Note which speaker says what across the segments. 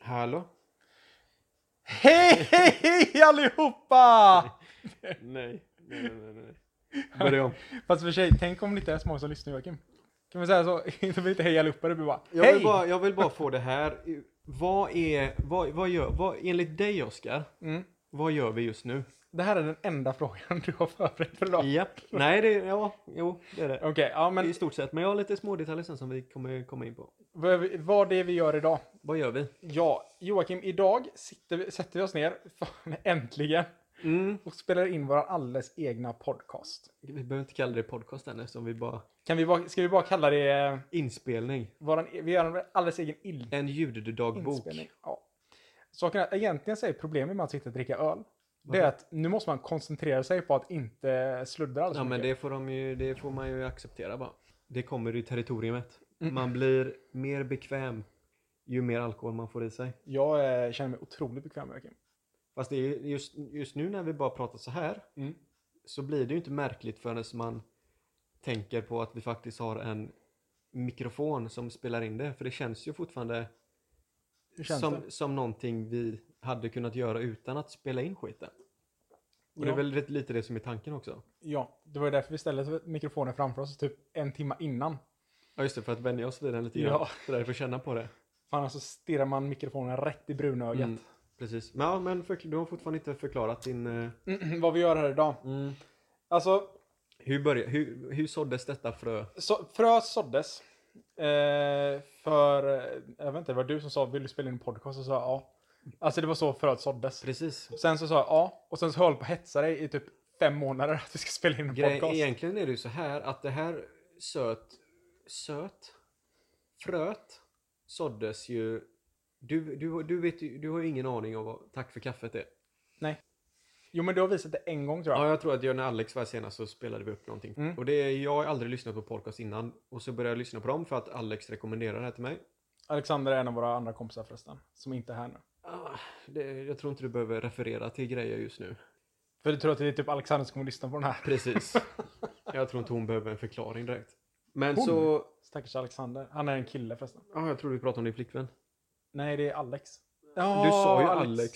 Speaker 1: Hallå?
Speaker 2: Hej, hej, hej allihopa!
Speaker 1: Nej. Nej, nej, nej. nej. Börja om.
Speaker 2: Fast för sig, tänk om det inte är så många som lyssnar Joakim. Kan man säga så? Då blir det inte hej allihopa, det blir bara
Speaker 1: Jag vill,
Speaker 2: hej!
Speaker 1: bara, jag vill bara få det här. Vad är, vad, vad gör, vad, enligt dig Oskar,
Speaker 2: Mm.
Speaker 1: vad gör vi just nu?
Speaker 2: Det här är den enda frågan du har förberett för idag.
Speaker 1: Japp. Nej, det, ja, jo, det är det.
Speaker 2: Okej, ja men
Speaker 1: I stort sett, men jag har lite små detaljer sen som vi kommer komma in på.
Speaker 2: vad vi- vad det är vi gör idag.
Speaker 1: Vad gör vi?
Speaker 2: Ja, Joakim, idag sitter vi, sätter vi oss ner, fan, äntligen,
Speaker 1: Mm.
Speaker 2: och spelar in vår alldeles egna podcast.
Speaker 1: Vi behöver inte kalla det podcast än eftersom vi bara...
Speaker 2: Kan vi bara, ska vi bara kalla det, eh,
Speaker 1: Inspelning.
Speaker 2: våran, vi gör en alldeles egen ill-
Speaker 1: En ljuddagbok.
Speaker 2: inspelning. Ja. Saken är, egentligen så är problemet med att sitta och dricka öl, det är att nu måste man koncentrera sig på att inte sluddra alls
Speaker 1: Ja, men det får, de ju, det får man ju acceptera bara. Det kommer i territoriumet. Man blir mer bekväm ju mer alkohol man får i sig.
Speaker 2: Jag eh, känner mig otroligt bekväm med Joakim.
Speaker 1: Fast det är ju just, just nu när vi bara pratar så här
Speaker 2: Mm.
Speaker 1: så blir det ju inte märkligt förrän man tänker på att vi faktiskt har en mikrofon som spelar in det. För det känns ju fortfarande
Speaker 2: Hur känns det?
Speaker 1: som, som någonting vi hade kunnat göra utan att spela in skiten. Och det
Speaker 2: Ja.
Speaker 1: är väl rätt- lite det som är tanken också.
Speaker 2: Ja, det var ju därför vi ställde mikrofonen framför oss typ en timme innan.
Speaker 1: Ja just det, för att vänja oss vid den lite
Speaker 2: Ja.
Speaker 1: grann. Så där vi får känna på det.
Speaker 2: För annars så stirrar man mikrofonen rätt i brunögat.
Speaker 1: Mm, Precis. Men, ja, men för, du har fortfarande inte förklarat din... eh,
Speaker 2: Vad vi gör här idag.
Speaker 1: Mm.
Speaker 2: Alltså,
Speaker 1: Hur, börja, hur, hur såddes detta frö?
Speaker 2: så, frö såddes. Eh, för, eh, jag vet inte, det var du som sa vill du spela in en podcast? Och sa jag, ja. Alltså det var så fröet såddes.
Speaker 1: Precis.
Speaker 2: Sen så sa jag ja, och sen så höll jag på att hetsa dig i typ fem månader att vi ska spela in en
Speaker 1: Grej,
Speaker 2: podcast.
Speaker 1: egentligen är det ju så här att det här söt... Söt? Fröet såddes ju... Du, du, du, vet, ju- du har ju ingen aning om vad Tack för kaffet är.
Speaker 2: Jo men du har visat det en gång tror jag.
Speaker 1: Ja, jag tror att jag när Alex var senast så spelade vi upp någonting.
Speaker 2: Mm.
Speaker 1: Och det, jag har aldrig lyssnat på podcast innan. Och så började jag lyssna på dem för att Alex rekommenderade det här till mig.
Speaker 2: Alexander är en av våra andra kompisar förresten, som inte är här nu.
Speaker 1: Ah, det, jag tror inte du behöver referera till grejer just nu.
Speaker 2: För du tror att det är typ Alexander som kommer lyssna på den här.
Speaker 1: Precis. Jag tror inte hon behöver en förklaring direkt. Men
Speaker 2: Hon?
Speaker 1: så...
Speaker 2: Stackars Alexander. Han är en kille förresten.
Speaker 1: Ja, jag tror du pratade om din flickvän.
Speaker 2: Nej, det är Alex.
Speaker 1: du sa ju
Speaker 2: Ja,
Speaker 1: Alex.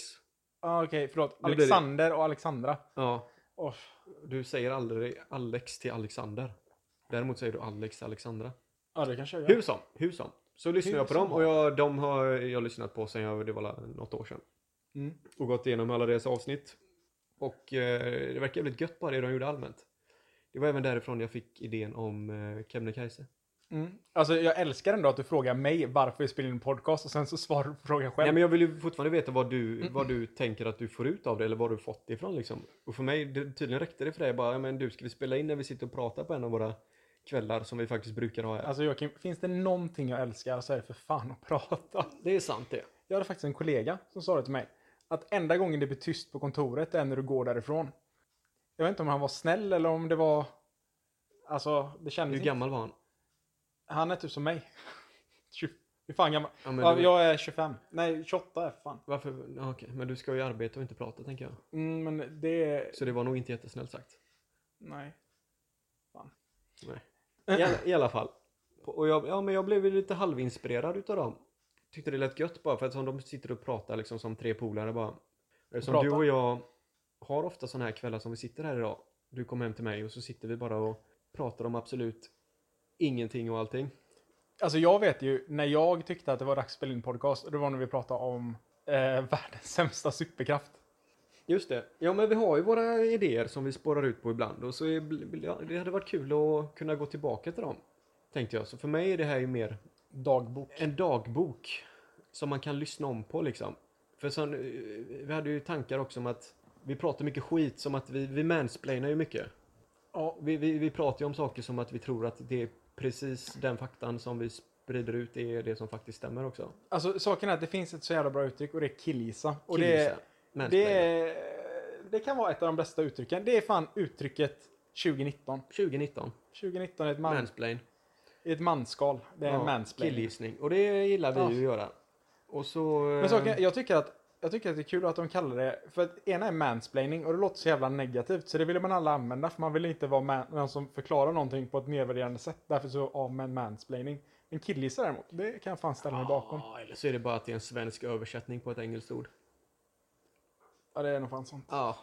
Speaker 2: Ah, Okej, förlåt.
Speaker 1: Nu blir det-
Speaker 2: Alexander och Alexandra.
Speaker 1: Ja.
Speaker 2: Oh,
Speaker 1: Du säger aldrig Alex till Alexander. Däremot säger du Alex till Alexandra.
Speaker 2: ja, det kanske jag gör.
Speaker 1: Hur som, hur som. Så lyssnar
Speaker 2: Hur
Speaker 1: jag på
Speaker 2: som.
Speaker 1: dem och jag, de har jag lyssnat på sen jag, det var la- något år sedan.
Speaker 2: Mm.
Speaker 1: Och gått igenom alla deras avsnitt. Och eh, det verkar jävligt gött bara det de gjorde allmänt. Det var även därifrån jag fick idén om eh, Kebnekaise.
Speaker 2: Mm. Alltså, jag älskar ändå att du frågar mig varför vi spelar in en podcast och sen så svarar du på frågan själv.
Speaker 1: Nej, men jag vill ju fortfarande veta vad du, vad du tänker att du får ut av det eller vad du fått det ifrån liksom. Och för mig, det, tydligen räckte det för dig bara, "Ja, men du ska vi spela in när vi sitter och pratar på en av våra kvällar som vi faktiskt brukar ha här.
Speaker 2: Alltså Joakim, finns det någonting jag älskar så är det för fan att prata.
Speaker 1: det är sant det.
Speaker 2: Jag hade faktiskt en kollega som sa det till mig. Att enda gången det blir tyst på kontoret är när du går därifrån. Jag vet inte om han var snäll eller om det var... Alltså, det
Speaker 1: Hur
Speaker 2: kändes inte.
Speaker 1: gammal var han?
Speaker 2: Han är typ som mig. Tju- Hur fan gammal?
Speaker 1: Ja, men
Speaker 2: Ja,
Speaker 1: du-
Speaker 2: jag är 25. Nej, 28 är fan.
Speaker 1: Varför? Ja, okej, men du ska ju arbeta och inte prata tänker jag.
Speaker 2: Mm, men det är...
Speaker 1: Så det var nog inte jättesnällt sagt.
Speaker 2: Nej.
Speaker 1: Nej. I, alla- I alla fall. Och jag, ja, men jag blev ju lite halvinspirerad utav dem. Tyckte det lät gött bara för att som de sitter och pratar liksom som tre polare bara. Eftersom du
Speaker 2: Pratar.
Speaker 1: och jag har ofta sådana här kvällar som vi sitter här idag. Du kommer hem till mig och så sitter vi bara och pratar om absolut ingenting och allting.
Speaker 2: Alltså jag vet ju, när jag tyckte att det var dags att spela in podcast, och det var när vi pratade om eh, världens sämsta superkraft.
Speaker 1: Just det. Ja men vi har ju våra idéer som vi spårar ut på ibland och så är, ja, det hade varit kul att kunna gå tillbaka till dem. Tänkte jag. Så för mig är det här ju mer
Speaker 2: Dagbok.
Speaker 1: en dagbok som man kan lyssna om på liksom. För sen, eh, vi hade ju tankar också om att vi pratar mycket skit som att vi, vi mansplainar ju mycket.
Speaker 2: Ja.
Speaker 1: Vi, vi, vi pratar ju om saker som att vi tror att det är precis den faktan som vi sprider ut är det som faktiskt stämmer också.
Speaker 2: Alltså saken är att det finns ett så jävla bra uttryck och det är killgissa. Och det, är-
Speaker 1: Mansplainar.
Speaker 2: det, är- det kan vara ett av de bästa uttrycken. Det är fan uttrycket 2019.
Speaker 1: 2019.
Speaker 2: 2019 är ett, man,
Speaker 1: Mansplain.
Speaker 2: är ett manskal. Det är en mansplaining.
Speaker 1: Killgissning. Och det gillar vi
Speaker 2: Ja.
Speaker 1: ju att göra. Och så... eh,
Speaker 2: Men saken, är- jag, tycker att, jag tycker att det är kul att de kallar det, för att ena är mansplaining och det låter så jävla negativt så det ville man alla använda för man vill inte vara man, någon som förklarar någonting på ett nedvärderande sätt. Därför så av med mansplaining. En killgissa däremot, det kan jag fan ställa mig
Speaker 1: Ah.
Speaker 2: bakom.
Speaker 1: Ja, eller så är det bara att det är en svensk översättning på ett engelskt ord.
Speaker 2: Ja, det är nog fan sånt.
Speaker 1: Ja.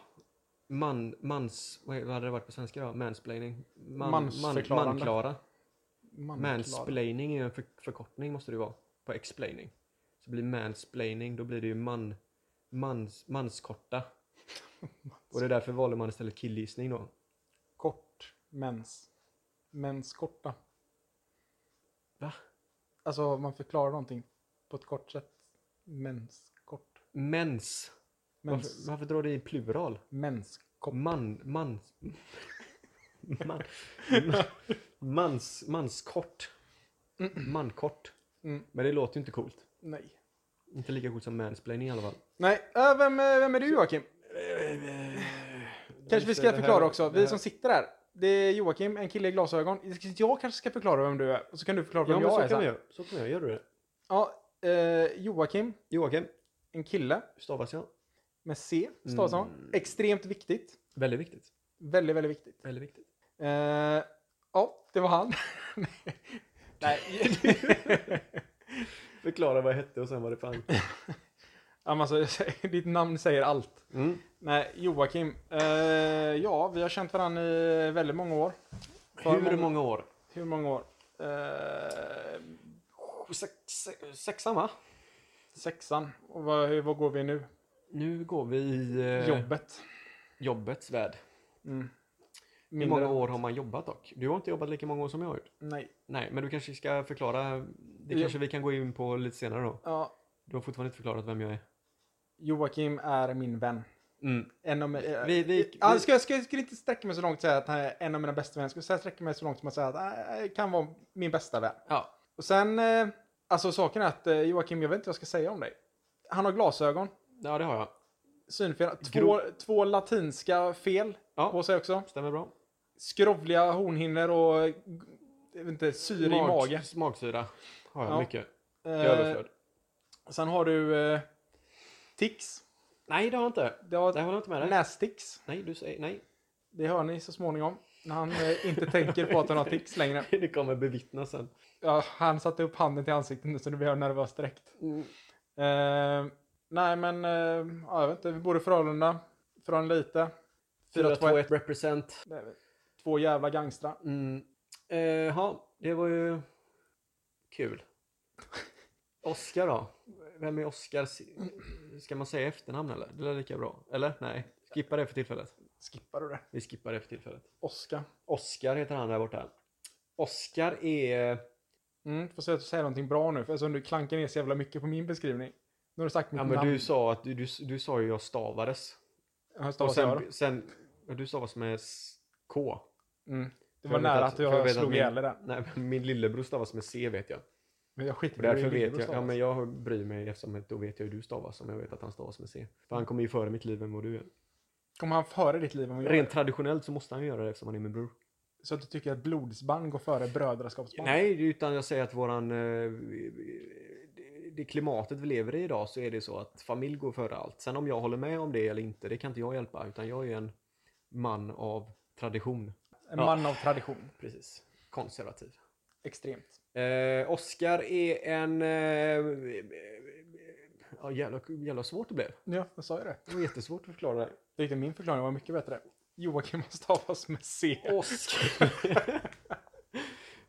Speaker 1: Man, mans, vad är- vad hade det varit på svenska då? Mansplaining? Man,
Speaker 2: Mansförklarande.
Speaker 1: manklara.
Speaker 2: Man-
Speaker 1: Mansplaining är ju en för, förkortning måste det ju vara. På explaining. Så blir mansplaining, då blir det ju man, mans, manskorta. Och det är därför valde man istället killgissning då.
Speaker 2: Kort mens. Mens korta.
Speaker 1: Va?
Speaker 2: Alltså man förklarar någonting på ett kort sätt. Mens kort.
Speaker 1: Mens. Varför,
Speaker 2: Mens,
Speaker 1: varför drar det i plural?
Speaker 2: mens kort.
Speaker 1: Man, man, man, mans, manskort. Mankort.
Speaker 2: Mm.
Speaker 1: Men det låter ju inte coolt.
Speaker 2: Nej.
Speaker 1: Inte lika coolt som mansplaining i alla fall.
Speaker 2: Nej, äh, vem, är- vem är du Joakim? Kanske vi ska förklara också. Vi som sitter här. Det är Joakim, en kille i glasögon. Jag kanske ska förklara vem du är. Och så kan du förklara
Speaker 1: Ja,
Speaker 2: vem
Speaker 1: men så
Speaker 2: jag är
Speaker 1: kan man
Speaker 2: sen.
Speaker 1: göra. Så kan jag göra. Gör du det?
Speaker 2: Ja, eh, Joakim,
Speaker 1: Joakim,
Speaker 2: en kille
Speaker 1: hur stavas jag?
Speaker 2: med C, stavas han.
Speaker 1: Mm.
Speaker 2: Extremt viktigt.
Speaker 1: Väldigt viktigt.
Speaker 2: Väldigt, väldigt viktigt.
Speaker 1: Väldigt viktigt.
Speaker 2: Eh, ja, det var han. Nej.
Speaker 1: Förklara vad jag hette och sen vad det fan.
Speaker 2: ja, men alltså, ditt namn säger allt.
Speaker 1: Mm.
Speaker 2: Nej, Joakim. Eh, ja, vi har känt varandra i väldigt många år. För
Speaker 1: Hur många år?
Speaker 2: Hur många år? Eh,
Speaker 1: Oh, Sex, se- sexan va?
Speaker 2: sexan. Och vad, hur, vad går vi nu?
Speaker 1: Nu går vi i eh,
Speaker 2: Jobbet.
Speaker 1: jobbets värld.
Speaker 2: Mm.
Speaker 1: Hur
Speaker 2: Mindre-
Speaker 1: många år har man jobbat dock? Du har inte jobbat lika många år som jag har gjort.
Speaker 2: Nej.
Speaker 1: Nej, men du kanske ska förklara. Det
Speaker 2: Ja.
Speaker 1: kanske vi kan gå in på lite senare då.
Speaker 2: Ja,
Speaker 1: Du har fortfarande inte förklarat vem jag är.
Speaker 2: Joakim är min vän.
Speaker 1: Mm.
Speaker 2: En av, eh,
Speaker 1: Vi- vi-
Speaker 2: ja,
Speaker 1: vi-
Speaker 2: ska, ska, skulle inte sträcka mig så långt att säga att han är en av mina bästa vänner. Jag skulle säga- sträcka mig så långt som att säga att han eh, kan vara min bästa vän.
Speaker 1: Ja.
Speaker 2: Och sen, eh, alltså saken är att eh, Joakim, jag vet inte vad jag ska säga om dig. Han har glasögon,
Speaker 1: ja, det har jag.
Speaker 2: synfel, två,
Speaker 1: Grov-
Speaker 2: två latinska fel
Speaker 1: Ja.
Speaker 2: på sig också.
Speaker 1: Stämmer bra.
Speaker 2: Skrovliga hornhinnor och eh, jag vet inte, syre i magen.
Speaker 1: Magsyra har jag
Speaker 2: Ja.
Speaker 1: mycket. I
Speaker 2: Eh,
Speaker 1: överflöd.
Speaker 2: sen har du eh, tics.
Speaker 1: Nej, det har jag inte.
Speaker 2: Det har
Speaker 1: Där håller jag inte med dig.
Speaker 2: nästics.
Speaker 1: Nej, du säger nej.
Speaker 2: Det hör ni så småningom. När han eh, inte tänker på att han har tics längre.
Speaker 1: det kommer bevittnas sen.
Speaker 2: Ja, han satte upp handen till ansiktet nu så det blev nervöst direkt. Eh, nej men, eh, ja, jag vet inte, vi bor i Frölunda. Från lite.
Speaker 1: 421 represent.
Speaker 2: Nej, men, Två jävla gangstra.
Speaker 1: Mm. Eh, ja, det var ju kul. Oscar då? Vem är Oscar? Ska man säga efternamn eller? Det är lika bra. Eller? Nej. Skippa det för tillfället.
Speaker 2: Skippar du det?
Speaker 1: Vi skippar det för tillfället.
Speaker 2: Oskar.
Speaker 1: Oscar heter han där borta. Oscar är...
Speaker 2: Mm, får se att du säger någonting bra nu, för eftersom du klankar ner så jävla mycket på min beskrivning. Nu har du sagt mitt
Speaker 1: Ja, men
Speaker 2: namn.
Speaker 1: du sa att du, du, du sa ju jag stavades.
Speaker 2: Ja, stavas
Speaker 1: Och
Speaker 2: jag
Speaker 1: sen, sen, ja, du stavas med s- K.
Speaker 2: då. mm. Det
Speaker 1: För
Speaker 2: var
Speaker 1: jag vet
Speaker 2: nära
Speaker 1: att-
Speaker 2: att
Speaker 1: för jag
Speaker 2: jag
Speaker 1: vet att
Speaker 2: slog
Speaker 1: min-
Speaker 2: ihjäl dig där.
Speaker 1: Nej, men min lillebror stavas med C vet jag.
Speaker 2: Men jag skiter
Speaker 1: Och
Speaker 2: i hur
Speaker 1: därför
Speaker 2: din
Speaker 1: vet
Speaker 2: lillebror
Speaker 1: jag. Ja,
Speaker 2: stavas.
Speaker 1: men jag bryr mig eftersom att då vet jag hur du stavas om jag vet att han stavas med C. För han kommer ju före mitt liv än vad du är.
Speaker 2: Kommer han före ditt liv om jag
Speaker 1: Rent traditionellt så måste han ju göra det eftersom han är min bror.
Speaker 2: Så att du tycker att blodsband går före brödraskapsband?
Speaker 1: Nej, utan jag säger att våran... eh, det- Det klimatet vi lever i idag så är det så att familj går före allt. Sen om jag håller med om det eller inte, det kan inte jag hjälpa. Utan jag är en man av tradition.
Speaker 2: En
Speaker 1: Ja.
Speaker 2: man av tradition.
Speaker 1: Precis. Konservativ.
Speaker 2: Extremt.
Speaker 1: Eh, Oscar är en... Eh, ja, jävla, jävla svårt det blev.
Speaker 2: Ja, jag sa ju det.
Speaker 1: Det var jättesvårt att förklara det.
Speaker 2: Jag tyckte min förklaring var mycket bättre. Joakim har stavats med C.
Speaker 1: Oscar.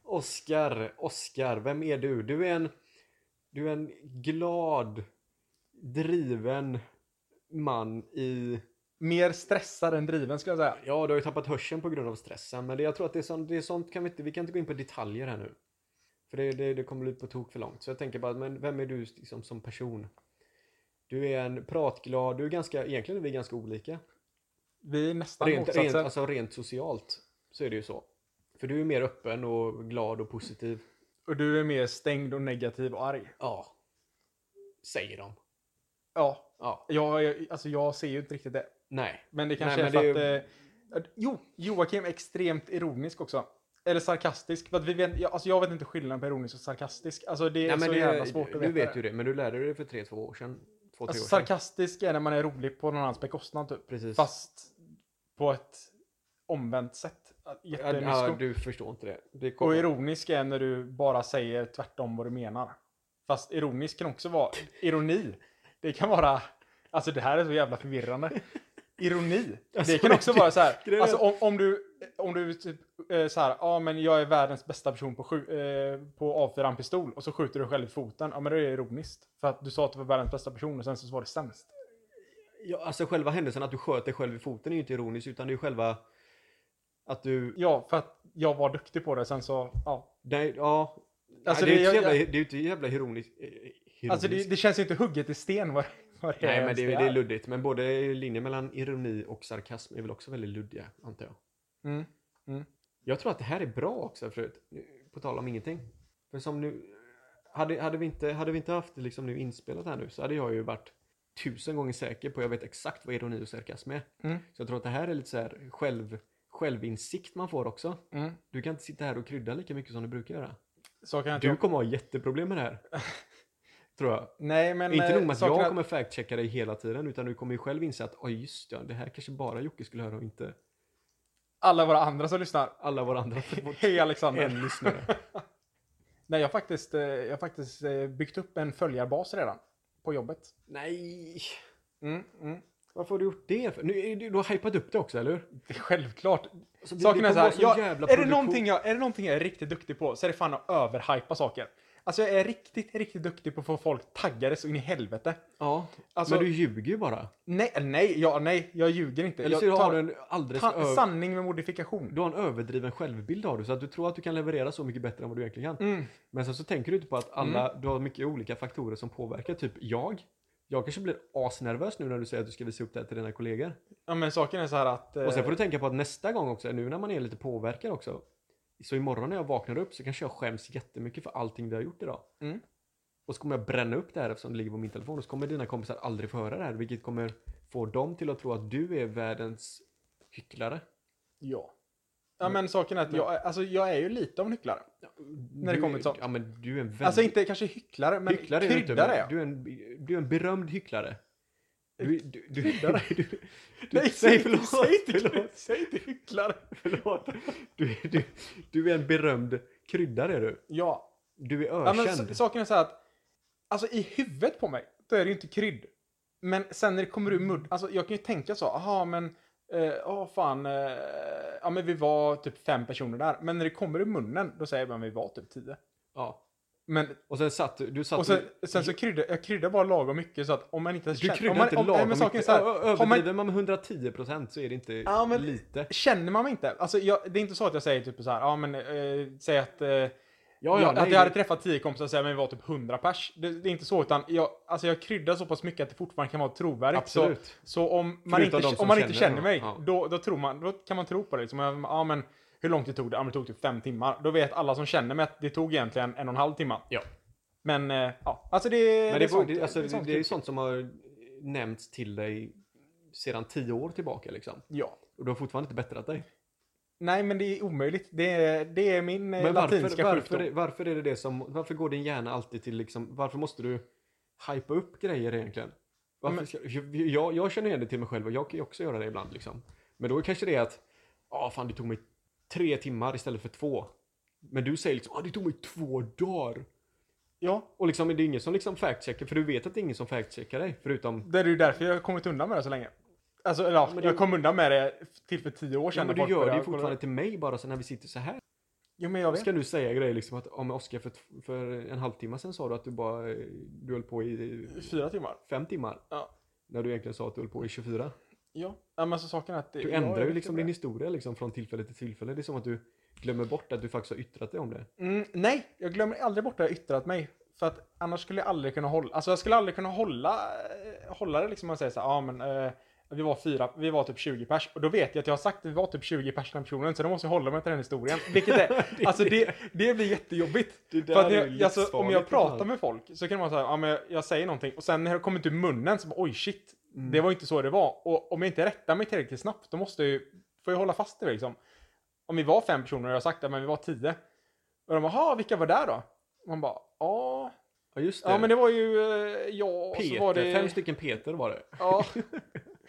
Speaker 1: Oscar, Oscar, vem är du? Du är en, du är en glad, driven man i...
Speaker 2: Mer stressad än driven skulle jag säga.
Speaker 1: Ja, du har ju tappat hörseln på grund av stressen, men det, jag tror att det är sånt, det är sånt kan vi, inte, vi kan inte gå in på detaljer här nu. För det, det, det kommer bli på tok för långt. Så jag tänker bara, men vem är du liksom, som person? Du är en pratglad, du är ganska, egentligen är vi ganska olika.
Speaker 2: Vi är nästan
Speaker 1: Rent,
Speaker 2: motsatser.
Speaker 1: rent, alltså rent socialt så är det ju så. För du är mer öppen och glad och positiv.
Speaker 2: Och du är mer stängd och negativ och arg.
Speaker 1: Ja. Säger de.
Speaker 2: Ja,
Speaker 1: Ja.
Speaker 2: jag, jag- alltså jag ser ju inte riktigt det.
Speaker 1: Nej.
Speaker 2: Men det kanske
Speaker 1: Nej,
Speaker 2: är
Speaker 1: men
Speaker 2: för
Speaker 1: det är
Speaker 2: att... Eh, att- jo, Joakim är extremt ironisk också. Eller sarkastisk. För att vi vet, jag, alltså jag vet inte skillnaden på ironisk och sarkastisk. Alltså det är
Speaker 1: Nej, men
Speaker 2: så
Speaker 1: det,
Speaker 2: jävla svårt att
Speaker 1: du
Speaker 2: veta.
Speaker 1: vet
Speaker 2: det.
Speaker 1: ju det, men du lärde dig det för tre, två år sedan. Två, tre
Speaker 2: Alltså,
Speaker 1: år sedan.
Speaker 2: sarkastisk är när man är rolig på någon annans bekostnad typ.
Speaker 1: Precis.
Speaker 2: Fast på ett omvänt sätt.
Speaker 1: Ja,
Speaker 2: jättemysko.
Speaker 1: du förstår inte det. det
Speaker 2: Och
Speaker 1: kommer.
Speaker 2: ironisk är när du bara säger tvärtom vad du menar. Fast ironisk kan också vara ironi. Det kan vara, alltså det här är så jävla förvirrande. Ironi. Det
Speaker 1: Alltså,
Speaker 2: kan också
Speaker 1: det-
Speaker 2: vara så
Speaker 1: grejen
Speaker 2: här,
Speaker 1: är-
Speaker 2: alltså om, om du, om du typ eh, så här, ja men jag är världens bästa person på, skju- eh, på avfyra en pistol och så skjuter du själv i foten. Ja men det är ironiskt. För att du sa att du var världens bästa person och sen så var det sämst.
Speaker 1: Ja, alltså själva händelsen att du sköt dig själv i foten är ju inte ironisk utan det är ju själva att du...
Speaker 2: Ja, för att jag var duktig på det sen så, ja.
Speaker 1: Nej, ja.
Speaker 2: Alltså,
Speaker 1: Nej, det, är ju
Speaker 2: det-
Speaker 1: inte jävla,
Speaker 2: jag-
Speaker 1: det är ju inte jävla ironiskt. eh, ironiskt.
Speaker 2: Alltså det, det känns ju inte hugget i sten vad, vad det
Speaker 1: Nej, men
Speaker 2: ens
Speaker 1: det, är-
Speaker 2: är.
Speaker 1: det är luddigt. Men både linjen mellan ironi och sarkasm är väl också väldigt luddiga, antar jag.
Speaker 2: Mm.
Speaker 1: Jag tror att det här är bra också förut. På tal om ingenting. För som nu, hade, hade, vi inte, hade vi inte haft det liksom nu inspelat här nu så hade jag ju varit tusen gånger säker på jag vet exakt vad ironi och sarkasm är.
Speaker 2: Mm.
Speaker 1: Så jag tror att det här är lite så här själv, självinsikt man får också.
Speaker 2: Mm.
Speaker 1: Du kan inte sitta här och krydda lika mycket som du brukar göra.
Speaker 2: Så kan jag inte
Speaker 1: Du kommer ha jätteproblem med det här. tror jag.
Speaker 2: Nej, men...
Speaker 1: inte
Speaker 2: eh,
Speaker 1: nog med att
Speaker 2: sakerna-
Speaker 1: jag kommer fact-checka dig hela tiden utan du kommer ju själv inse att oj just ja, det här kanske bara Jocke skulle höra och inte
Speaker 2: Alla våra andra som lyssnar.
Speaker 1: alla våra andra.
Speaker 2: Hej Alexander!
Speaker 1: en lyssnare.
Speaker 2: Nej, jag har faktiskt, eh, jag har faktiskt eh, byggt upp en följarbas redan. På jobbet.
Speaker 1: Nej!
Speaker 2: Mm, mm.
Speaker 1: Varför har du gjort det? För? Nu, är du, du har hypat upp det också, eller hur?
Speaker 2: Det är självklart.
Speaker 1: Alltså,
Speaker 2: Saken är så
Speaker 1: kommer
Speaker 2: här,
Speaker 1: vara
Speaker 2: jag,
Speaker 1: jävla
Speaker 2: är, det
Speaker 1: produktion.
Speaker 2: någonting jag, är det någonting jag är riktigt duktig på så är det fan att överhypa saker. Alltså jag är riktigt, riktigt duktig på att få folk taggade så in i helvete.
Speaker 1: Ja,
Speaker 2: Alltså-
Speaker 1: men du ljuger ju bara.
Speaker 2: Nej, nej, ja, nej, jag ljuger inte.
Speaker 1: Eller
Speaker 2: jag
Speaker 1: så har
Speaker 2: tar
Speaker 1: du en alldeles
Speaker 2: ta-
Speaker 1: över...
Speaker 2: sanning med modifikation.
Speaker 1: Du har en överdriven självbild har du, så att du tror att du kan leverera så mycket bättre än vad du egentligen kan.
Speaker 2: Mm.
Speaker 1: Men sen så tänker du inte på att alla, du har mycket olika faktorer som påverkar. Typ jag. Jag kanske blir asnervös nu när du säger att du ska visa upp det här till dina kollegor.
Speaker 2: Ja, men saken är så här att... eh,
Speaker 1: Och sen får du tänka på att nästa gång också, nu när man är lite påverkad också. Så imorgon när jag vaknar upp så kanske jag skäms jättemycket för allting vi har gjort idag.
Speaker 2: Mm.
Speaker 1: Och så kommer jag bränna upp det här eftersom det ligger på min telefon. Och så kommer dina kompisar aldrig få höra det här. Vilket kommer få dem till att tro att du är världens hycklare.
Speaker 2: Ja. Ja, men saken är
Speaker 1: Mm.
Speaker 2: att jag, alltså, jag är ju lite av en hycklare.
Speaker 1: När
Speaker 2: det kommer till sånt.
Speaker 1: Ja men du är en väldigt...
Speaker 2: Alltså inte kanske hycklare, men
Speaker 1: hycklare är du inte.
Speaker 2: kryddare är jag.
Speaker 1: Men du, är en, du är en berömd hycklare. Du, du, du, hycklare? Du, du,
Speaker 2: Nej, säg,
Speaker 1: säg förlåt.
Speaker 2: säg, inte,
Speaker 1: förlåt,
Speaker 2: säg inte hycklare.
Speaker 1: förlåt. Du, du, du är en berömd kryddare är du.
Speaker 2: Ja.
Speaker 1: Du är
Speaker 2: ja
Speaker 1: ökänd.
Speaker 2: men s- saken är så här att, alltså i huvudet på mig, då är det ju inte krydd. Men sen när det kommer ur mudd, alltså jag kan ju tänka så, aha men, ja eh, ah, fan, eh, ja men vi var typ fem personer där. Men när det kommer ur munnen, då säger man vi var typ tio.
Speaker 1: Ja.
Speaker 2: Men,
Speaker 1: Och sen satt du... du Satt
Speaker 2: och sen, sen så kryddar jag kryddar bara lagom mycket så att om man inte ens
Speaker 1: du
Speaker 2: känner-
Speaker 1: kryddar
Speaker 2: om man,
Speaker 1: inte
Speaker 2: om- nej,
Speaker 1: lagom
Speaker 2: men saken är
Speaker 1: mycket.
Speaker 2: så här,
Speaker 1: Ö- ö-
Speaker 2: har man-
Speaker 1: Överdriver man med 110% så är det inte
Speaker 2: Ja, men-
Speaker 1: lite.
Speaker 2: Känner man mig inte? Alltså, jag, det är inte så att jag säger typ så här, ja men, eh, säg att, eh, jag,
Speaker 1: nej,
Speaker 2: att
Speaker 1: det-
Speaker 2: jag hade träffat tio kompisar och säger men vi var typ 100 pers. Det, det är inte så, utan jag, alltså, jag kryddar så pass mycket att det fortfarande kan vara trovärdigt.
Speaker 1: Absolut.
Speaker 2: Så, så om man
Speaker 1: Förutom de
Speaker 2: inte,
Speaker 1: som
Speaker 2: om man inte
Speaker 1: känner
Speaker 2: känner mig,
Speaker 1: mig, ja.
Speaker 2: då, då, tror man, då kan man tro på det. Liksom. Ja, men- Ja, men, hur långt det tog det? Ja, men det tog typ fem timmar. Då vet alla som känner mig att det tog egentligen en och en halv timme.
Speaker 1: Ja.
Speaker 2: Men, eh, ja, alltså det,
Speaker 1: Men
Speaker 2: det
Speaker 1: det,
Speaker 2: är
Speaker 1: är,
Speaker 2: sånt.
Speaker 1: det, alltså, det,
Speaker 2: sånt
Speaker 1: det är ju
Speaker 2: kul.
Speaker 1: sånt som har nämnts till dig sedan tio år tillbaka liksom.
Speaker 2: Ja.
Speaker 1: Och du har fortfarande inte bättrat dig.
Speaker 2: Nej, men det är omöjligt. Det är, det är min eh,
Speaker 1: Men varför,
Speaker 2: latinska sjukdom.
Speaker 1: varför, varför är det det som, varför går din hjärna alltid till liksom, varför måste du hypa upp grejer egentligen? Varför
Speaker 2: Men-
Speaker 1: ska, jag, jag, jag känner igen det till mig själv och jag kan ju också göra det ibland liksom. Men då är kanske det är att, ja fan det tog mig tre timmar istället för två. Men du säger liksom, ah, det tog mig två dagar.
Speaker 2: Ja,
Speaker 1: Och liksom, det är ingen som liksom fact-checkar, för du vet att det är ingen som fact-checkar dig, förutom...
Speaker 2: Det är ju därför jag har kommit undan med det så länge. Alltså, eller, ja,
Speaker 1: men det-
Speaker 2: jag kom undan med det till för tio år
Speaker 1: Ja,
Speaker 2: sedan.
Speaker 1: men
Speaker 2: när
Speaker 1: du
Speaker 2: folk
Speaker 1: gör det
Speaker 2: började
Speaker 1: ju
Speaker 2: kolla-
Speaker 1: fortfarande till mig bara så när vi sitter så här.
Speaker 2: Jo, men jag vet.
Speaker 1: Ska du säga grejer liksom att, ja men Oskar för, för en halvtimme sen sa du att du bara, eh, du höll på i
Speaker 2: Fyra timmar.
Speaker 1: fem timmar.
Speaker 2: Ja.
Speaker 1: När du egentligen sa att du höll på i 24.
Speaker 2: Ja. ja men så saken är att... det-
Speaker 1: Du
Speaker 2: jag
Speaker 1: ändrar
Speaker 2: är
Speaker 1: ju
Speaker 2: lite
Speaker 1: liksom
Speaker 2: bra.
Speaker 1: din historia liksom från tillfälle till tillfälle. Det är som att du glömmer bort att du faktiskt har yttrat dig om det.
Speaker 2: Mm, nej, jag glömmer aldrig bort att jag yttrat mig. För att annars skulle jag aldrig kunna hålla... Alltså jag skulle aldrig kunna hålla, eh, hålla det liksom. Man säger så här, ja men... Eh, vi var fyra, vi var typ 20 pers. Och då vet jag att jag har sagt att vi var typ 20 pers den personen. Så då måste jag hålla mig till den historien. Vilket är... alltså det, det blir jättejobbigt.
Speaker 1: Det där
Speaker 2: För att
Speaker 1: är
Speaker 2: jag,
Speaker 1: ju
Speaker 2: alltså, om jag
Speaker 1: livsfarligt,
Speaker 2: pratar
Speaker 1: alltså.
Speaker 2: med folk så kan man säga, ja men jag, jag säger någonting och sen när det kommer ut ur munnen så bara, oj shit,
Speaker 1: Mm.
Speaker 2: det var inte så det var. Och om jag inte rättar mig tillräckligt snabbt, då måste jag ju, får jag hålla fast i det liksom. Om vi var fem personer och jag har sagt att men vi var tio. Och de bara, "Jaha, vilka var där då? Och man bara, ja,
Speaker 1: Ja just det.
Speaker 2: ja men det var ju eh, jag och
Speaker 1: Typ. Peter,
Speaker 2: så var det...
Speaker 1: fem stycken Peter var det.
Speaker 2: Ja,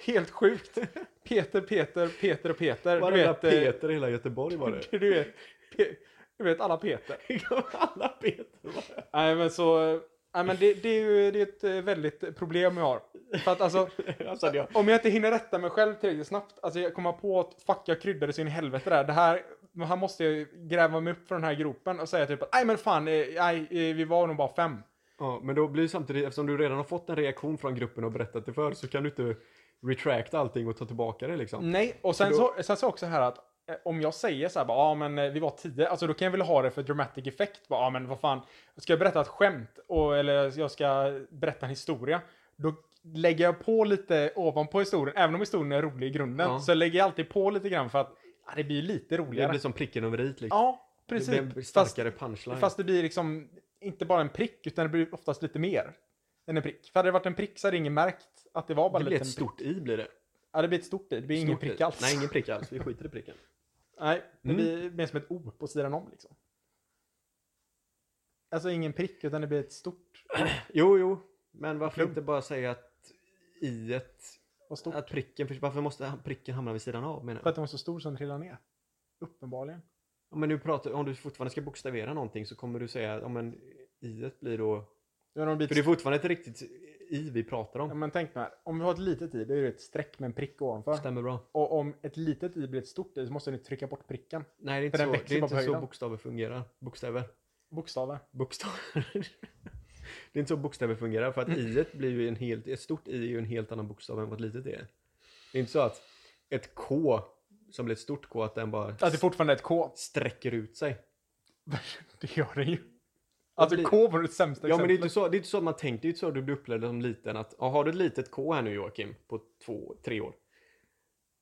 Speaker 2: helt sjukt. Peter, Peter, Peter och Peter. Du
Speaker 1: Varenda
Speaker 2: vet, eh,
Speaker 1: Peter i hela Göteborg var det.
Speaker 2: Du vet, Pe- du vet alla Peter.
Speaker 1: Alla Peter var det.
Speaker 2: Nej men så, eh, nej men det, det är ju det är ett eh, väldigt problem jag har. För att alltså,
Speaker 1: Alltså, hade jag,
Speaker 2: om jag inte hinner rätta mig själv tillräckligt snabbt, alltså jag kommer på att fuck jag kryddade så in i helvete där. Det här, men här måste jag ju gräva mig upp från den här gropen och säga typ att nej men fan, eh, nej eh, vi var nog bara fem.
Speaker 1: ja, men då blir det samtidigt, eftersom du redan har fått en reaktion från gruppen och berättat det för, så kan du inte retracta allting och ta tillbaka det liksom.
Speaker 2: Nej, och sen
Speaker 1: För då-
Speaker 2: så, sen så också här att eh, om jag säger så här bara, ja men eh, vi var tio, alltså då kan jag väl ha det för dramatic effect. Bara, ja men vad fan, ska jag berätta ett skämt och, eller jag ska berätta en historia, då lägger jag på lite ovanpå historien, även om historien är rolig i grunden,
Speaker 1: Ja.
Speaker 2: så lägger jag alltid på lite grann för att ja, det blir lite
Speaker 1: Det
Speaker 2: roligare.
Speaker 1: blir som pricken över i liksom.
Speaker 2: Ja,
Speaker 1: Det
Speaker 2: precis.
Speaker 1: blir en
Speaker 2: Fast,
Speaker 1: starkare punchline.
Speaker 2: fast det blir liksom inte bara en prick, utan det blir oftast lite mer än en prick. För hade det varit en prick så hade ingen märkt att det var bara
Speaker 1: det
Speaker 2: en
Speaker 1: blir
Speaker 2: liten
Speaker 1: ett stort i blir det.
Speaker 2: prick. Ja, det blir ett stort i. Det blir ingen
Speaker 1: Stort i.
Speaker 2: prick alls.
Speaker 1: Nej, ingen prick alls. Vi skiter i pricken.
Speaker 2: Nej, det
Speaker 1: Mm.
Speaker 2: blir mer som ett O på sidan om liksom. Alltså ingen prick, utan det blir ett stort.
Speaker 1: Jo, jo. Men varför
Speaker 2: Klubb.
Speaker 1: inte bara säga att i ett...
Speaker 2: Och stort.
Speaker 1: Att pricken... förs- Varför måste pricken hamna vid sidan av menar
Speaker 2: För
Speaker 1: jag?
Speaker 2: att den var så stor som trillade ner. Uppenbarligen.
Speaker 1: Ja, Men nu pratar, om du fortfarande ska bokstavera någonting så kommer du säga ja, men i blir då...
Speaker 2: Nu har de blivit
Speaker 1: För det är fortfarande ett riktigt i vi pratar
Speaker 2: Ja,
Speaker 1: om.
Speaker 2: men tänk mig, om vi har ett litet i, då är det ett streck med en prick ovanför.
Speaker 1: Stämmer bra.
Speaker 2: Och om ett litet i blir ett stort i så måste ni trycka bort pricken.
Speaker 1: Nej, det är inte
Speaker 2: För den
Speaker 1: så,
Speaker 2: växer
Speaker 1: det är
Speaker 2: bara
Speaker 1: inte
Speaker 2: på
Speaker 1: så
Speaker 2: höjden.
Speaker 1: bokstäver fungerar. Bokstäver.
Speaker 2: Bokstäver.
Speaker 1: Bokstäver. det är inte så bokstäver fungerar för att
Speaker 2: Mm.
Speaker 1: i blir ju en helt... Ett stort i är ju en helt annan bokstav än vad ett litet är. Det är inte så att ett k som blir ett stort k att den bara
Speaker 2: Att det fortfarande är ett K.
Speaker 1: sträcker ut sig.
Speaker 2: Det gör den ju. Alltså
Speaker 1: blir-
Speaker 2: K var det sämsta
Speaker 1: Ja men det är
Speaker 2: exemplet.
Speaker 1: inte så, det är inte så att man tänker, det är inte så du blir upplevd som liten att ja, har du ett litet K här nu Joakim på två, tre år?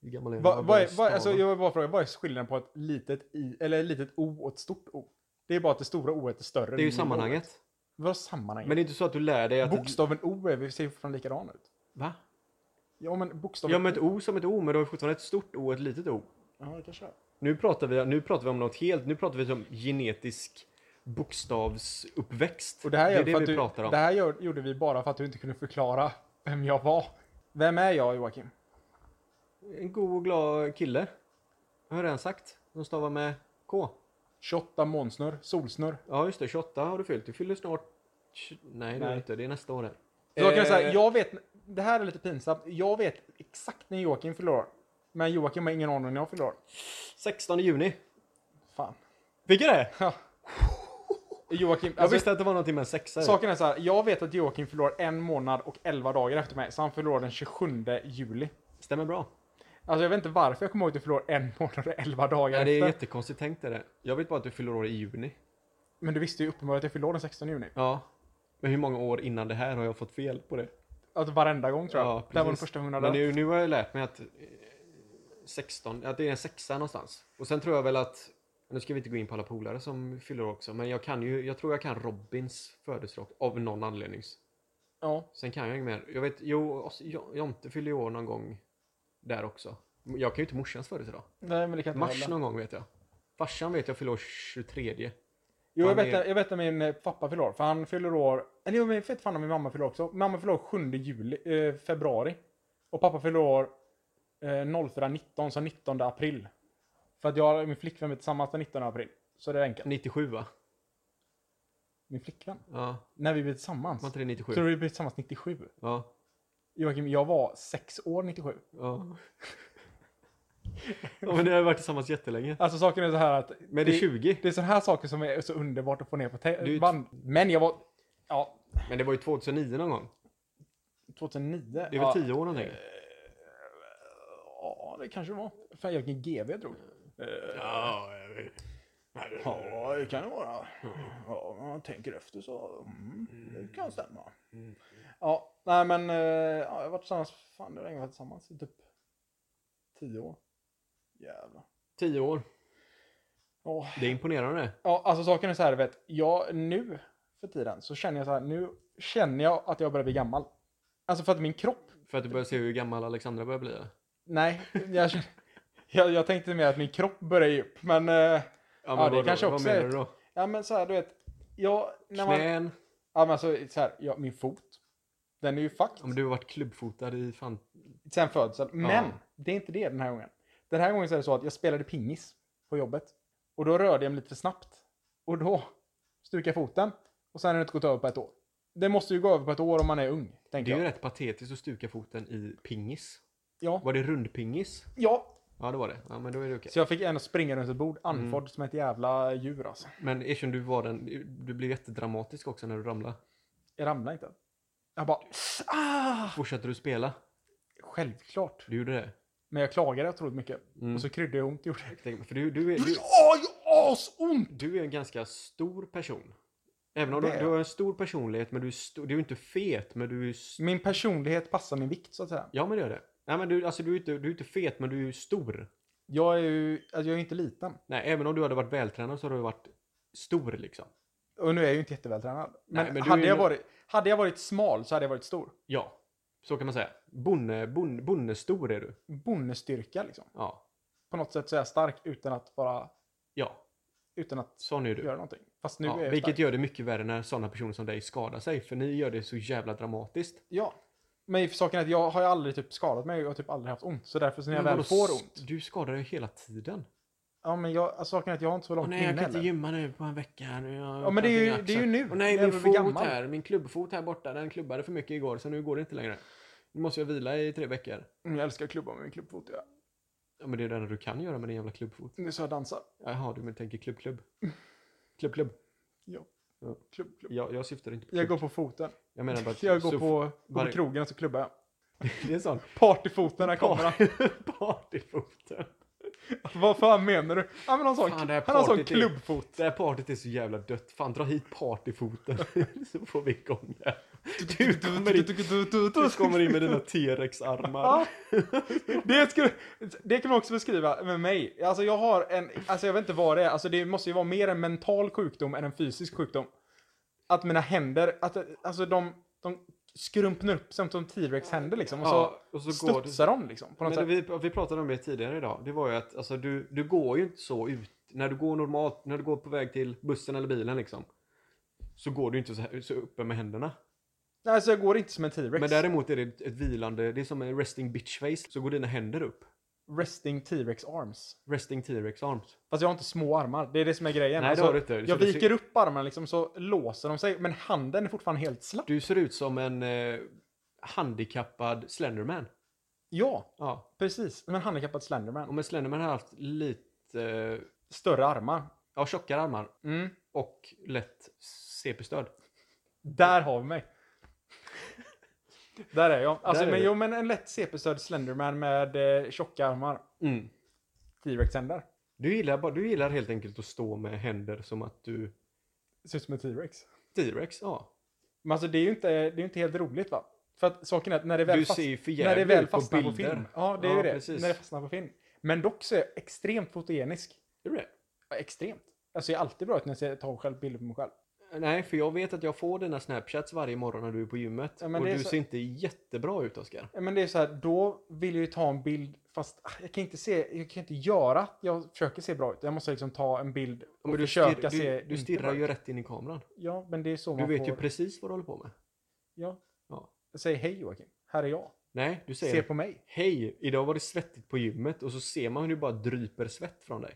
Speaker 1: Hur gammal typ-
Speaker 2: Vad-
Speaker 1: är du?
Speaker 2: vad
Speaker 1: Jag
Speaker 2: är-
Speaker 1: börjar
Speaker 2: vad- alltså,
Speaker 1: stava.
Speaker 2: jag vill bara fråga, vad är skillnaden på ett litet i, eller ett litet O och ett stort O? Det är bara att det stora O är större.
Speaker 1: Det är
Speaker 2: än
Speaker 1: ju
Speaker 2: mindre O.
Speaker 1: sammanhanget.
Speaker 2: Vadå sammanhanget?
Speaker 1: Men det är inte så att du lär dig att...
Speaker 2: Bokstaven O är, vi ser ju fortfarande likadan ut.
Speaker 1: Va?
Speaker 2: Ja men bokstaven
Speaker 1: Ja men ett
Speaker 2: O.
Speaker 1: O som ett O, men du har ju fortfarande ett stort O och ett litet O.
Speaker 2: Ja det kanske är.
Speaker 1: Nu pratar vi, nu pratar vi om något helt, nu pratar vi om genetisk bokstavsuppväxt.
Speaker 2: Och det här,
Speaker 1: det
Speaker 2: gör
Speaker 1: är
Speaker 2: det
Speaker 1: det
Speaker 2: för
Speaker 1: vi
Speaker 2: att du,
Speaker 1: pratar om.
Speaker 2: det här gör, gjorde vi bara för att du inte kunde förklara vem jag var. Vem är jag Joakim?
Speaker 1: En god och glad kille. Jag har redan sagt. De stavar med K.
Speaker 2: 28 månsnurr, solsnurr.
Speaker 1: Ja just det, 28 har du fyllt. Du fyller snart... Nej det gör
Speaker 2: Nej.
Speaker 1: du inte, det är nästa år. här.
Speaker 2: Så jag kan jag säga,
Speaker 1: Eh,
Speaker 2: jag vet, det här är lite pinsamt, jag vet exakt när Joakim fyller år. Men Joakim har ingen aning när jag fyller år.
Speaker 1: 16 juni.
Speaker 2: Fan.
Speaker 1: Vilket är?
Speaker 2: Ja. Joakim,
Speaker 1: Jag
Speaker 2: alltså,
Speaker 1: visste att det var någonting med en sexa. i.
Speaker 2: saken är så här, jag vet att Joakim fyller år en månad och 11 dagar efter mig, så han fyller år den 27 juli.
Speaker 1: Stämmer bra.
Speaker 2: Alltså jag vet inte varför jag kommer ihåg att du förlorar en månad och elva dagar
Speaker 1: Ja, det är
Speaker 2: efter.
Speaker 1: jättekonstigt tänkt är det. Jag vet bara att du fyller år i juni.
Speaker 2: Men du visste ju uppenbarligen att jag fyllde år den 16 juni.
Speaker 1: Ja. Men hur många år innan det här har jag fått fel på det?
Speaker 2: Alltså varenda gång tror jag.
Speaker 1: Ja,
Speaker 2: det här var den
Speaker 1: precis.
Speaker 2: första
Speaker 1: Men
Speaker 2: månaden.
Speaker 1: nu, nu har jag lärt mig att eh, 16, att det är en sexa någonstans. Och sen tror jag väl att, nu ska vi inte gå in på alla polare som fyller år också, men jag kan ju, jag tror jag kan Robins födelsedag av någon anledning.
Speaker 2: Ja.
Speaker 1: Sen kan jag inget mer. Jag vet, jo, oss- Jo- Jonte fyller ju år någon gång där också. Jag kan ju inte morsans födelsedag.
Speaker 2: Nej men det kan inte
Speaker 1: Mars
Speaker 2: hålla.
Speaker 1: någon gång vet jag. Farsan vet jag fyller år 23.
Speaker 2: Jo jag
Speaker 1: Han
Speaker 2: vet,
Speaker 1: är-
Speaker 2: jag vet att min eh, pappa fyller år. För han fyller år... Eller jag vet fan om min mamma fyller år också. Mamma fyller år 7 juli, eh, februari. Och pappa fyller år eh, 04.19, så 19 april. För att jag och min flickvän är tillsammans den 19 april. Så det är enkelt.
Speaker 1: 97 va?
Speaker 2: Min flickvän?
Speaker 1: Ja,
Speaker 2: När vi blev tillsammans?
Speaker 1: var inte det 97?
Speaker 2: Så vi blev tillsammans 97.
Speaker 1: Ja.
Speaker 2: Joakim, jag var sex år 97.
Speaker 1: Ja. ja men ni har ju varit tillsammans jättelänge.
Speaker 2: Alltså saken är så här att
Speaker 1: Men det är 20.
Speaker 2: Det är sådana här saker som är så underbart att få ner på te-
Speaker 1: är ju
Speaker 2: band. Men jag var... Ja,
Speaker 1: Men det var ju 2009 någon gång.
Speaker 2: 2009. Det
Speaker 1: Det är
Speaker 2: ja.
Speaker 1: väl 10 år någonting?
Speaker 2: Ja, det kanske det var. Fan, jag vilken GV jag drog.
Speaker 1: Ja,
Speaker 2: Ja, det kan det vara.
Speaker 1: Mm.
Speaker 2: Ja, om man tänker efter så... Mm, det kan stämma.
Speaker 1: Mm.
Speaker 2: Ja, nej men... eh, Ja, jag har varit tillsammans... Fan, hur länge har vi varit tillsammans? I typ... 10 år. Jävlar.
Speaker 1: 10 år.
Speaker 2: Ja,
Speaker 1: Det är imponerande.
Speaker 2: Ja, alltså saken är så här, vet, jag nu för tiden så känner jag så här, nu känner jag att jag börjar bli gammal. Alltså för att min kropp,
Speaker 1: För att du börjar se hur gammal Alexandra börjar bli. eller?
Speaker 2: nej, jag, känner- jag, jag tänkte mer att min kropp börjar ge upp, men, eh, det
Speaker 1: men vadå?
Speaker 2: kanske också
Speaker 1: Vad
Speaker 2: är
Speaker 1: menar
Speaker 2: ett-
Speaker 1: du då?
Speaker 2: ja men så här, du vet, jag, när man, ja
Speaker 1: Knän?
Speaker 2: men alltså så här, ja, min fot, Den är ju fucked.
Speaker 1: Om du har varit klubbfotad i fan...
Speaker 2: Sen födseln. Men
Speaker 1: Ja.
Speaker 2: det är inte det den här gången. Den här gången så är det så att jag spelade pingis på jobbet. Och då rörde jag mig lite för snabbt. Och då stukade jag foten. Och sen har det inte gått över på ett år. Det måste ju gå över på ett år om man är ung.
Speaker 1: Det
Speaker 2: Tänker
Speaker 1: är ju
Speaker 2: jag.
Speaker 1: rätt patetiskt att stuka foten i pingis.
Speaker 2: Ja.
Speaker 1: Var det rundpingis?
Speaker 2: ja.
Speaker 1: Ja, det var det. Ja, men då är det okej.
Speaker 2: Så jag fick ändå springa runt ett bord
Speaker 1: Mm.
Speaker 2: andfådd som ett jävla djur alltså.
Speaker 1: Men erkänn, du var den... Du blev jättedramatisk också när du ramlade.
Speaker 2: Jag ramlade inte. Jag bara... Ah!
Speaker 1: Fortsatte du spela?
Speaker 2: Självklart.
Speaker 1: Du gjorde det?
Speaker 2: Men jag klagade otroligt mycket.
Speaker 1: Mm.
Speaker 2: Och så kryddade jag ont gjorde det.
Speaker 1: Tänk- För du, du, är, du,
Speaker 2: Aj, asont!
Speaker 1: du är en ganska stor person. Även om du,
Speaker 2: Det är
Speaker 1: du har en stor personlighet, men du är, stor, du är inte fet, men du är... St-
Speaker 2: Min personlighet passar min vikt så att säga.
Speaker 1: ja, men det gör det. Nej, men du, alltså, du, är inte, du är inte fet, men du är stor.
Speaker 2: Jag är ju, alltså jag är inte liten.
Speaker 1: Nej, även om du hade varit vältränad så hade du varit stor liksom.
Speaker 2: Och nu är jag ju inte jättevältränad. Men,
Speaker 1: Nej, men du
Speaker 2: hade,
Speaker 1: är ju-
Speaker 2: jag varit, hade jag varit smal så hade jag varit stor.
Speaker 1: Ja, så kan man säga. Bonne, bonne, bonnestor är du.
Speaker 2: Bonnestyrka liksom.
Speaker 1: Ja,
Speaker 2: På något sätt så är jag stark utan att bara,
Speaker 1: ja,
Speaker 2: utan att
Speaker 1: sån är du.
Speaker 2: göra någonting. Fast nu
Speaker 1: Ja,
Speaker 2: är jag
Speaker 1: vilket
Speaker 2: stark.
Speaker 1: gör det mycket värre när sådana personer som dig skadar sig, för ni gör det så jävla dramatiskt.
Speaker 2: Ja. Men saken är att jag har ju aldrig typ skadat mig och jag har typ aldrig haft ont. Så därför så när jag
Speaker 1: Men
Speaker 2: väl
Speaker 1: vadå,
Speaker 2: får
Speaker 1: s-
Speaker 2: ont.
Speaker 1: Du skadar dig hela tiden.
Speaker 2: Ja men jag, alltså, saken är att jag har inte så långt
Speaker 1: Åh, nej, jag
Speaker 2: minne
Speaker 1: kan inte
Speaker 2: heller.
Speaker 1: gymma nu på en vecka. här Nu har jag
Speaker 2: Ja, men det är ju-
Speaker 1: någonting i
Speaker 2: det är ju
Speaker 1: axeln.
Speaker 2: nu,
Speaker 1: Åh, nej,
Speaker 2: när jag
Speaker 1: min
Speaker 2: blir
Speaker 1: fot
Speaker 2: gammal.
Speaker 1: här, min klubbfot här borta, den klubbade för mycket igår så nu går det inte längre. Nu måste jag vila i tre veckor.
Speaker 2: Mm, Jag älskar att klubba med min klubbfot. Ja.
Speaker 1: Ja, men det är det enda du kan göra med din jävla klubbfot.
Speaker 2: Nu så jag dansar.
Speaker 1: Jaha, du men tänker klubb, klubb. Klubb, klubb.
Speaker 2: Ja.
Speaker 1: Ja.
Speaker 2: Klubb, klubb.
Speaker 1: Jag, jag syftar inte på klubb.
Speaker 2: Jag går på foten.
Speaker 1: jag menar bara att-
Speaker 2: Jag går
Speaker 1: så-
Speaker 2: på, går på
Speaker 1: varje-
Speaker 2: krogen och så klubbar jag.
Speaker 1: Det är sån.
Speaker 2: Partyfoten, här kommer han.
Speaker 1: Par- Partyfoten.
Speaker 2: Vad fan menar du? Ja, men han sa,
Speaker 1: Fan, det här
Speaker 2: han har sån
Speaker 1: partyt är-
Speaker 2: klubbfot.
Speaker 1: Det här partyt är så jävla dött. Fan, dra hit partyfoten så får vi igång det. här. Du kommer in, du kommer in med dina T-rex-armar.
Speaker 2: Ja. Det, skulle, det kan man också beskriva med mig. Alltså jag har en, alltså jag vet inte vad det är, alltså det måste ju vara mer en mental sjukdom än en fysisk sjukdom. Att mina händer, att, alltså de, de skrumpnar upp som som T-Rex händer liksom. Och så
Speaker 1: Ja, och så går det.
Speaker 2: studsar de liksom. På något
Speaker 1: Men
Speaker 2: sätt.
Speaker 1: vi, vi pratade om det tidigare idag. Det var ju att alltså, du, du går ju inte så ut. När du går normalt, när du går på väg till bussen eller bilen liksom. Så går du inte så, här, så uppe med händerna.
Speaker 2: Nej, alltså jag går inte som en T-Rex.
Speaker 1: Men däremot är det ett, ett vilande, det är som en resting bitch face. Så går dina händer upp.
Speaker 2: Resting T-Rex arms.
Speaker 1: Resting T-rex arms.
Speaker 2: Fast jag har inte små armar. Det är det som är grejen. Alltså,
Speaker 1: Nej, det har du inte. Så
Speaker 2: Jag
Speaker 1: det ser-
Speaker 2: viker upp armarna liksom så låser de sig. Men handen är fortfarande helt slapp.
Speaker 1: Du ser ut som en eh, handikappad Slenderman.
Speaker 2: Ja,
Speaker 1: Ja.
Speaker 2: precis. Som en handikappad Slenderman.
Speaker 1: Om en Slenderman har haft lite, eh,
Speaker 2: Större armar.
Speaker 1: ja tjockare armar
Speaker 2: Mm.
Speaker 1: och lätt CP-stöd.
Speaker 2: Där har vi mig. Där är jag. Alltså,
Speaker 1: Där är
Speaker 2: men,
Speaker 1: du.
Speaker 2: jo, men en lätt CP-stöd Slenderman med eh, tjocka armar.
Speaker 1: Mm.
Speaker 2: T-Rex-händer.
Speaker 1: Du gillar, bara- du gillar helt enkelt att stå med händer som att du...
Speaker 2: Ser ut som en T-Rex.
Speaker 1: T-rex, ja.
Speaker 2: Men alltså det är ju inte, det är ju inte helt roligt va? För att saken är att när det väl,
Speaker 1: Du
Speaker 2: fast,
Speaker 1: ser ju för
Speaker 2: när det
Speaker 1: jävligt
Speaker 2: väl
Speaker 1: ut på
Speaker 2: fastnar på,
Speaker 1: bilder.
Speaker 2: film. Ja, det är
Speaker 1: Ja,
Speaker 2: ju det.
Speaker 1: precis.
Speaker 2: När det fastnar på film. Men dock så är jag extremt fotogenisk.
Speaker 1: Är du det?
Speaker 2: Ja, extremt. Alltså jag är alltid bra ut när jag tar själv bilder på mig själv.
Speaker 1: Nej, för jag vet att jag får dina snapchats varje morgon när du är på gymmet.
Speaker 2: Ja, men
Speaker 1: och
Speaker 2: det är
Speaker 1: du
Speaker 2: så-
Speaker 1: ser inte jättebra ut, Oskar.
Speaker 2: Ja, Men det är så här, då vill jag ju ta en bild fast ah, jag kan inte se, jag kan inte göra att jag försöker se bra ut. Jag måste liksom ta en bild och
Speaker 1: Men du,
Speaker 2: försöka
Speaker 1: stirr, du,
Speaker 2: se
Speaker 1: du
Speaker 2: inte
Speaker 1: stirrar
Speaker 2: bra
Speaker 1: ju
Speaker 2: ut.
Speaker 1: rätt in i kameran.
Speaker 2: Ja, men det är så
Speaker 1: Du
Speaker 2: man
Speaker 1: vet
Speaker 2: får.
Speaker 1: ju precis vad du håller på med.
Speaker 2: Ja.
Speaker 1: Ja.
Speaker 2: Jag säger hej Joakim, här är jag.
Speaker 1: Nej, du säger
Speaker 2: Se på mig.
Speaker 1: Hej, idag var det svettigt på gymmet och så ser man hur du bara dryper svett från dig.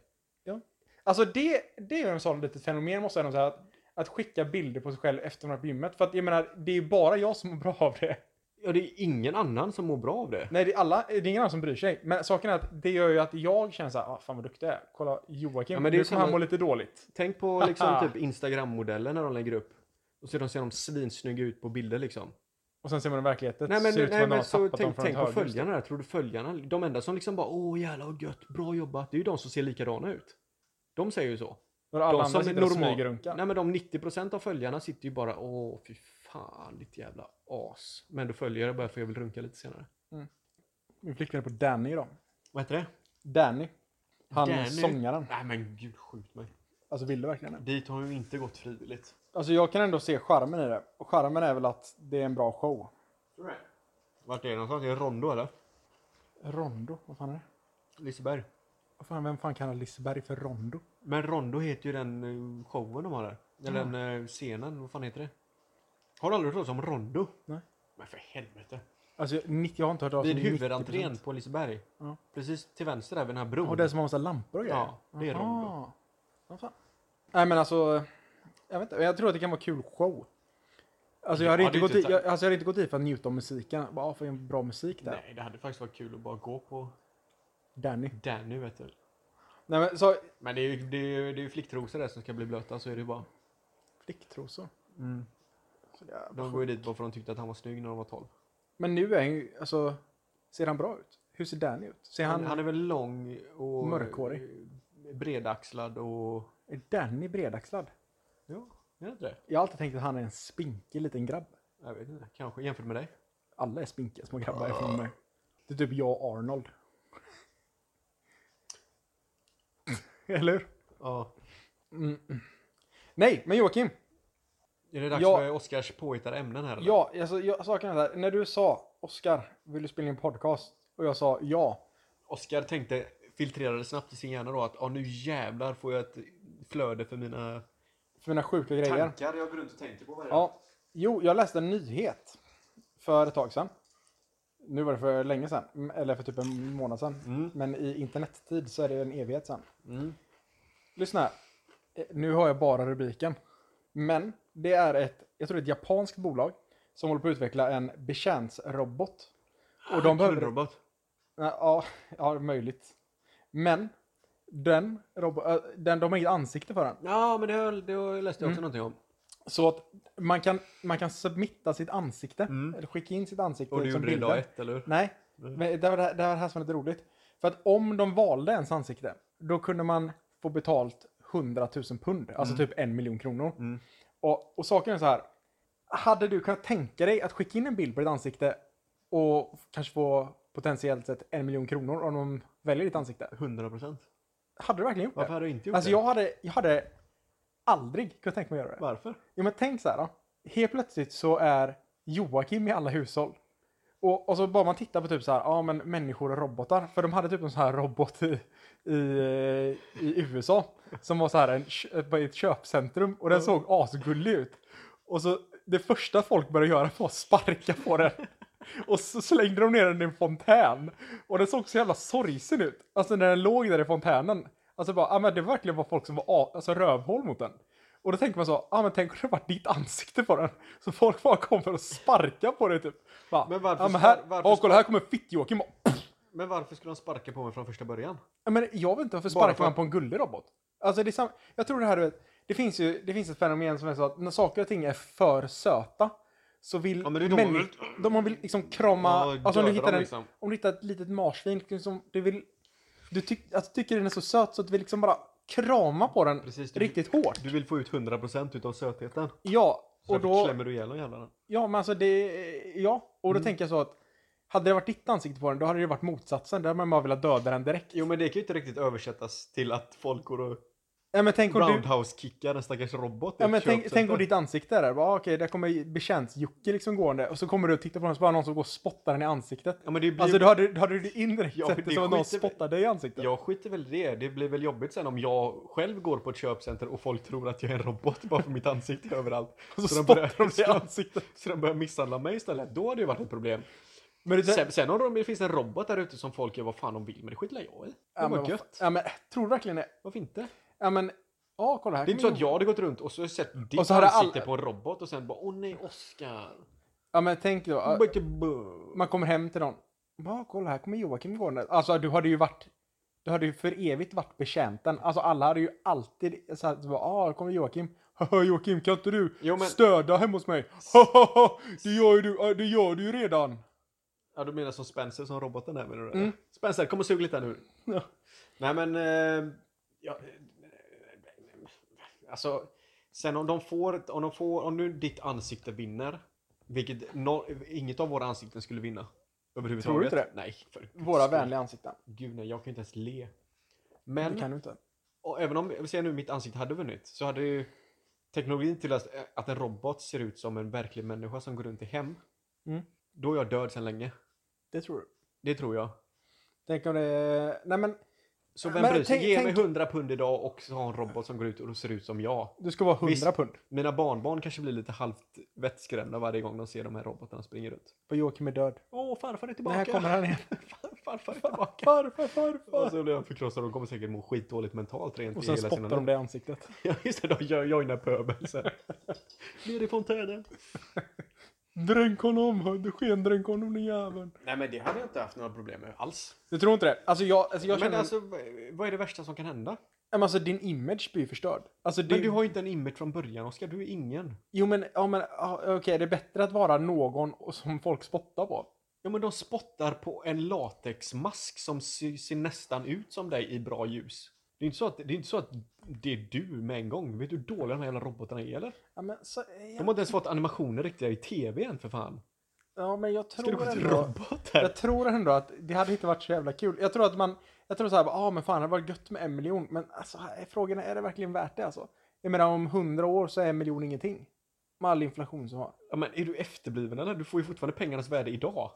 Speaker 2: Alltså det, det är ju en sån litet fenomen måste jag ändå säga. Att, att skicka bilder på sig själv efter man är på gymmet. För att jag menar, det är ju bara jag som mår bra av det.
Speaker 1: Ja, det är ingen annan som mår bra av det.
Speaker 2: Nej, det är, alla, det är ingen annan som bryr sig. Men saken är att det gör ju att jag känner så här, ah, fan vad duktig jag är. Kolla Joakim,
Speaker 1: Ja,
Speaker 2: men
Speaker 1: men
Speaker 2: det nu
Speaker 1: det är ju
Speaker 2: kommer han
Speaker 1: samma-
Speaker 2: må lite dåligt.
Speaker 1: Tänk på liksom typ Instagram-modeller när de lägger upp. Och så de ser de svinsnygga ut på bilder liksom.
Speaker 2: Och sen ser man i verkligheten
Speaker 1: Nej men,
Speaker 2: ser ut som att
Speaker 1: nej,
Speaker 2: någon
Speaker 1: men
Speaker 2: har
Speaker 1: så
Speaker 2: tappat dem
Speaker 1: tänk,
Speaker 2: från ett
Speaker 1: tänk på
Speaker 2: höghus.
Speaker 1: följarna där. Tror du följarna, de enda som liksom bara åh jävlar vad gött, bra jobbat. Det är ju de som ser likadana ut. De säger ju så.
Speaker 2: När alla
Speaker 1: de
Speaker 2: andra
Speaker 1: som
Speaker 2: sitter och
Speaker 1: normal-
Speaker 2: smygrunkar.
Speaker 1: Nej men de 90% av följarna sitter ju bara åh fy fan ditt jävla as. Men då följer jag bara för jag vill runka lite senare.
Speaker 2: Min flickvän är på Danny idag.
Speaker 1: Vad heter det?
Speaker 2: Danny. Han
Speaker 1: Danny.
Speaker 2: sångaren.
Speaker 1: Nej men gud skjut mig.
Speaker 2: Alltså vill du verkligen det?
Speaker 1: Dit har ju inte gått frivilligt.
Speaker 2: Alltså jag kan ändå se charmen i det. Och charmen är väl att det är en bra show.
Speaker 1: Vart är det någonstans? Är det Rondo eller?
Speaker 2: Rondo, vad fan är det?
Speaker 1: Liseberg.
Speaker 2: Vad fan, vem fan kallar Liseberg för Rondo?
Speaker 1: Men Rondo heter ju den eh, showen de har där. Eller den eh, scenen, vad fan heter det? Har du aldrig hört talas om Rondo?
Speaker 2: Nej.
Speaker 1: Men för helvete.
Speaker 2: Alltså 90, jag har inte hört av
Speaker 1: Vid
Speaker 2: 90%.
Speaker 1: huvudentrén på Liseberg.
Speaker 2: Ja.
Speaker 1: Precis till vänster där vid den här bron.
Speaker 2: Och den som har massa lampor och grejer?
Speaker 1: Ja, det är de då.
Speaker 2: Aha. Vad fan. Nej men alltså, jag vet inte, jag tror att det kan vara kul show. Alltså jag
Speaker 1: Ja,
Speaker 2: hade, inte
Speaker 1: det är
Speaker 2: gått
Speaker 1: inte
Speaker 2: dit,
Speaker 1: så-
Speaker 2: jag, alltså jag hade inte gått dit för att njuta av musiken. Bara, ah, för en bra musik där.
Speaker 1: Nej, det hade faktiskt varit kul att bara gå på
Speaker 2: Danny.
Speaker 1: där nu vet du.
Speaker 2: Nej men så,
Speaker 1: Men det är ju, det är ju, det är ju flicktrosor där som ska bli blöta, så är det ju bara.
Speaker 2: flicktrosor. Mm. Så jävla
Speaker 1: De
Speaker 2: sjukt.
Speaker 1: går ju dit bara för att de tyckte att han var snygg när de var 12.
Speaker 2: Men nu är han ju, alltså, ser han bra ut? Hur ser Danny ut? Ser han,
Speaker 1: Han, han är väl lång och
Speaker 2: Mörkhårig.
Speaker 1: eh, bredaxlad och...
Speaker 2: är Danny bredaxlad?
Speaker 1: Ja, är det inte det?
Speaker 2: Jag har alltid tänkt att han är en spinkig liten grabb.
Speaker 1: Jag vet inte, kanske jämfört med dig.
Speaker 2: Alla är spinkiga små grabbar från mig. Det är typ jag och Arnold. Eller hur?
Speaker 1: Ja.
Speaker 2: Nej, men Joakim.
Speaker 1: Är det dags
Speaker 2: Ja.
Speaker 1: för Oscars påhittade ämnen här eller?
Speaker 2: Ja, alltså, jag, saken är så här. När du sa Oskar, vill du spela in en podcast? Och jag sa ja.
Speaker 1: Oscar tänkte, filtrerade snabbt i sin hjärna då att "Ja, nu jävlar får jag ett flöde för mina
Speaker 2: För mina sjuka grejer.
Speaker 1: tankar jag går runt och tänker på varje
Speaker 2: Ja. Jo, jag läste en nyhet för ett tag sedan. Nu var det för länge sedan, m- eller för typ en månad sedan.
Speaker 1: Mm.
Speaker 2: Men i internettid så är det en evighet sedan.
Speaker 1: Mm.
Speaker 2: Lyssna här. Eh, Nu har jag bara rubriken. Men det är ett, jag tror det är ett japanskt bolag som håller på att utveckla en betjänsrobot.
Speaker 1: Ah,
Speaker 2: Och de behöver... Nej,
Speaker 1: Knullrobot.
Speaker 2: Ja, ja, det är möjligt. Men den, robo, eh, den, de har inget ansikte för den.
Speaker 1: Ja, men det, höll, det läste
Speaker 2: Mm.
Speaker 1: jag också någonting om.
Speaker 2: Så att man kan, man kan submitta sitt ansikte,
Speaker 1: Mm.
Speaker 2: eller skicka in sitt ansikte
Speaker 1: Och du
Speaker 2: som
Speaker 1: gjorde det
Speaker 2: bilder.
Speaker 1: idag Mm. ett, eller hur?
Speaker 2: Nej, men det var det, här- det var det här som var lite roligt. För att om de valde ens ansikte, då kunde man få betalt 100 000 pund, alltså typ en miljon kronor.
Speaker 1: Mm.
Speaker 2: Och, och saken är så här, hade du kunnat tänka dig att skicka in en bild på ditt ansikte och kanske få potentiellt sett en miljon kronor om de väljer ditt ansikte?
Speaker 1: 100 procent.
Speaker 2: Hade du verkligen gjort
Speaker 1: Varför
Speaker 2: det?
Speaker 1: hade du inte gjort
Speaker 2: Alltså
Speaker 1: det?
Speaker 2: jag hade, jag hade aldrig kunnat tänka mig att göra det.
Speaker 1: Varför?
Speaker 2: Jo men tänk så här då. Helt plötsligt så är Joakim i alla hushåll. Och, och så bara man tittar på typ så här, ja men människor och robotar. För de hade typ en sån här robot i, i, i USA. Som var så här en, kö- bara i ett köpcentrum och den såg asgullig ut. Och så det första folk började göra var att sparka på den. Och så slängde de ner den i en fontän. Och den såg så jävla sorgsen ut. Alltså när den låg där i fontänen. Alltså bara, ja men det var verkligen bara folk som var a- alltså, rövhål mot den. Och då tänker man så, ah, men tänk om det var ditt ansikte på den. Så folk bara kommer och sparkar på det typ. Bara,
Speaker 1: Men varför
Speaker 2: ah, men här,
Speaker 1: spar- varför
Speaker 2: åh, kolla här kommer Fitt-Joakim. och-
Speaker 1: Men varför skulle de sparka på mig från första början?
Speaker 2: Ja, men jag vet inte varför
Speaker 1: Bara
Speaker 2: sparkar
Speaker 1: för-
Speaker 2: man på en gullig robot? Alltså det är sam- jag tror det här du vet, det finns ju det finns ett fenomen som är så att när saker och ting är för söta så vill
Speaker 1: Ja, men det är de
Speaker 2: männi-
Speaker 1: man vill-
Speaker 2: de man vill liksom krama,
Speaker 1: Ja,
Speaker 2: alltså om du
Speaker 1: döda
Speaker 2: hittar
Speaker 1: dem,
Speaker 2: en,
Speaker 1: liksom.
Speaker 2: om du hittar ett litet marsvin liksom, du vill du tyck, alltså, tycker den är så söt så att du vill liksom bara krama på den
Speaker 1: Precis, du-
Speaker 2: riktigt hårt.
Speaker 1: Du vill få ut 100 procent utav sötheten.
Speaker 2: Ja,
Speaker 1: Så
Speaker 2: och då
Speaker 1: klämmer du ihjäl de jävlarna.
Speaker 2: Ja, men alltså det... Ja, och då
Speaker 1: Mm.
Speaker 2: tänker jag så att hade det varit ditt ansikte på den, då hade det varit motsatsen. Där hade man bara velat döda den direkt.
Speaker 1: Jo men det kan ju inte riktigt översättas till att folk går och
Speaker 2: Nej, men tänk om du...
Speaker 1: roundhouse-kickar en stackars robot i
Speaker 2: Ja,
Speaker 1: ett
Speaker 2: men tänk,
Speaker 1: köpcenter.
Speaker 2: tänk om ditt ansikte är där. Bara, ah, Okej, där kommer betjänt-Jocke liksom gående. Och så kommer du och tittar på den så bara någon som går och spottar den i ansiktet.
Speaker 1: Ja, men det blir...
Speaker 2: Alltså då hade, då hade du indirekt
Speaker 1: Ja,
Speaker 2: sett det
Speaker 1: det
Speaker 2: som att någon
Speaker 1: skiter vi-
Speaker 2: spottar dig i ansiktet.
Speaker 1: Jag skiter väl i det. Det blir väl jobbigt sen om jag själv går på ett köpcenter och folk tror att jag är en robot bara för mitt ansikte är överallt.
Speaker 2: Och så,
Speaker 1: de
Speaker 2: spottar de dig i
Speaker 1: så,
Speaker 2: ansiktet.
Speaker 1: så de börjar misshandla mig istället. Då hade det varit ett problem.
Speaker 2: Men det,
Speaker 1: Sen, sen om det finns en robot där ute som folk gör vad fan de vill, men det skiter jag i. Det
Speaker 2: ja, men,
Speaker 1: var
Speaker 2: vad fan-
Speaker 1: gött.
Speaker 2: ja, men tror du verkligen det?
Speaker 1: Varför inte?
Speaker 2: Ja, men... Ja, kolla här.
Speaker 1: Det är inte så
Speaker 2: kommer
Speaker 1: att jag hade gått runt och så sett ditt
Speaker 2: Mm. Och så hade
Speaker 1: ansikte
Speaker 2: alla-
Speaker 1: på en robot och sen bara åh nej, Oscar.
Speaker 2: Ja, men tänk då. ah,
Speaker 1: Butterbu-
Speaker 2: Man kommer hem till någon. Bara kolla här kommer Joakim gående. Alltså du hade ju varit. Du hade ju för evigt varit betjänten. Alltså alla hade ju alltid så här, så bara, ah, här kommer Joakim. Haha Joakim kan inte du
Speaker 1: Jo, men-
Speaker 2: stöda hemma hos mig? Hahaha, det gör ju du, ja, det gör du ju redan.
Speaker 1: Ja, du menar som Spencer som roboten där menar du?
Speaker 2: Mm.
Speaker 1: Mm. Spencer, kom och sug lite här nu.
Speaker 2: Ja.
Speaker 1: Nej men... Eh, ja, eh, alltså, sen om de får, om de får, om nu ditt ansikte vinner, vilket no, inget av våra ansikten skulle vinna. Överhuvudtaget.
Speaker 2: Tror du inte det?
Speaker 1: Nej, för guds
Speaker 2: Våra
Speaker 1: skull.
Speaker 2: vänliga ansikten. Mm.
Speaker 1: Gud nej, jag kan ju inte ens le.
Speaker 2: Det
Speaker 1: Men,
Speaker 2: kan du inte.
Speaker 1: och även om, säg nu mitt ansikte hade vunnit, så hade ju teknologin till att, att en robot ser ut som en verklig människa som går runt i hem.
Speaker 2: Mm.
Speaker 1: Då är jag död sedan länge.
Speaker 2: Det tror du.
Speaker 1: Det tror jag.
Speaker 2: Tänk om det, nej men.
Speaker 1: Så vem
Speaker 2: Men
Speaker 1: bryr sig?
Speaker 2: tänk-
Speaker 1: Ge
Speaker 2: tänk-
Speaker 1: mig 100 pund idag och så ha en robot som går ut och ser ut som jag.
Speaker 2: Du ska vara 100
Speaker 1: Visst.
Speaker 2: pund.
Speaker 1: Mina barnbarn kanske blir lite halvt vettskrämda varje gång de ser de här robotarna springa runt.
Speaker 2: För Joakim är död.
Speaker 1: Åh, farfar är
Speaker 2: Nej,
Speaker 1: tillbaka!
Speaker 2: här kommer han igen.
Speaker 1: farfar är tillbaka!
Speaker 2: Farfar,
Speaker 1: Och
Speaker 2: farfar.
Speaker 1: så blir de förkrossade och de kommer säkert må skitdåligt mentalt rent
Speaker 2: Och
Speaker 1: i
Speaker 2: sen
Speaker 1: hela
Speaker 2: spottar de
Speaker 1: liv.
Speaker 2: det i ansiktet.
Speaker 1: Ja, just det, de jo- joinar pöbeln sen. Ner i fontänen!
Speaker 2: Dränk honom! Du skendränk honom den jäveln.
Speaker 1: Nej men det hade jag inte haft några problem med alls.
Speaker 2: Du tror inte det? Alltså jag, alltså jag
Speaker 1: men
Speaker 2: känner... Alltså,
Speaker 1: alltså, v- vad är det värsta som kan hända?
Speaker 2: alltså din image blir ju förstörd. Alltså det,
Speaker 1: Men du har ju inte en image från början, Oskar. Du är ingen.
Speaker 2: Jo men, ja men ja, okej det är bättre att vara någon som folk spottar på.
Speaker 1: Ja men de spottar på en latexmask som ser, ser nästan ut som dig i bra ljus. Det är inte så att det är, inte så att det är du med en gång. Vet du hur dåliga de här jävla robotarna är eller?
Speaker 2: Ja men, så,
Speaker 1: De har inte ens fått animationer riktiga i tv än för fan.
Speaker 2: ja, men jag
Speaker 1: Ska du
Speaker 2: tror
Speaker 1: gå till
Speaker 2: ändå...
Speaker 1: robotar?
Speaker 2: Jag tror ändå att det hade inte varit så jävla kul. Jag tror att man, jag tror såhär, ja ah, men fan det hade varit gött med en miljon. Men alltså här är frågan är det verkligen värt det alltså? Jag menar om hundra år så är en miljon ingenting. Med all inflation som har.
Speaker 1: Ja, men är du efterbliven eller? Du får ju fortfarande pengarnas värde idag.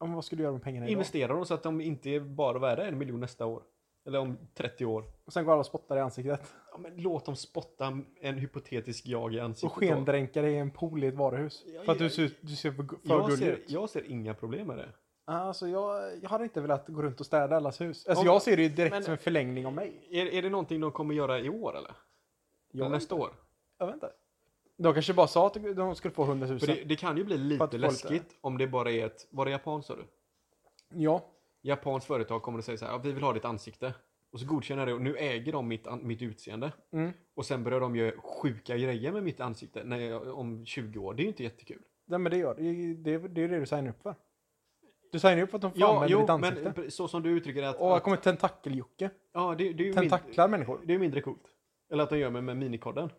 Speaker 2: Ja, men vad ska du göra med pengarna idag?
Speaker 1: Investera dem så att de inte är bara värda en miljon nästa år. Eller om 30 år.
Speaker 2: Och sen går alla och spottar i ansiktet.
Speaker 1: Ja, men låt dem spotta en hypotetisk jag i
Speaker 2: Och
Speaker 1: ansiktet. då.
Speaker 2: skendränka dig i en pool i ett varuhus.
Speaker 1: Ja,
Speaker 2: för att du
Speaker 1: ja,
Speaker 2: ser, du ser för, gu- för
Speaker 1: jag
Speaker 2: gullig
Speaker 1: ser,
Speaker 2: ut.
Speaker 1: jag ser inga problem med det.
Speaker 2: Alltså jag, jag hade inte velat gå runt och städa allas hus. Alltså
Speaker 1: Om-
Speaker 2: jag ser det ju direkt
Speaker 1: men-
Speaker 2: som en förlängning av mig.
Speaker 1: Är, är det någonting de kommer göra i år eller?
Speaker 2: Jag,
Speaker 1: eller nästa år?
Speaker 2: jag vet inte. De kanske bara sa att de skulle få 100 000.
Speaker 1: För det, det kan ju bli
Speaker 2: För att
Speaker 1: lite
Speaker 2: folk-
Speaker 1: läskigt om det bara är ett... Var det Japan sa du?
Speaker 2: Ja.
Speaker 1: Japans företag kommer att säga så här, ja, vi vill ha ditt ansikte. Och så godkänner jag det och nu äger de mitt, an- mitt utseende.
Speaker 2: Mm.
Speaker 1: Och sen börjar de göra sjuka grejer med mitt ansikte när jag, om 20 år. Det är ju inte jättekul.
Speaker 2: Nej men det gör det. Det, det är det du signar upp för. Du signar upp för att de får använda ditt ansikte.
Speaker 1: men pre- så som du uttrycker det att...
Speaker 2: och här
Speaker 1: att
Speaker 2: kommer tentakeljocke.
Speaker 1: ja, det, det är ju mindre,
Speaker 2: Tentaklar människor.
Speaker 1: det är mindre coolt. Eller att de gör med, med minikodden.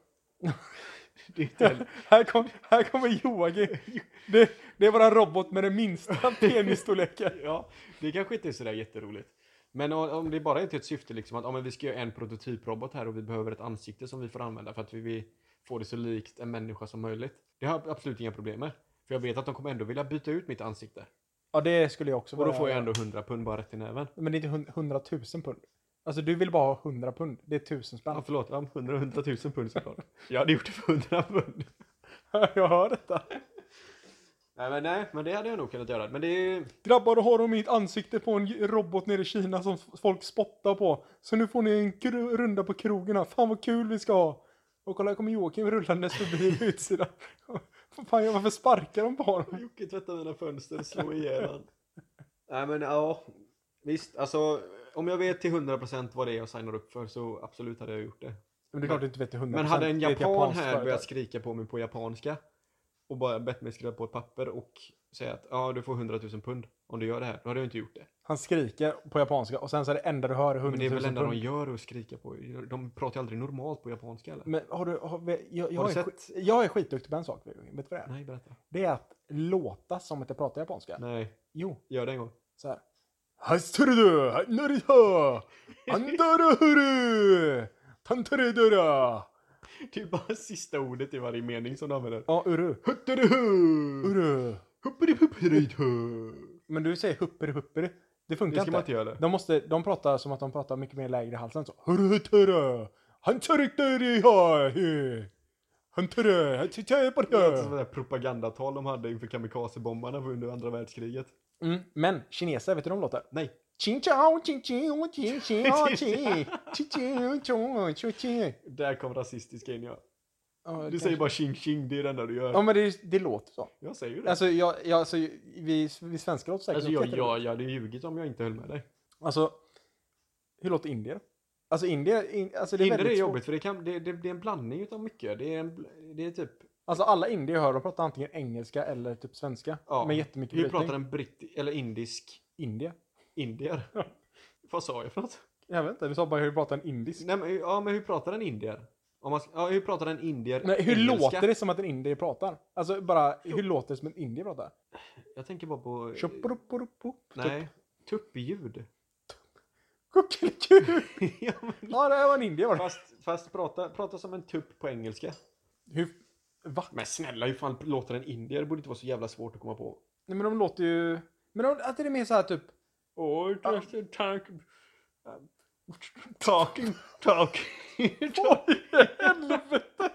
Speaker 1: det är inte heller...
Speaker 2: här, kom, här kommer Joakim. Det, det är bara en robot med den minsta penisstorleken.
Speaker 1: Ja, det kanske inte är sådär jätteroligt. Men o- om det bara är till ett syfte liksom att ja, men vi ska göra en prototyprobot här och vi behöver ett ansikte som vi får använda för att vi vill få det så likt en människa som möjligt. Det har jag absolut inga problem med. För jag vet att de kommer ändå vilja byta ut mitt ansikte.
Speaker 2: Ja det skulle jag också
Speaker 1: Och då
Speaker 2: vilja
Speaker 1: får jag
Speaker 2: göra.
Speaker 1: ändå 100 pund bara rätt i näven.
Speaker 2: Men det är inte hund- 100 000 pund. Alltså du vill bara ha 100 pund. Det är 1000
Speaker 1: Ja,
Speaker 2: spänn.
Speaker 1: förlåt. Ja, 100 100 000 pund såklart. Jag hade gjort det för 100 pund.
Speaker 2: jag hör detta.
Speaker 1: Nej men, nej, men det hade jag nog kunnat göra. Men det är ju...
Speaker 2: Grabbar, då har de mitt ansikte på en robot nere i Kina som f- folk spottar på. Så nu får ni en kru- runda på krogen här. Fan vad kul vi ska ha. Och kolla, här kommer Joakim rullandes förbi på utsidan. Vad Fan, jag- varför sparkar de på honom?
Speaker 1: Jocke tvätta mina fönster och slå ihjäl han. Nej men ja, visst. Alltså om jag vet till 100% vad det är jag signar upp för så absolut hade jag gjort det.
Speaker 2: Men det är klart du inte vet till 100%.
Speaker 1: Men hade en
Speaker 2: Det är ett
Speaker 1: japan
Speaker 2: japanskt
Speaker 1: här
Speaker 2: företag.
Speaker 1: börjat skrika på mig på japanska och bara bett mig skriva på ett papper och säga att ja du får 100 000 pund om du gör det här. Då hade jag inte gjort det.
Speaker 2: Han skriker på japanska och sen så är det enda du hör är 100 000
Speaker 1: Men det är väl det enda
Speaker 2: pund.
Speaker 1: de gör att skrika på. De pratar ju aldrig normalt på japanska eller?
Speaker 2: Men har du... Har, vi- jag, jag,
Speaker 1: Har du
Speaker 2: är
Speaker 1: sett- Mm.
Speaker 2: skit- jag är skitduktig på en sak. Vet du vad det är?
Speaker 1: Nej berätta.
Speaker 2: Det är att låta som att jag pratar japanska.
Speaker 1: Nej,
Speaker 2: Jo,
Speaker 1: gör det en gång.
Speaker 2: så här. Hasturudu, hanarita, andaruhuru, tantarudura.
Speaker 1: Det är Typ bara sista ordet i varje mening som de använder.
Speaker 2: Ja, uru.
Speaker 1: Hutteruhu!
Speaker 2: Uru.
Speaker 1: Hupperihupperihu!
Speaker 2: Men du säger hupperi hupperi. Det funkar
Speaker 1: Det ska man
Speaker 2: inte.
Speaker 1: inte göra.
Speaker 2: De, måste, de pratar som att de pratar mycket mer lägre i halsen. Så. Huruturu, hantaruturiha, hu. Hanturu,
Speaker 1: Det låter som
Speaker 2: hantaruturiha.
Speaker 1: det där propagandatal de hade inför kamikazebombarna under andra världskriget.
Speaker 2: Mm, Men kineser, vet du hur de låter?
Speaker 1: Nej,
Speaker 2: Ching chao, ching ching, ching chao, ching. Ching ching, chong, chong, ching.
Speaker 1: där kom rasistiska in ja.
Speaker 2: Ja,
Speaker 1: Du
Speaker 2: kanske.
Speaker 1: säger bara tjing tjing, det är det enda du gör.
Speaker 2: Ja men det, det låter så.
Speaker 1: Jag säger ju det. Alltså,
Speaker 2: Alltså, jag, jag, alltså vi, vi svenskar låter säkert
Speaker 1: jag,
Speaker 2: något jätteroligt.
Speaker 1: jag, jag hade ljugit om jag inte höll med dig.
Speaker 2: Alltså, hur låter indier? Alltså indier, in, alltså det är
Speaker 1: Hinder är
Speaker 2: väldigt svårt.
Speaker 1: jobbigt för det, kan, det, det, det är en blandning utav mycket. Det är, en, bl- det är typ...
Speaker 2: Alltså alla indier jag hör, de pratar antingen engelska eller typ svenska.
Speaker 1: Ja,
Speaker 2: Med jättemycket
Speaker 1: Vi
Speaker 2: brytning.
Speaker 1: pratar en britt... Eller indisk...
Speaker 2: Indier?
Speaker 1: Indier. Vad sa jag för något?
Speaker 2: Jag vet inte, vi sa bara hur vi pratar en indisk.
Speaker 1: Nej, men, ja, men hur pratar en indier? Om man, ska- ja, hur pratar en indier
Speaker 2: Men hur
Speaker 1: engelska?
Speaker 2: låter det som att en indier pratar? Alltså bara, hur låter det som en indier pratar?
Speaker 1: Jag tänker bara på...
Speaker 2: Tjopporopporoppop. Typ.
Speaker 1: Eh, Nej. Tuppljud.
Speaker 2: Kuckeliku.
Speaker 1: ja, men,
Speaker 2: Ja, det här var en indier var det.
Speaker 1: fast fast prata, prata som en tupp på engelska.
Speaker 2: Hur? Va?
Speaker 1: Men snälla, hur fan låter en indier? Det borde inte vara så jävla svårt att komma på.
Speaker 2: Nej men de låter ju... Men de, att det är mer så här typ...
Speaker 1: Åh,
Speaker 2: tack,
Speaker 1: tack.
Speaker 2: Talking, talking, talking. Helvete.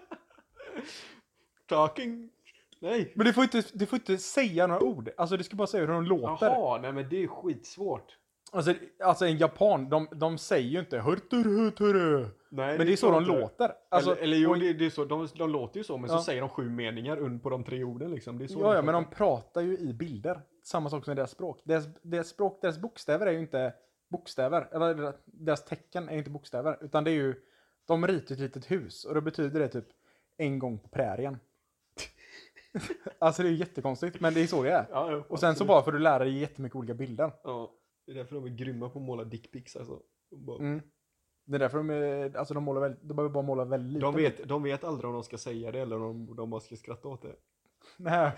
Speaker 2: Talking.
Speaker 1: Nej!
Speaker 2: Men du får, inte, du får inte säga några ord. Alltså du ska bara säga hur de låter.
Speaker 1: Jaha, nej men det är ju skitsvårt.
Speaker 2: Alltså, alltså en japan, de, de säger ju inte hurtur hurtur.
Speaker 1: Nej,
Speaker 2: Men det är så de
Speaker 1: klart inte.
Speaker 2: låter. Alltså,
Speaker 1: eller eller jo, det, det är så, de, de låter ju så, men
Speaker 2: Ja.
Speaker 1: så säger de sju meningar und på de tre orden liksom. Det är så
Speaker 2: ja, ja, men de
Speaker 1: pratar.
Speaker 2: pratar ju i bilder. Samma sak som deras språk. Deras, deras språk, deras bokstäver är ju inte bokstäver. Eller deras tecken är ju inte bokstäver. Utan det är ju, de ritar ett litet hus. Och då betyder det typ en gång på prärien. alltså det är ju jättekonstigt, men det är så det är.
Speaker 1: Ja, ja,
Speaker 2: Och sen så
Speaker 1: absolut.
Speaker 2: bara för att du lär dig jättemycket olika bilder.
Speaker 1: Ja, det är därför de är grymma på att måla dickpics alltså. De bara-
Speaker 2: Mm. Det är därför de, är- alltså de, målar väldigt, de behöver bara måla väldigt
Speaker 1: De
Speaker 2: lite.
Speaker 1: vet, de vet aldrig om de ska säga det eller om de bara ska skratta åt det.
Speaker 2: Nej.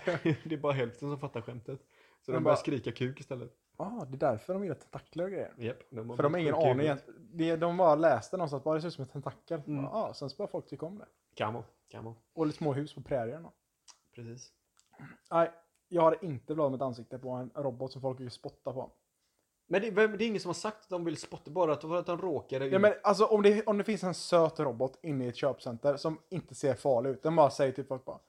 Speaker 1: Det är bara hälften som fattar skämtet. Så
Speaker 2: Men
Speaker 1: de
Speaker 2: bara-
Speaker 1: börjar skrika kuk istället.
Speaker 2: Ah, det är därför de gillar tentakler och grejer.
Speaker 1: Japp, de
Speaker 2: För de har ingen
Speaker 1: sjuka i
Speaker 2: aning.
Speaker 1: huvudet.
Speaker 2: egent- det- De bara läste någonstans, bara det ser ut som en tentakel.
Speaker 1: Mm.
Speaker 2: Bara, ah, sen så bara folk tycker om det.
Speaker 1: Camo, camo.
Speaker 2: Och lite små hus på prärierna.
Speaker 1: Precis.
Speaker 2: Nej, jag har inte blått mitt ansikte på en robot som folk vill spotta på.
Speaker 1: Men det, vem- det är ingen som har sagt att de vill spotta, bara att, för att de råkade
Speaker 2: Ja, men alltså om det, om det finns en söt robot inne i ett köpcenter som inte ser farlig ut. Den bara säger till folk bara.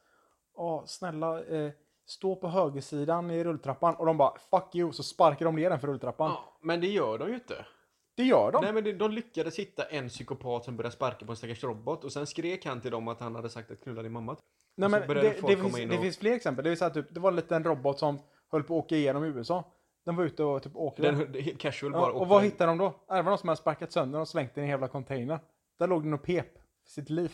Speaker 2: Ja, snälla eh, stå på högersidan i rulltrappan. Och de bara fuck you. Så sparkar de ner den för rulltrappan.
Speaker 1: Ja, men det gör de ju inte.
Speaker 2: Det gör de.
Speaker 1: Nej men det, de lyckades hitta en psykopat som började sparka på en stackars robot och sen skrek han till dem att han hade sagt att knulla din mamma.
Speaker 2: Nej,
Speaker 1: Och så
Speaker 2: men det,
Speaker 1: började
Speaker 2: det,
Speaker 1: folk komma
Speaker 2: finns,
Speaker 1: in
Speaker 2: det
Speaker 1: och-
Speaker 2: finns fler exempel. Det, är så här, typ, det var en liten robot som höll på att åka igenom USA. Den var ute och typ åkte.
Speaker 1: Den helt casual bara
Speaker 2: ja, och
Speaker 1: åkte
Speaker 2: vad
Speaker 1: den.
Speaker 2: hittade de då? Ja, Det var någon som hade sparkat sönder den och slängt den i en jävla container. Där låg den och pep för sitt liv.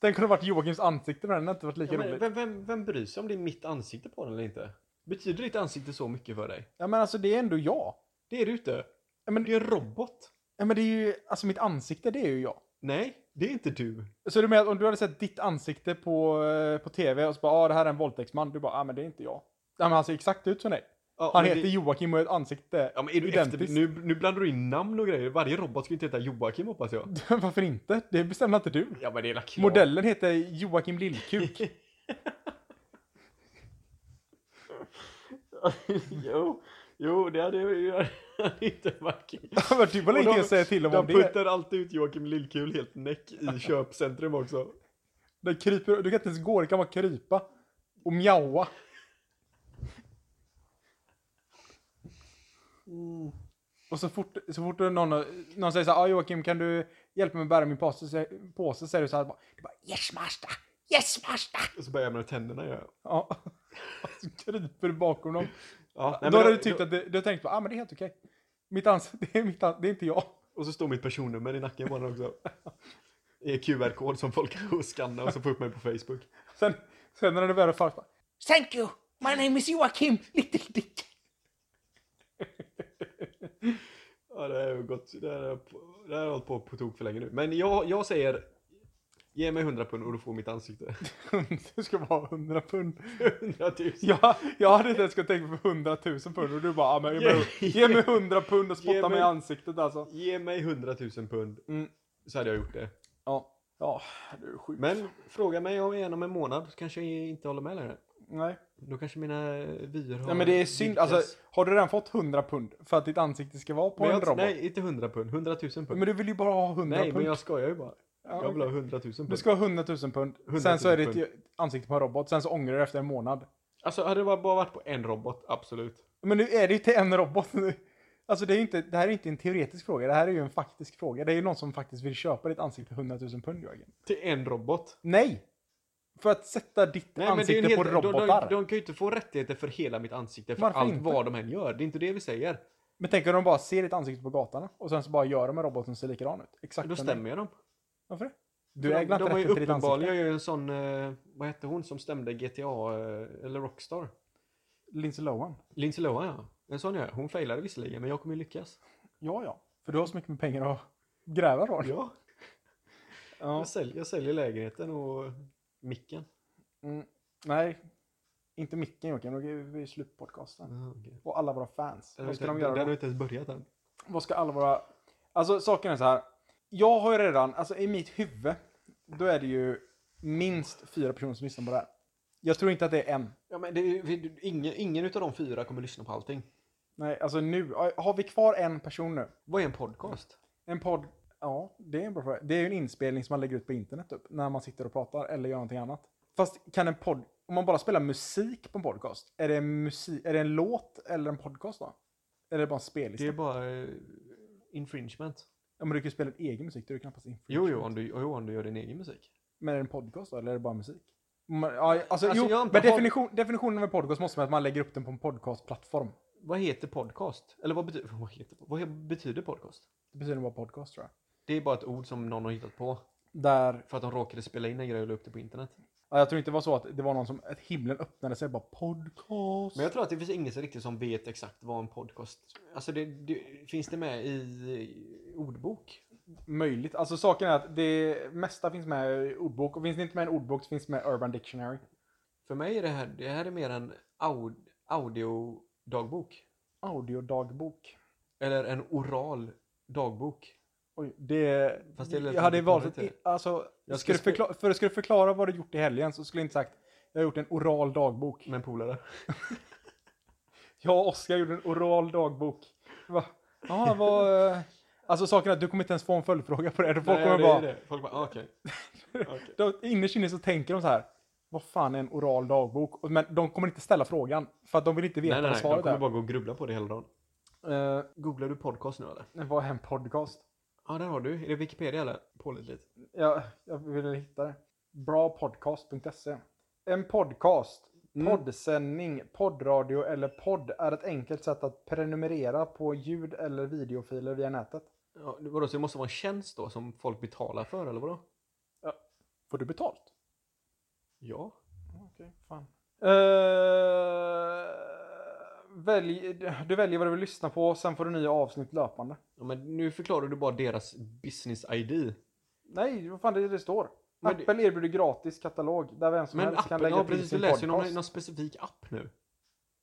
Speaker 2: Den kunde ha varit Joakims ansikte men den hade inte varit lika
Speaker 1: Ja, men
Speaker 2: rolig.
Speaker 1: vem, vem, vem bryr sig om det är mitt ansikte på den eller inte? Betyder ditt ansikte så mycket för dig?
Speaker 2: Ja men alltså det är ändå jag.
Speaker 1: Det är du inte.
Speaker 2: Ja, men,
Speaker 1: Det är en robot.
Speaker 2: ja, men det är ju, alltså mitt ansikte det är ju jag.
Speaker 1: Nej, det är inte du.
Speaker 2: Så du menar att om du hade sett ditt ansikte på, eh, på tv och så bara ah, det här är en våldtäktsman. Du bara ah men det är inte jag. Ja, men han ser exakt ut som dig.
Speaker 1: Ja,
Speaker 2: Han
Speaker 1: men
Speaker 2: heter
Speaker 1: det,
Speaker 2: Joakim och har ett ansikte
Speaker 1: ja, men är du efter,
Speaker 2: identiskt.
Speaker 1: nu, nu blandar du in namn och grejer. Varje robot ska ju inte heta Joakim hoppas jag.
Speaker 2: Varför inte? Det bestämmer inte du.
Speaker 1: Ja men det är la krav.
Speaker 2: Modellen heter Joakim Lillkuk.
Speaker 1: jo, jo, det hade ju det hade inte varit kul.
Speaker 2: Det var typ
Speaker 1: Och
Speaker 2: ingenting
Speaker 1: de-
Speaker 2: att säga till om, om
Speaker 1: De
Speaker 2: det.
Speaker 1: puttar alltid ut Joakim Lillkul helt näck i köpcentrum också.
Speaker 2: Den kryper, du kan inte ens gå, det kan bara krypa. Och mjaua.
Speaker 1: Mm.
Speaker 2: Och så fort, så fort någon, någon säger så här, ah, Joakim kan du hjälpa mig att bära min påse? Så, påse säger du så här, bara, du bara, yes master, yes master.
Speaker 1: Och så börjar jag med tänderna göra.
Speaker 2: Ja. Och så kryper du bakom dem.
Speaker 1: Ja,
Speaker 2: då har du tyckt att det, du har tänkt, bara, ah men det är helt okej. Mitt ansikte, det är mitt ans- det är inte jag.
Speaker 1: Och så står mitt personnummer i nacken på honom också. Det är QR-kod som folk kan skanna och så får upp mig på Facebook.
Speaker 2: Sen, sen när det börjar fart, bara, Thank you, my name is Joakim, little dick.
Speaker 1: Ja, det har ju gått, det har, jag på- det har jag hållit på på tok för länge nu. Men jag, jag säger, ge mig 100 pund och du får mitt ansikte.
Speaker 2: Det ska vara 100 pund.
Speaker 1: 100 000.
Speaker 2: Jag, jag hade inte ens gått tänka på 100 000 pund och du bara, ah, men, ge, mig,
Speaker 1: Ge-
Speaker 2: ge mig 100 pund och
Speaker 1: Ge
Speaker 2: spotta
Speaker 1: mig-
Speaker 2: mig i ansiktet alltså.
Speaker 1: Ge mig 100 000 pund
Speaker 2: Mm.
Speaker 1: så hade jag gjort det.
Speaker 2: Ja, ja, du är sjuk.
Speaker 1: Men fråga mig om igen om en månad så kanske jag inte håller med längre.
Speaker 2: Nej.
Speaker 1: Då kanske mina eh, vyer har
Speaker 2: Nej men det är synd,
Speaker 1: vidgats.
Speaker 2: alltså har du redan fått 100 pund för att ditt ansikte ska vara på
Speaker 1: Men
Speaker 2: en
Speaker 1: jag,
Speaker 2: robot?
Speaker 1: nej, inte 100 pund. 100 000 pund.
Speaker 2: Men du vill ju bara ha 100
Speaker 1: nej,
Speaker 2: pund.
Speaker 1: men jag skojar ju bara.
Speaker 2: Ja,
Speaker 1: jag vill ha
Speaker 2: okej.
Speaker 1: 100 000 pund.
Speaker 2: Du ska ha 100 000 pund,
Speaker 1: 100 000
Speaker 2: sen så är det
Speaker 1: pund.
Speaker 2: ett ansikte på en robot, sen så ångrar du efter en månad.
Speaker 1: Alltså hade det bara bara varit på en robot, absolut.
Speaker 2: Men nu är det ju till en robot. Alltså det, är ju inte, det här är ju inte en teoretisk fråga, det här är ju en faktisk fråga. Det är ju någon som faktiskt vill köpa ditt ansikte för 100 000 pund, Jörgen.
Speaker 1: Till en robot.
Speaker 2: Nej! För att sätta ditt
Speaker 1: Nej, men det är
Speaker 2: ansikte
Speaker 1: en
Speaker 2: på
Speaker 1: helt, de,
Speaker 2: robotar.
Speaker 1: de, de kan ju inte få rättigheter för hela mitt ansikte för
Speaker 2: Varför
Speaker 1: allt
Speaker 2: inte?
Speaker 1: vad de än gör. Det är inte det vi säger.
Speaker 2: Men tänk om de bara ser ditt ansikte på gatan och sen så bara gör de en robot som ser likadan ut. Exakt
Speaker 1: Då
Speaker 2: som
Speaker 1: stämmer jag dem.
Speaker 2: det. Varför det? Du
Speaker 1: För de,
Speaker 2: äger inte
Speaker 1: de har ju
Speaker 2: rätten till ditt
Speaker 1: uppenbarligen
Speaker 2: ansikte.
Speaker 1: jag gör ju en sån, eh, vad hette hon som stämde GTA eh, eller Rockstar?
Speaker 2: Lindsay Lohan.
Speaker 1: Lindsay Lohan ja. En sån gör jag. Hon failade visserligen men jag kommer ju lyckas.
Speaker 2: Ja, ja. För du har så mycket med pengar att gräva från.
Speaker 1: Ja.
Speaker 2: Ja.
Speaker 1: Jag, sälj, jag säljer lägenheten och micken.
Speaker 2: Mm. Nej. Inte micken Joakim, då är vi slut på podcasten.
Speaker 1: Ah, okej.
Speaker 2: Och alla våra fans.
Speaker 1: Den,
Speaker 2: Vad ska
Speaker 1: har
Speaker 2: de
Speaker 1: inte-
Speaker 2: göra
Speaker 1: den
Speaker 2: då?
Speaker 1: har inte ens börjat än.
Speaker 2: Vad ska alla våra... Alltså saken är så här. Jag har ju redan, alltså i mitt huvud, då är det ju minst fyra personer som lyssnar på det här. Jag tror inte att det är en.
Speaker 1: Ja, men det, är ju- vi- ingen, ingen utav de fyra kommer lyssna på allting.
Speaker 2: Nej, alltså nu. Har vi kvar en person nu?
Speaker 1: Vad är en podcast?
Speaker 2: En podd. Ja, det är en bra fråga. Det är ju en inspelning som man lägger ut på internet upp när man sitter och pratar eller gör någonting annat. Fast kan en podd... Om man bara spelar musik på en podcast, är det en, musik, är det en låt eller en podcast då? Eller är det bara en spellista?
Speaker 1: Det är bara eh, infringement.
Speaker 2: Ja, men du kan ju spela din egen musik, då är det knappast
Speaker 1: Jo,
Speaker 2: infringement.
Speaker 1: jo om, du, jo, om du gör din egen musik.
Speaker 2: Men är det en podcast då, eller är det bara musik? Men, ja, alltså,
Speaker 1: Alltså,
Speaker 2: jo,
Speaker 1: jag har
Speaker 2: men
Speaker 1: inte hört-
Speaker 2: definition, definitionen av en podcast måste vara att man lägger upp den på en podcastplattform.
Speaker 1: Vad heter podcast? Eller vad, bety- vad, heter, vad he- betyder podcast?
Speaker 2: Det betyder bara podcast tror jag.
Speaker 1: Det är bara ett ord som någon har hittat på.
Speaker 2: Där,
Speaker 1: För att de råkade spela in en grej och la upp det på internet.
Speaker 2: ja, jag tror inte det var så att det var någon som, att himlen öppnade sig och bara podcast.
Speaker 1: Men jag tror att det finns ingen så riktigt som vet exakt vad en podcast... Alltså, det, det, finns det med i eh, ordbok?
Speaker 2: Möjligt. Alltså saken är att det mesta finns med i ordbok. Och finns det inte med i en ordbok så finns det med i Urban Dictionary.
Speaker 1: För mig är det här, det här är mer en aud, audiodagbok.
Speaker 2: Audiodagbok.
Speaker 1: Eller en oral dagbok.
Speaker 2: Oj, det...
Speaker 1: Fast det lät
Speaker 2: jag hade
Speaker 1: lite
Speaker 2: valt...
Speaker 1: konstigt,
Speaker 2: Alltså,
Speaker 1: Jag
Speaker 2: skulle
Speaker 1: ska spe-
Speaker 2: förklara, för skulle du förklara vad du gjort i helgen så skulle jag inte sagt jag har gjort en oral dagbok.
Speaker 1: Med en polare.
Speaker 2: Jag och Oskar gjorde en oral dagbok. Va? Ja, vad... eh, Alltså saken är att du kommer inte ens få en följdfråga på det. Folk
Speaker 1: Nej,
Speaker 2: kommer
Speaker 1: det är
Speaker 2: bara...
Speaker 1: det. Folk bara, ah, okej. Okej.
Speaker 2: De, innerst inne så tänker de så här. Vad fan är en oral dagbok? Och- Men de kommer inte ställa frågan. För att de vill inte veta
Speaker 1: Nej, nej,
Speaker 2: vad
Speaker 1: nej. De
Speaker 2: svaret
Speaker 1: kommer
Speaker 2: är.
Speaker 1: bara gå och grubbla på det hela dagen.
Speaker 2: Eh,
Speaker 1: Googlar du podcast nu eller?
Speaker 2: Men Eh, Vad är en podcast?
Speaker 1: Ja, där har du. Är det Wikipedia eller? Pålitligt.
Speaker 2: Jag, jag ville hitta det. Brapodcast.se En podcast,
Speaker 1: Mm.
Speaker 2: poddsändning, poddradio eller podd är ett enkelt sätt att prenumerera på ljud eller videofiler via nätet.
Speaker 1: Ja, vadå, så det måste vara en tjänst då som folk betalar för eller vadå?
Speaker 2: Får du betalt?
Speaker 1: Ja.
Speaker 2: Okej, fan. Eh, välj, du väljer vad du vill lyssna på, sen får du nya avsnitt löpande.
Speaker 1: ja men nu förklarar du bara deras business-ID.
Speaker 2: Nej, vad fan det, är det det står.
Speaker 1: Men det-
Speaker 2: Apple erbjuder gratis katalog där vem som
Speaker 1: Men
Speaker 2: helst kan
Speaker 1: appen,
Speaker 2: lägga
Speaker 1: ja
Speaker 2: till
Speaker 1: precis, du
Speaker 2: sin
Speaker 1: läser ju någon,
Speaker 2: podcast.
Speaker 1: någon specifik app nu.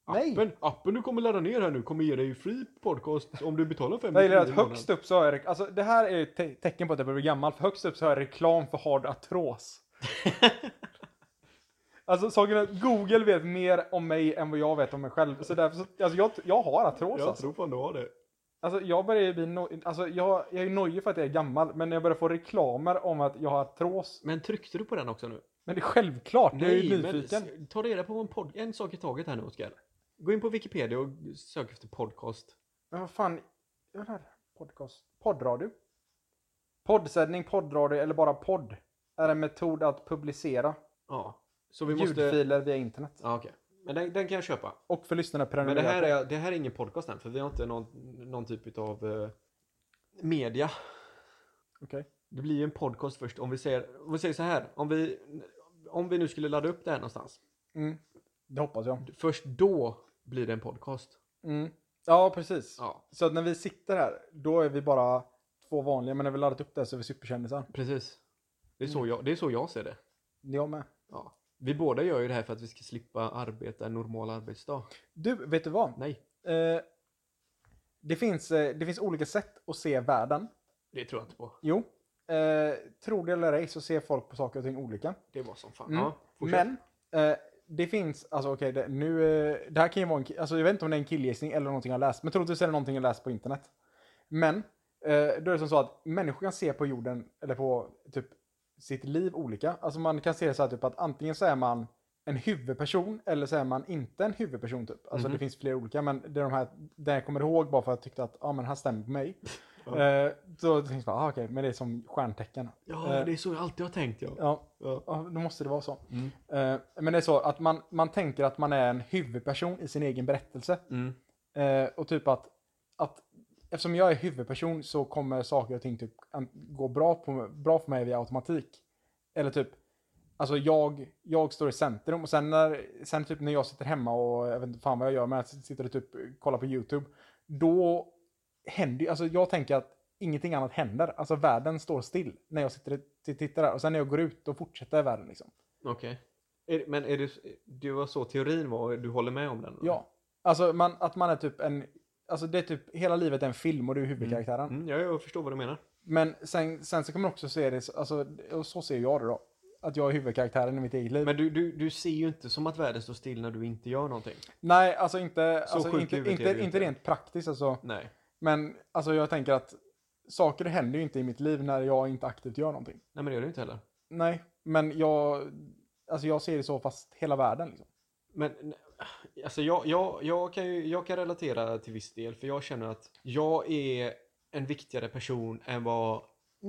Speaker 2: Nej.
Speaker 1: Appen, appen du kommer ladda ner här nu kommer ge dig fri podcast om du betalar 5
Speaker 2: Jag gillar att högst upp så har jag, alltså det här är ett te- tecken på att jag börjar bli gammal, för högst upp så har jag reklam för hard artros. Alltså saken är att Google vet mer om mig än vad jag vet om mig själv. Så därför så, alltså jag, jag har artros
Speaker 1: Jag
Speaker 2: alltså.
Speaker 1: tror fan du har det.
Speaker 2: alltså. jag börjar ju bli no, alltså jag, jag är ju nojig för att jag är gammal, men när jag börjar få reklamer om att jag har artros.
Speaker 1: Men tryckte du på den också nu?
Speaker 2: Men det är självklart, jag är ju
Speaker 1: men
Speaker 2: nyfiken.
Speaker 1: s- ta reda på vad en pod- en sak i taget här nu Oskar. Gå in på Wikipedia och sök efter podcast.
Speaker 2: Men vad fan, vad är det här? podcast, poddradio? Poddsändning, poddradio eller bara podd är en metod att publicera
Speaker 1: Ja. Så vi måste...
Speaker 2: ljudfiler via internet.
Speaker 1: Ja, okej. Men den, den kan jag köpa.
Speaker 2: Och för lyssnarna
Speaker 1: Men det
Speaker 2: prenumerera
Speaker 1: här
Speaker 2: på.
Speaker 1: är, det här är ingen podcast än, för vi har inte någon, någon typ av eh, media.
Speaker 2: Okej.
Speaker 1: Det blir ju en podcast först. Om vi säger, om vi säger så här, om vi, om vi nu skulle ladda upp det här någonstans.
Speaker 2: Mm. Det hoppas jag.
Speaker 1: Först då blir det en podcast.
Speaker 2: Mm. Ja, precis.
Speaker 1: Ja,
Speaker 2: Så att när vi sitter här, då är vi bara två vanliga. Men när vi laddat upp det här så är vi superkändisar.
Speaker 1: precis. Det är så jag, det är så jag ser det.
Speaker 2: Jag med.
Speaker 1: Ja. Vi båda gör ju det här för att vi ska slippa arbeta en normal arbetsdag.
Speaker 2: Du, vet du vad?
Speaker 1: Nej,
Speaker 2: Eh, det, finns, eh, det finns olika sätt att se världen.
Speaker 1: det tror jag inte på.
Speaker 2: Jo. Eh, tro det eller ej så ser folk på saker och ting olika.
Speaker 1: Det var som fan.
Speaker 2: Mm.
Speaker 1: Ja, fortsätt.
Speaker 2: Men eh, det finns, alltså okej, det, nu, eh, det här kan ju vara en, ki- alltså jag vet inte om det är en killgissning eller någonting jag läst, men troligtvis är det någonting jag läst på internet. Men eh, då är det som så att människor kan se på jorden, eller på typ sitt liv olika. Alltså man kan se det så här typ att antingen så är man en huvudperson eller så är man inte en huvudperson typ. Alltså
Speaker 1: Mhm.
Speaker 2: det finns flera olika, men det är de här, det jag kommer ihåg bara för att jag tyckte att, ja ah, men det här stämmer på mig.
Speaker 1: Ja.
Speaker 2: Eh, då tänkte jag, bara, ah, okej, men det är som stjärntecken.
Speaker 1: Ja,
Speaker 2: eh,
Speaker 1: det är så jag alltid har tänkt. Ja.
Speaker 2: Ja,
Speaker 1: Ja.
Speaker 2: ja, då måste det vara så.
Speaker 1: Mm.
Speaker 2: Eh, men det är så att man, man tänker att man är en huvudperson i sin egen berättelse.
Speaker 1: Mm.
Speaker 2: Eh, och typ att, att eftersom jag är huvudperson så kommer saker och ting typ an- gå bra, på, bra för mig via automatik. Eller typ, alltså jag, jag står i centrum och sen, när, sen typ när jag sitter hemma och jag vet inte fan vad jag gör, men jag sitter och typ kollar på YouTube. Då händer ju, alltså jag tänker att ingenting annat händer. Alltså världen står still när jag sitter och tittar där. Och sen när jag går ut, då fortsätter världen liksom.
Speaker 1: Okej. Är- Men är det, det var så teorin var, du håller med om den? eller?
Speaker 2: Ja. Alltså man, att man är typ en... Alltså det är typ, hela livet är en film och du är huvudkaraktären.
Speaker 1: Mm, ja, jag förstår vad du menar.
Speaker 2: Men sen, sen så kan man också se det, så- alltså, och så ser jag det då. att jag är huvudkaraktären i mitt eget liv.
Speaker 1: Men du, du, du ser ju inte som att världen står still när du inte gör någonting.
Speaker 2: Nej, alltså inte,
Speaker 1: Så
Speaker 2: alltså
Speaker 1: sjukt
Speaker 2: inte,
Speaker 1: i huvudet
Speaker 2: inte,
Speaker 1: är du
Speaker 2: inte,
Speaker 1: inte.
Speaker 2: rent praktiskt alltså.
Speaker 1: Nej.
Speaker 2: Men alltså jag tänker att saker händer ju inte i mitt liv när jag inte aktivt gör någonting.
Speaker 1: Nej men det gör du inte heller.
Speaker 2: Nej, men jag, alltså jag ser det så fast hela världen. Liksom.
Speaker 1: Men alltså jag, jag, jag, kan ju, jag kan relatera till viss del för jag känner att jag är en viktigare person än vad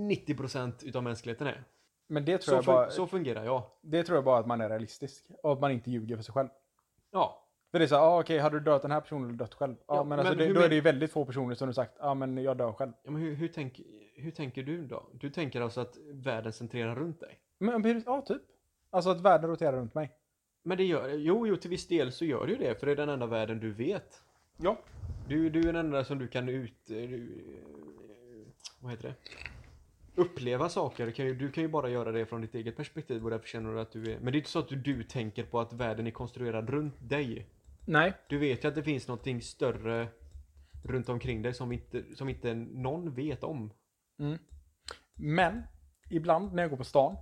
Speaker 1: 90% utav mänskligheten är.
Speaker 2: Men det tror,
Speaker 1: Så,
Speaker 2: jag
Speaker 1: fun-
Speaker 2: bara,
Speaker 1: så fungerar jag.
Speaker 2: det tror jag bara att man är realistisk och att man inte ljuger för sig själv.
Speaker 1: Ja.
Speaker 2: För det är så här, ah, okej, hade du dödat den här personen eller dött själv? Ja,
Speaker 1: Ja,
Speaker 2: men alltså
Speaker 1: men
Speaker 2: det,
Speaker 1: hur
Speaker 2: då är
Speaker 1: men-
Speaker 2: det ju väldigt få personer som har sagt, ja ah, men jag dör själv.
Speaker 1: ja men hur, hur, tänk, hur tänker du då? Du tänker alltså att världen centrerar runt dig?
Speaker 2: Men, men, ja, typ. Alltså att världen roterar runt mig.
Speaker 1: Men det gör Jo, jo, till viss del så gör det ju det för det är den enda världen du vet.
Speaker 2: Ja.
Speaker 1: Du, du är den enda som du kan ut... eh, Du, eh, vad heter det? Uppleva saker. Du kan, ju, du kan ju bara göra det från ditt eget perspektiv och därför känner du att du är... Men det är inte så att du, du tänker på att världen är konstruerad runt dig.
Speaker 2: Nej.
Speaker 1: Du vet ju att det finns någonting större runt omkring dig som inte, som inte någon vet om.
Speaker 2: Men ibland när jag går på stan.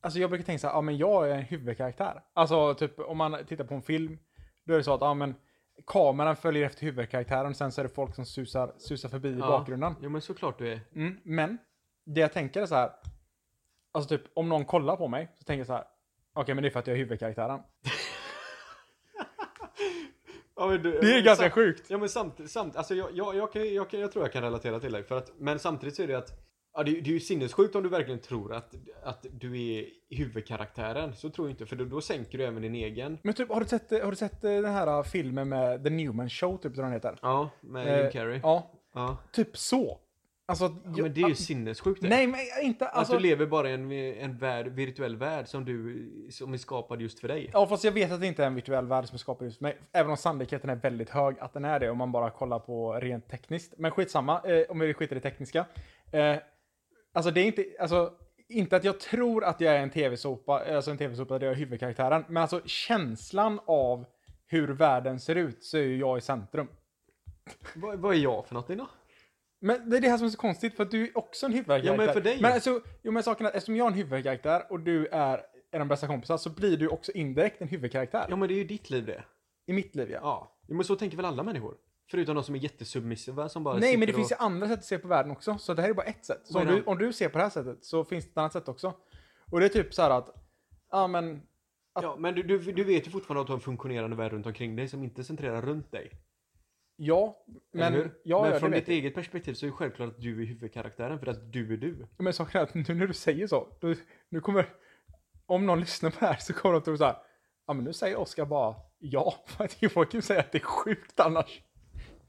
Speaker 2: Alltså jag brukar tänka så här, ja men jag är en huvudkaraktär. Alltså typ om man tittar på en film. Då är det så att, ja men kameran följer efter huvudkaraktären. Sen så är det folk som susar, susar förbi i
Speaker 1: Ja.
Speaker 2: bakgrunden.
Speaker 1: Jo men såklart du är.
Speaker 2: Mm, men det jag tänker är så här. Alltså typ om någon kollar på mig så tänker jag så här. Okej men det är för att jag är huvudkaraktären.
Speaker 1: Ja, men du,
Speaker 2: Det är ganska sjukt.
Speaker 1: Ja men samtidigt, samt, alltså jag, jag, jag, kan, jag, kan, jag tror jag kan relatera till dig. För att, men samtidigt så är det att ja, det, är- det är ju sinnessjukt om du verkligen tror att, att du är huvudkaraktären. Så tror jag inte, för då, då sänker du även din egen.
Speaker 2: Men typ har du sett, har du sett eh, den här filmen med The Newman Show typ som den heter?
Speaker 1: Ja, med Jim
Speaker 2: Eh,
Speaker 1: Carrey. Ja. ah,
Speaker 2: Ja,
Speaker 1: Ja.
Speaker 2: typ så. Alltså, jag-
Speaker 1: men det är ju sinnessjukt det.
Speaker 2: Nej men inte alltså.
Speaker 1: att du lever bara i en, en värld, virtuell värld som, du, som är skapad just för dig.
Speaker 2: Ja, fast jag vet att det inte är en virtuell värld som är skapad just för mig. Även om sannolikheten är väldigt hög att den är det om man bara kollar på rent tekniskt. Men skitsamma, eh, om vi skiter i det tekniska. Eh, alltså det är inte, alltså inte att jag tror att jag är en tv-sopa, alltså en tv-sopa där jag är huvudkaraktären. Men alltså känslan av hur världen ser ut så är ju jag i centrum.
Speaker 1: Vad, vad är jag för någonting då?
Speaker 2: Men det är det här som är så konstigt för att du är också en huvudkaraktär.
Speaker 1: Ja, men för dig.
Speaker 2: Men, alltså, jo, men saken är att eftersom jag är en huvudkaraktär och du är en av de bästa kompisar så blir du också indirekt en huvudkaraktär.
Speaker 1: Ja men det är ju ditt liv det.
Speaker 2: I mitt liv ja.
Speaker 1: Ja. Jo, Men så tänker väl alla människor? Förutom de som är jättesubmissiva som bara
Speaker 2: Nej, men
Speaker 1: sitter
Speaker 2: det finns ju
Speaker 1: och...
Speaker 2: andra sätt att se på världen också. Så det här är bara ett sätt. Så
Speaker 1: Vad
Speaker 2: om
Speaker 1: är
Speaker 2: du,
Speaker 1: det?
Speaker 2: om du ser på det här sättet så finns det ett annat sätt också. Och det är typ så här att, ja men, att-
Speaker 1: Ja, men du, du, du vet ju fortfarande att du har en funktionerande värld runt omkring dig som inte centrerar runt dig.
Speaker 2: ja, men,
Speaker 1: eller
Speaker 2: ja,
Speaker 1: hur?
Speaker 2: ja,
Speaker 1: men
Speaker 2: det
Speaker 1: från
Speaker 2: vet
Speaker 1: ditt
Speaker 2: jag.
Speaker 1: eget perspektiv så är det självklart att du är huvudkaraktären för att du är du.
Speaker 2: Men saken är att nu när du säger så, då, nu kommer, om någon lyssnar på det här så kommer de tro så här, ja men nu säger Oskar bara ja, för att Joakim säger att det är sjukt annars.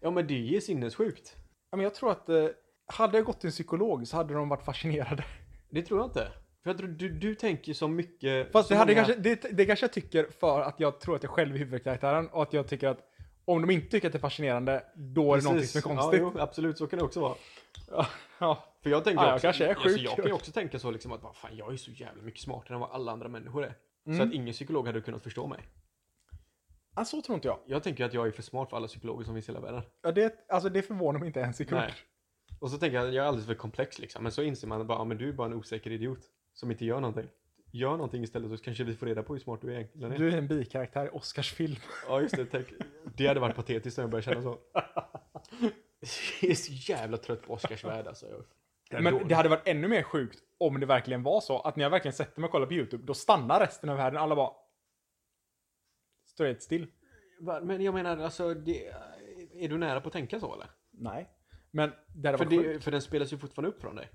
Speaker 1: Ja, men det är sinnessjukt.
Speaker 2: Ja, men jag tror att, eh, hade jag gått till en psykolog så hade de varit fascinerade.
Speaker 1: Det tror jag inte. För jag tror du, du tänker så mycket...
Speaker 2: Fast
Speaker 1: så
Speaker 2: det, hade
Speaker 1: många-
Speaker 2: kanske, det, det kanske jag tycker för att jag tror att jag själv är huvudkaraktären och att jag tycker att om de inte tycker att det är fascinerande, då är det
Speaker 1: Precis.
Speaker 2: någonting som är konstigt.
Speaker 1: Ja, jo, absolut, så kan det också vara.
Speaker 2: Ja,
Speaker 1: För jag tänker
Speaker 2: Ja, jag
Speaker 1: också,
Speaker 2: kanske är
Speaker 1: alltså,
Speaker 2: sjuk.
Speaker 1: jag kan ju också tänka så liksom att "Vad fan, jag är så jävla mycket smartare än vad alla andra människor är. Så
Speaker 2: Mm.
Speaker 1: att ingen psykolog hade kunnat förstå mig.
Speaker 2: Ja, Alltså, så tror inte jag.
Speaker 1: Jag tänker att jag är för smart för alla psykologer som finns i hela världen.
Speaker 2: Ja, det, alltså, det förvånar mig inte en sekund.
Speaker 1: Nej. Och så tänker jag, jag är alldeles för komplex liksom. Men så inser man bara, ja, men du är bara en osäker idiot. Som inte gör någonting. Gör någonting istället så kanske vi får reda på hur smart du egentligen är.
Speaker 2: Du är en bikaraktär i Oscars film.
Speaker 1: Ja just det, tänk. Det hade varit patetiskt om jag började känna så. Jag är så jävla trött på Oscarsvärld alltså. Jag- jag är
Speaker 2: Men
Speaker 1: dålig.
Speaker 2: det hade varit ännu mer sjukt om det verkligen var så att när jag verkligen sätter mig och kollar på YouTube, då stannar resten av världen. Alla bara... Står helt still.
Speaker 1: Va- Men jag menar alltså, det, är du nära på att tänka så eller?
Speaker 2: Nej. Men det hade
Speaker 1: För,
Speaker 2: varit sjukt. Alltså-
Speaker 1: det, för den spelas ju fortfarande upp från dig.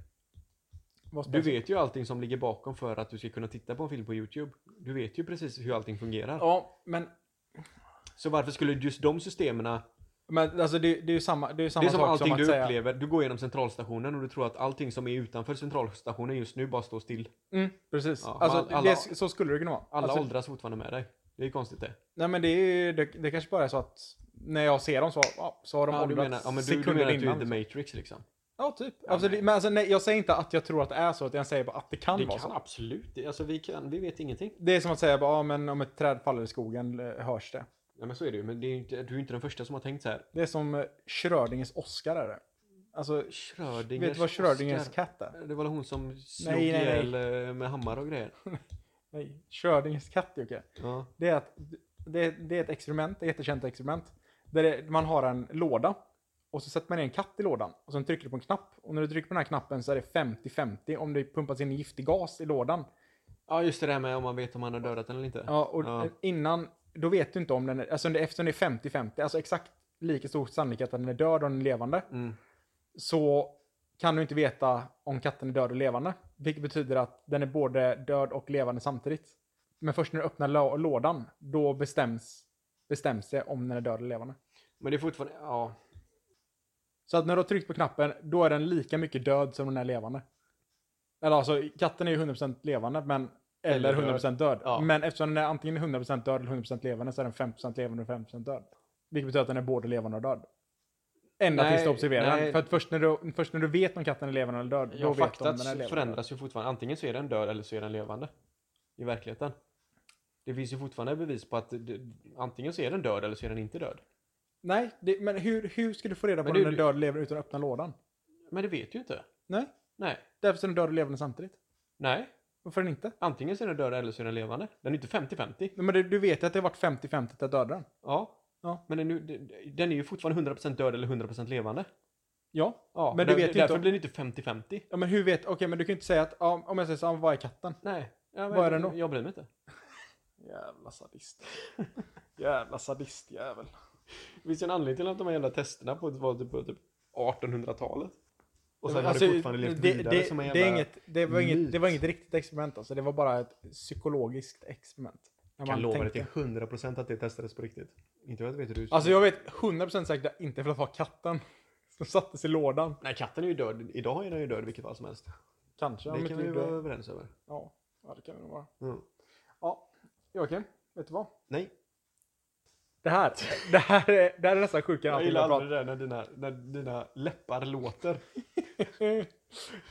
Speaker 2: Vad
Speaker 1: Du
Speaker 2: spelar-
Speaker 1: vet ju allting som ligger bakom för att du ska kunna titta på en film på YouTube. Du vet ju precis hur allting fungerar.
Speaker 2: Ja, men
Speaker 1: Så varför skulle just de systemen
Speaker 2: Men alltså det, det är ju samma, det är ju samma
Speaker 1: Det är som
Speaker 2: sak
Speaker 1: allting
Speaker 2: som att
Speaker 1: du
Speaker 2: säga...
Speaker 1: upplever. Du går genom centralstationen och du tror att allting som är utanför centralstationen just nu bara står still.
Speaker 2: Mm, precis.
Speaker 1: Ja,
Speaker 2: alltså,
Speaker 1: all- alla-
Speaker 2: det, är- så skulle det kunna vara.
Speaker 1: Alla
Speaker 2: alltså,
Speaker 1: åldras fortfarande med dig. Det är konstigt det.
Speaker 2: Nej men det, är, ju- det, det kanske bara är så att när jag ser dem så, ja, så har de
Speaker 1: Ja, du
Speaker 2: åldrats
Speaker 1: menar, ja, men du, du
Speaker 2: sekunder
Speaker 1: menar att du
Speaker 2: innan.
Speaker 1: är The Matrix liksom?
Speaker 2: Ja, typ. alltså, det, men alltså, nej, jag säger inte att jag tror att det är så, utan jag säger bara att det kan
Speaker 1: Det
Speaker 2: vara
Speaker 1: kan
Speaker 2: så.
Speaker 1: absolut det. Alltså vi kan, vi vet ingenting.
Speaker 2: Det är som att säga bara, ja, men om ett träd faller i skogen eh, hörs det.
Speaker 1: Ja men så är det ju. Men det är ju inte, du är ju inte den första som har tänkt så här.
Speaker 2: Det är som eh, Schrödingers Oscar är det. Alltså,
Speaker 1: Schrödingers
Speaker 2: vet du vad Schrödingers
Speaker 1: Oscar.
Speaker 2: katt är?
Speaker 1: Det var hon som slog
Speaker 2: nej, nej.
Speaker 1: ihjäl eh, med hammare och grejer.
Speaker 2: Nej, Schrödingers katt Jocke.
Speaker 1: Ja.
Speaker 2: Det är, att, det, det är ett experiment, ett jättekänt experiment. Där det, man har en låda och så sätter man ner en katt i lådan och sen trycker du på en knapp. Och när du trycker på den här knappen så är det 50-50 om det pumpas in giftig gas i lådan.
Speaker 1: ja, just det där med om man vet om han har dödat den eller inte.
Speaker 2: Ja, och
Speaker 1: Ja.
Speaker 2: innan, då vet du inte om den är, alltså det- eftersom det är 50-50, alltså exakt lika stor sannolikhet att den är död och den är levande,
Speaker 1: Mm.
Speaker 2: så kan du inte veta om katten är död och levande. Vilket betyder att den är både död och levande samtidigt. Men först när du öppnar lå- lådan, då bestäms, bestäms det om den är död eller levande.
Speaker 1: Men det är fortfarande, ja.
Speaker 2: Så att när du har tryckt på knappen, då är den lika mycket död som den är levande. Eller alltså, katten är ju 100% levande, men
Speaker 1: Eller
Speaker 2: eller
Speaker 1: död.
Speaker 2: 100% död.
Speaker 1: Ja.
Speaker 2: Men eftersom den är antingen 100% död eller 100% levande så är den 5% levande och 5% död. Vilket betyder att den är både levande och död. Ända
Speaker 1: Nej,
Speaker 2: tills du observerar
Speaker 1: nej.
Speaker 2: den. För att först när, du, först när du vet om katten är levande eller död, då
Speaker 1: ja
Speaker 2: vet du om
Speaker 1: faktat
Speaker 2: den är levande.
Speaker 1: förändras ju fortfarande. Antingen så är den död eller så är den levande. I verkligheten. Det finns ju fortfarande bevis på att det, antingen så är den död eller så är den inte död.
Speaker 2: Nej, det, men hur, hur ska du få reda på
Speaker 1: Men
Speaker 2: om
Speaker 1: det-
Speaker 2: den är död eller levande utan att öppna lådan?
Speaker 1: Men det vet ju inte.
Speaker 2: Nej,
Speaker 1: Nej.
Speaker 2: därför är den död och levande samtidigt.
Speaker 1: Nej.
Speaker 2: Varför är den inte?
Speaker 1: Antingen så är den död eller så är den levande. Den är inte 50-50.
Speaker 2: Men du, du vet ju att det har varit 50-50 att döda den.
Speaker 1: Ja.
Speaker 2: Ja.
Speaker 1: Men den, är ju- den är ju fortfarande 100% död eller 100% levande.
Speaker 2: Ja,
Speaker 1: Ja,
Speaker 2: Men du
Speaker 1: där-
Speaker 2: vet ju inte
Speaker 1: därför
Speaker 2: om-
Speaker 1: blir det inte 50-50.
Speaker 2: Ja men hur vet, okej men du kan ju inte säga att, ja, om jag säger så, här, vad är katten?
Speaker 1: Nej. Ja,
Speaker 2: Vad är den då?
Speaker 1: Jag bryr mig inte.
Speaker 2: Jävla sadist. jävla sadist jävel.
Speaker 1: Det finns ju en anledning till att de här jävla testerna på, var typ- på typ 1800-talet. Och sen
Speaker 2: Alltså,
Speaker 1: har det fortfarande levt vidare
Speaker 2: det,
Speaker 1: som en
Speaker 2: det,
Speaker 1: jävla...
Speaker 2: är inget, det, var inget, det var
Speaker 1: myt.
Speaker 2: inget riktigt experiment alltså, det var bara ett psykologiskt experiment. När
Speaker 1: Jag
Speaker 2: man
Speaker 1: kan lova dig
Speaker 2: tänkte-
Speaker 1: till 100% att det testades på riktigt. Inte vad jag vet hur du...
Speaker 2: Alltså jag vet 100% säkert att det inte för att vara katten som sattes i lådan.
Speaker 1: Nej, katten är ju död. Idag är den ju död i vilket fall som helst.
Speaker 2: Kanske. om
Speaker 1: typ det
Speaker 2: inte
Speaker 1: kan vi
Speaker 2: du
Speaker 1: vara
Speaker 2: dör.
Speaker 1: överens över.
Speaker 2: Ja, ja, det kan vi nog vara.
Speaker 1: Mm.
Speaker 2: Ja, ja okej. Vet du vad?
Speaker 1: Nej.
Speaker 2: Det här, det här är, det här är nästan sjukare än
Speaker 1: Jag
Speaker 2: allting
Speaker 1: gillar
Speaker 2: jag pratat
Speaker 1: aldrig det där när dina, när dina läppar låter.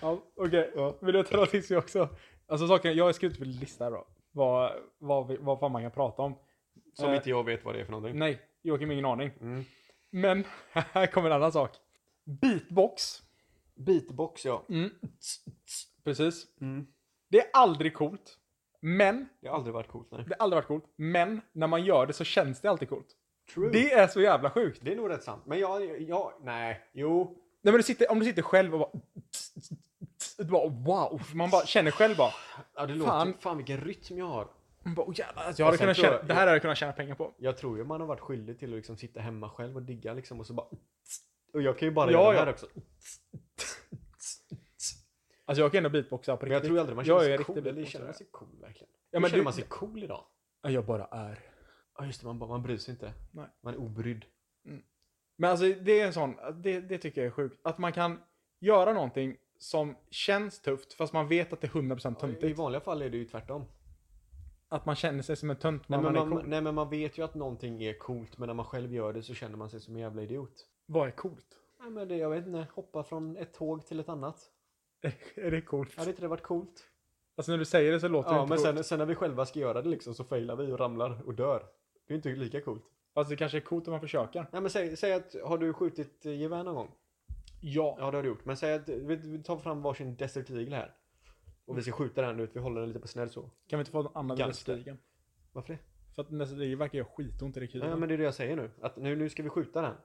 Speaker 2: ja, okej. Vill du ta något till sig också? Alltså saken, jag har skrivit på en lista här då. Vad, vad, vi- vad fan man kan prata om.
Speaker 1: Som
Speaker 2: Eh,
Speaker 1: inte jag vet vad det är för någonting.
Speaker 2: Nej, Joakim har ingen aning.
Speaker 1: Mm.
Speaker 2: Men här kommer en annan sak. Beatbox.
Speaker 1: Beatbox, ja.
Speaker 2: Precis.
Speaker 1: Mm.
Speaker 2: Det är aldrig coolt. Men,
Speaker 1: Det har aldrig varit coolt, nej.
Speaker 2: det har aldrig varit coolt. Men när man gör det så känns det alltid coolt.
Speaker 1: True. Det,
Speaker 2: Det är så jävla sjukt.
Speaker 1: är nog rätt sant. Men jag, jag, nej, jo.
Speaker 2: Nej, men du sitter, om du sitter själv och bara... Du bara wow. Man bara känner själv bara.
Speaker 1: Ja, det
Speaker 2: Fan.
Speaker 1: låter, fan vilken rytm jag har.
Speaker 2: Man bara oh, jävlar, alltså, jag hade
Speaker 1: sen
Speaker 2: kunnat
Speaker 1: tror jag-
Speaker 2: tjäna, det här hade jag kunnat tjäna pengar på.
Speaker 1: Jag tror ju man har varit skyldig till att liksom sitta hemma själv och digga liksom och så bara... Och jag kan ju bara
Speaker 2: Ja,
Speaker 1: göra det
Speaker 2: ja.
Speaker 1: här också.
Speaker 2: Alltså jag kan ändå beatboxa på
Speaker 1: Men jag
Speaker 2: riktigt.
Speaker 1: tror aldrig man
Speaker 2: Jag
Speaker 1: känner
Speaker 2: är
Speaker 1: sig
Speaker 2: riktig
Speaker 1: cool. Eller
Speaker 2: beatboxare.
Speaker 1: känner man sig cool verkligen?
Speaker 2: Ja,
Speaker 1: Ja,
Speaker 2: men
Speaker 1: men känner
Speaker 2: du-
Speaker 1: man sig cool idag?
Speaker 2: Ja, jag bara är.
Speaker 1: Ja just det, man, bara, man bryr sig inte.
Speaker 2: Nej.
Speaker 1: Man är obrydd.
Speaker 2: Men alltså det är en sån, det, det tycker jag är sjukt. Att man kan göra någonting som känns tufft fast man vet att det är 100%
Speaker 1: I
Speaker 2: töntigt.
Speaker 1: vanliga fall är det ju tvärtom.
Speaker 2: Att man känner sig som en tönt
Speaker 1: Nej
Speaker 2: men
Speaker 1: men,
Speaker 2: man,
Speaker 1: man,
Speaker 2: är cool.
Speaker 1: nej men man vet ju att någonting är coolt men när man själv gör det så känner man sig som en jävla idiot.
Speaker 2: Vad är coolt?
Speaker 1: Nej men det, jag vet inte, hoppa från ett tåg till ett annat.
Speaker 2: är det coolt?
Speaker 1: Hade inte det varit coolt?
Speaker 2: Alltså när du säger det så låter det
Speaker 1: Ja
Speaker 2: inte
Speaker 1: men
Speaker 2: coolt.
Speaker 1: sen, sen när vi själva ska göra det liksom så failar vi och ramlar och dör. Det är ju inte lika coolt.
Speaker 2: Alltså det kanske är coolt om man försöker.
Speaker 1: Nej men säg, säg att, har du skjutit eh, gevär någon gång?
Speaker 2: Ja.
Speaker 1: Ja det har du gjort. Men säg att, vi, vi tar fram varsin Desert Eagle här. Och vi ska skjuta den ut, vi håller den lite på snäll så.
Speaker 2: Kan vi inte få någon annan
Speaker 1: Ganska.
Speaker 2: Västerstigen?
Speaker 1: Varför det?
Speaker 2: För att Västerstigen verkar göra skitont i rekylen.
Speaker 1: Ja men det är det jag säger nu. Att nu, nu ska vi skjuta den.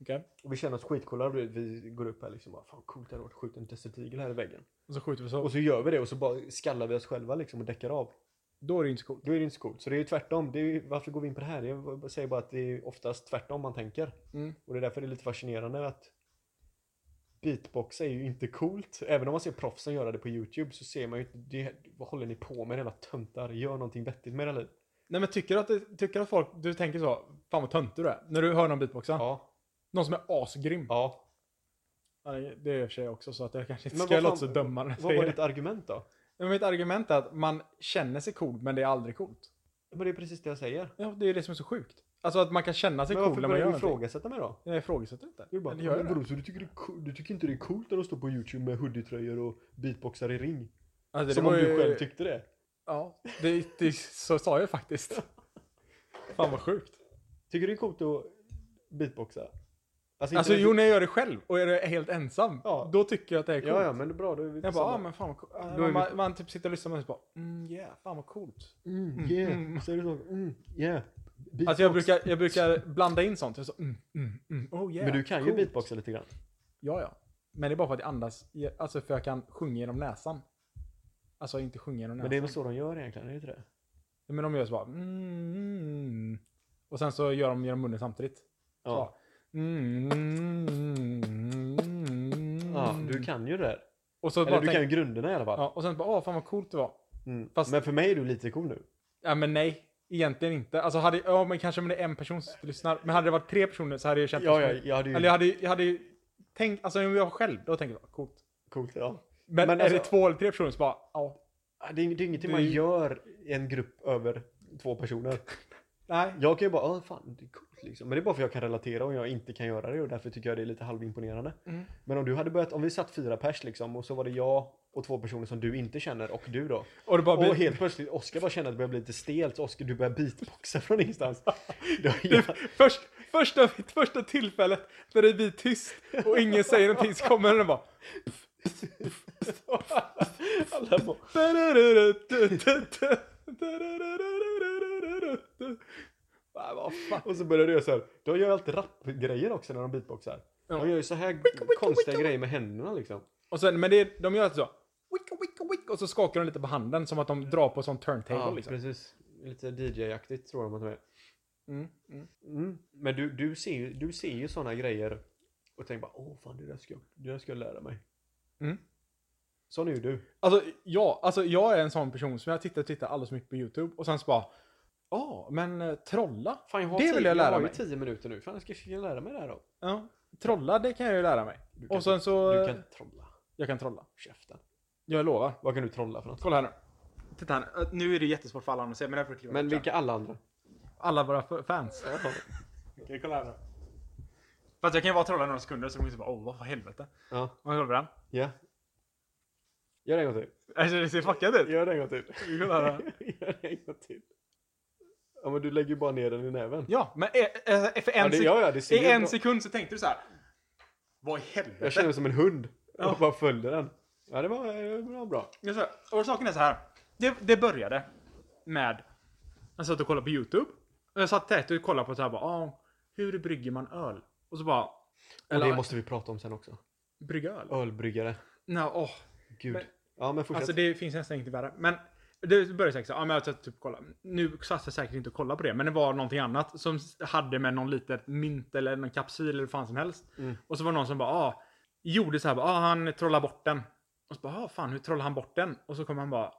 Speaker 2: Okej.
Speaker 1: Och vi känner oss skitcoola. Vi, vi går upp här liksom bara, fan coolt det hade varit att skjuta en Desert Eagle här i väggen.
Speaker 2: Och så skjuter vi så.
Speaker 1: Och så gör vi det och så bara skallar vi oss själva liksom och däckar av.
Speaker 2: Då är det ju inte så coolt.
Speaker 1: Då är det inte så coolt. Så det är ju tvärtom. Det är ju, varför går vi in på det här? Jag säger bara att det är oftast tvärtom man tänker.
Speaker 2: Mm.
Speaker 1: Och det är därför det är lite fascinerande att beatbox är ju inte coolt. Även om man ser proffsen göra det på YouTube så ser man ju inte det, vad håller ni på med hela töntar? Gör någonting vettigt med era liv.
Speaker 2: Nej men tycker du att, det, tycker du att folk, du tänker så, fan vad tönt du är. När du hör någon beatboxa.
Speaker 1: Ja.
Speaker 2: Någon som är asgrym.
Speaker 1: ja.
Speaker 2: Ja, det det är i och för sig också så att jag kanske inte
Speaker 1: Men
Speaker 2: ska
Speaker 1: vad
Speaker 2: låta
Speaker 1: fan-
Speaker 2: så dömande.
Speaker 1: Vad var ditt argument då?
Speaker 2: Men mitt argument är att man känner sig cool men det är aldrig coolt.
Speaker 1: Men det är precis det jag säger.
Speaker 2: Ja, det är det som är så sjukt. Alltså att man kan känna sig
Speaker 1: Men
Speaker 2: cool
Speaker 1: varför
Speaker 2: när man
Speaker 1: börjar
Speaker 2: gör
Speaker 1: du
Speaker 2: någonting.
Speaker 1: ifrågasätta mig då?
Speaker 2: Jag ifrågasätter inte.
Speaker 1: Du bara,
Speaker 2: Eller gör
Speaker 1: men
Speaker 2: jag det?
Speaker 1: vadå, så du tycker, det är cool, du tycker inte det är coolt när de står på YouTube med hoodietröjor och beatboxar i ring?
Speaker 2: Alltså, det
Speaker 1: Som
Speaker 2: var
Speaker 1: om du
Speaker 2: ju-
Speaker 1: själv tyckte det.
Speaker 2: Ja, det, det, så sa jag faktiskt. Fan vad sjukt.
Speaker 1: Tycker du det är coolt att beatboxa? Alltså,
Speaker 2: Alltså
Speaker 1: inte-
Speaker 2: jo, när jag gör det själv och är det helt ensam,
Speaker 1: Ja.
Speaker 2: då tycker jag att det är coolt.
Speaker 1: Ja, ja, men det är bra. Då är vi
Speaker 2: Jag bara, ah,
Speaker 1: tillsammans.
Speaker 2: men fan vad coolt.
Speaker 1: Då är
Speaker 2: Man,
Speaker 1: vi-
Speaker 2: bara- man typ sitter och lyssnar och så bara, mm, yeah, fan vad coolt.
Speaker 1: Mm,
Speaker 2: Mm,
Speaker 1: yeah.
Speaker 2: mm.
Speaker 1: Säger du så? Mm, yeah. Beatbox.
Speaker 2: Alltså jag brukar, jag brukar blanda in sånt. Jag så, mm, mm, mm, oh yeah,
Speaker 1: men du kan ju
Speaker 2: coolt.
Speaker 1: beatboxa lite grann.
Speaker 2: Ja, ja. Men det är bara för att jag andas, i- alltså för jag kan sjunga genom näsan. Alltså inte sjunga genom
Speaker 1: Men
Speaker 2: näsan.
Speaker 1: det är väl så de gör egentligen, är det inte det?
Speaker 2: Men de gör så bara, mm, mm. Och sen så gör de genom munnen samtidigt.
Speaker 1: Ja.
Speaker 2: Så, mm, mm,
Speaker 1: ja, du kan ju det där.
Speaker 2: Och så
Speaker 1: Eller
Speaker 2: bara
Speaker 1: du
Speaker 2: tänk,
Speaker 1: kan ju grunderna i alla fall.
Speaker 2: ja, och sen bara, åh fan vad coolt det var.
Speaker 1: Mm.
Speaker 2: Fast-
Speaker 1: Men för mig är du lite cool nu.
Speaker 2: Ja, men nej. Egentligen inte. Alltså hade, ja men kanske om det är en person som lyssnar. Men hade det varit tre personer så hade jag känt
Speaker 1: Ja,
Speaker 2: det
Speaker 1: ja,
Speaker 2: som-
Speaker 1: jag hade ju...
Speaker 2: Mm. Eller jag hade, jag hade ju tänkt, alltså om jag var själv, då tänker jag coolt.
Speaker 1: Coolt, ja.
Speaker 2: Men,
Speaker 1: Men
Speaker 2: är
Speaker 1: alltså-
Speaker 2: det två eller tre personer så bara, ja.
Speaker 1: Ja, Det är, det är ingenting
Speaker 2: Du-
Speaker 1: man gör i en grupp över två personer.
Speaker 2: Nej.
Speaker 1: Jag kan ju bara, "Ah, fan, det är coolt liksom. Men det är bara för att jag kan relatera och jag inte kan göra det och därför tycker jag det är lite halvimponerande.
Speaker 2: Mm.
Speaker 1: Men om du hade börjat, om vi satt fyra pers liksom och så var det jag och två personer som du inte känner och du då.
Speaker 2: Och det bara blir...
Speaker 1: Och helt plötsligt, Oskar bara känner att det börjar bli lite stelt. Oskar, du börjar beatboxa från ingenstans. Då-
Speaker 2: Det, först, första, första tillfället när det blir tyst och ingen säger någonting så kommer den och bara...
Speaker 1: Alla bara,
Speaker 2: Nej, vad fan.
Speaker 1: och så börjar du göra så här. De gör ju alltid rapgrejer också när de beatboxar.
Speaker 2: Ja.
Speaker 1: De gör ju så här konstiga grejer med händerna liksom.
Speaker 2: Och sen, men det, de gör alltid så. Wicka, wicka, wicka, och så skakar de lite på handen som att de drar på en sån turntable
Speaker 1: Ja,
Speaker 2: liksom.
Speaker 1: precis. Lite DJ-aktigt tror jag man är.
Speaker 2: Mm, mm.
Speaker 1: Mm. Men du, du, ser ju, du ser ju sådana grejer och tänker bara åh fan det där ska jag, det där ska jag lära mig.
Speaker 2: Mm.
Speaker 1: Sån är ju du.
Speaker 2: Alltså, ja, alltså jag är en sån person som jag tittar och tittar alldeles för mycket på YouTube och sen så bara, ja, men eh, trolla.
Speaker 1: Fan, jag har
Speaker 2: Det vill jag lära
Speaker 1: jag har
Speaker 2: mig.
Speaker 1: ju tio minuter nu. Fan jag ska försöka lära mig det här då.
Speaker 2: Ja, trolla, det kan jag ju lära mig.
Speaker 1: Du kan,
Speaker 2: Och sen så...
Speaker 1: du kan trolla.
Speaker 2: Jag kan trolla.
Speaker 1: Käften.
Speaker 2: Jag lovar.
Speaker 1: Vad kan du trolla för något?
Speaker 2: Kolla här nu. Titta här nu. Ö, Nu är det jättesvårt för alla andra att se, men jag får kliva
Speaker 1: Men
Speaker 2: bort den.
Speaker 1: vilka alla andra?
Speaker 2: Alla våra f- fans. Okej, kolla här nu. Fast jag kan ju bara trolla några sekunder så kommer vi bara åh, vad för helvete.
Speaker 1: Ja.
Speaker 2: Om jag håller den.
Speaker 1: Ja. Gör det en gång till.
Speaker 2: Alltså det ser fuckat ut.
Speaker 1: Gör det en gång till.
Speaker 2: Kolla här nu.
Speaker 1: Gör det en gång till. Ja men du lägger ju bara ner den i näven.
Speaker 2: Ja, men eh, eh, för
Speaker 1: Ja,
Speaker 2: en,
Speaker 1: det,
Speaker 2: sek-
Speaker 1: ja, ja, det ser
Speaker 2: i
Speaker 1: ju
Speaker 2: en
Speaker 1: bra.
Speaker 2: sekund så tänkte du så här. Vad i helvete?
Speaker 1: Jag känner mig som en hund.
Speaker 2: Ja.
Speaker 1: Och bara följde den. Ja det var, det var bra.
Speaker 2: Jag sa, och saken är så här. Det, det började med... Jag satt och kollade på YouTube. Och jag satt tätt och kollade på så här bara, ah, hur brygger man öl? Och så bara...
Speaker 1: och det måste vi prata om sen också.
Speaker 2: brygga öl?
Speaker 1: Ölbryggare.
Speaker 2: Nej, åh.
Speaker 1: Gud.
Speaker 2: Men-
Speaker 1: ja men fortsätt.
Speaker 2: Alltså det finns nästan inget värre. Men det började säkert så, ja men jag satt typ och kollade. Nu satt jag säkert inte och kollade på det, men det var någonting annat som hade med någon litet mynt eller någon kapsyl eller vad fan som helst.
Speaker 1: Mm.
Speaker 2: Och så var det någon som bara, ah, gjorde så här, bara, ah, han trollar bort den. Och så bara, ah, fan hur trollar han bort den? Och så kommer han bara,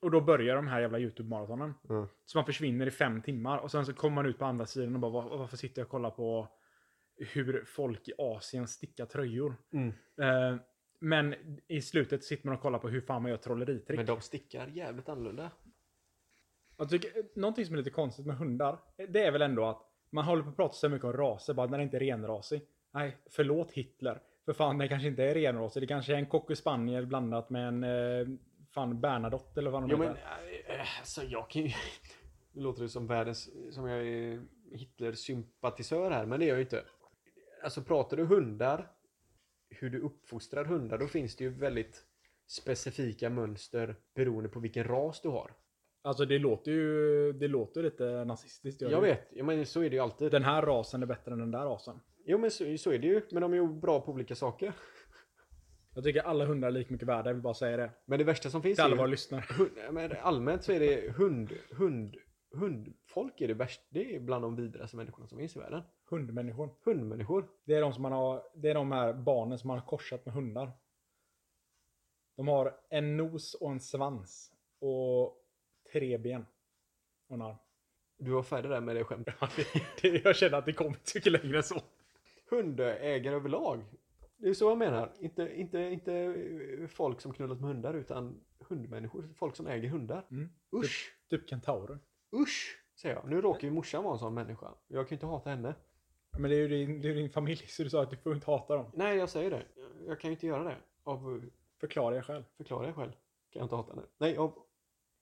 Speaker 2: och då börjar de här jävla YouTube-maratonen.
Speaker 1: Mm.
Speaker 2: Så man försvinner i fem timmar och sen så kommer man ut på andra sidan och bara, "Var- varför sitter jag och kollar på hur folk i Asien stickar tröjor?
Speaker 1: Mm.
Speaker 2: Eh, men i slutet sitter man och kollar på hur fan man gör trolleritrick.
Speaker 1: Men de stickar jävligt annorlunda.
Speaker 2: Jag tycker, eh, någonting som är lite konstigt med hundar, eh, det är väl ändå att man håller på att prata så mycket om raser, bara när det inte är renrasig. Nej, förlåt Hitler. För fan, det kanske inte är renrasig. Det kanske är en cocker spaniel blandat med en eh, fan Bernadotte eller vad de
Speaker 1: Jo men
Speaker 2: heter.
Speaker 1: eh, eh, alltså jag kan ju... Nu låter det som världens... Som jag är Hitler-sympatisör här, men det är jag ju inte. Alltså pratar du hundar, hur du uppfostrar hundar, då finns det ju väldigt specifika mönster beroende på vilken ras du har.
Speaker 2: Alltså det låter ju det låter lite nazistiskt. gör
Speaker 1: Jag
Speaker 2: det ju.
Speaker 1: vet, ja, men så är det ju alltid.
Speaker 2: Den här rasen är bättre än den där rasen.
Speaker 1: Jo men så, så är det ju, men de är ju bra på olika saker.
Speaker 2: Jag tycker alla hundar är lika mycket värda, jag vill bara säga det.
Speaker 1: Men det värsta som finns
Speaker 2: Till
Speaker 1: är
Speaker 2: alla
Speaker 1: ju...
Speaker 2: våra lyssnare.
Speaker 1: Hund, ja, men allmänt så är det hund, hund, hundfolk är det värst. Det är bland de vidraste människorna som finns i världen.
Speaker 2: Hundmänniskor.
Speaker 1: Hundmänniskor.
Speaker 2: Det är de som man har, det är de här barnen som man har korsat med hundar. De har en nos och en svans. Och tre ben. Och en arm.
Speaker 1: Du var färdig där med det skämtet.
Speaker 2: jag känner att det kommer inte mycket längre än så.
Speaker 1: Hundägare överlag. Det är så jag menar. Inte, inte, inte eh, folk som knullat med hundar utan hundmänniskor. Folk som äger hundar.
Speaker 2: Mm.
Speaker 1: Usch!
Speaker 2: Typ kentaurer.
Speaker 1: Usch! Säger jag. Nu råkar ju morsan vara en sån människa. Jag kan ju inte hata henne.
Speaker 2: Men det är ju din, det är din familj så du sa att du får inte hata dem.
Speaker 1: Nej, jag säger det. Jag kan ju inte göra det. Av...
Speaker 2: Förklara dig själv.
Speaker 1: Förklarar jag själv. Kan jag inte hata henne. Nej, av...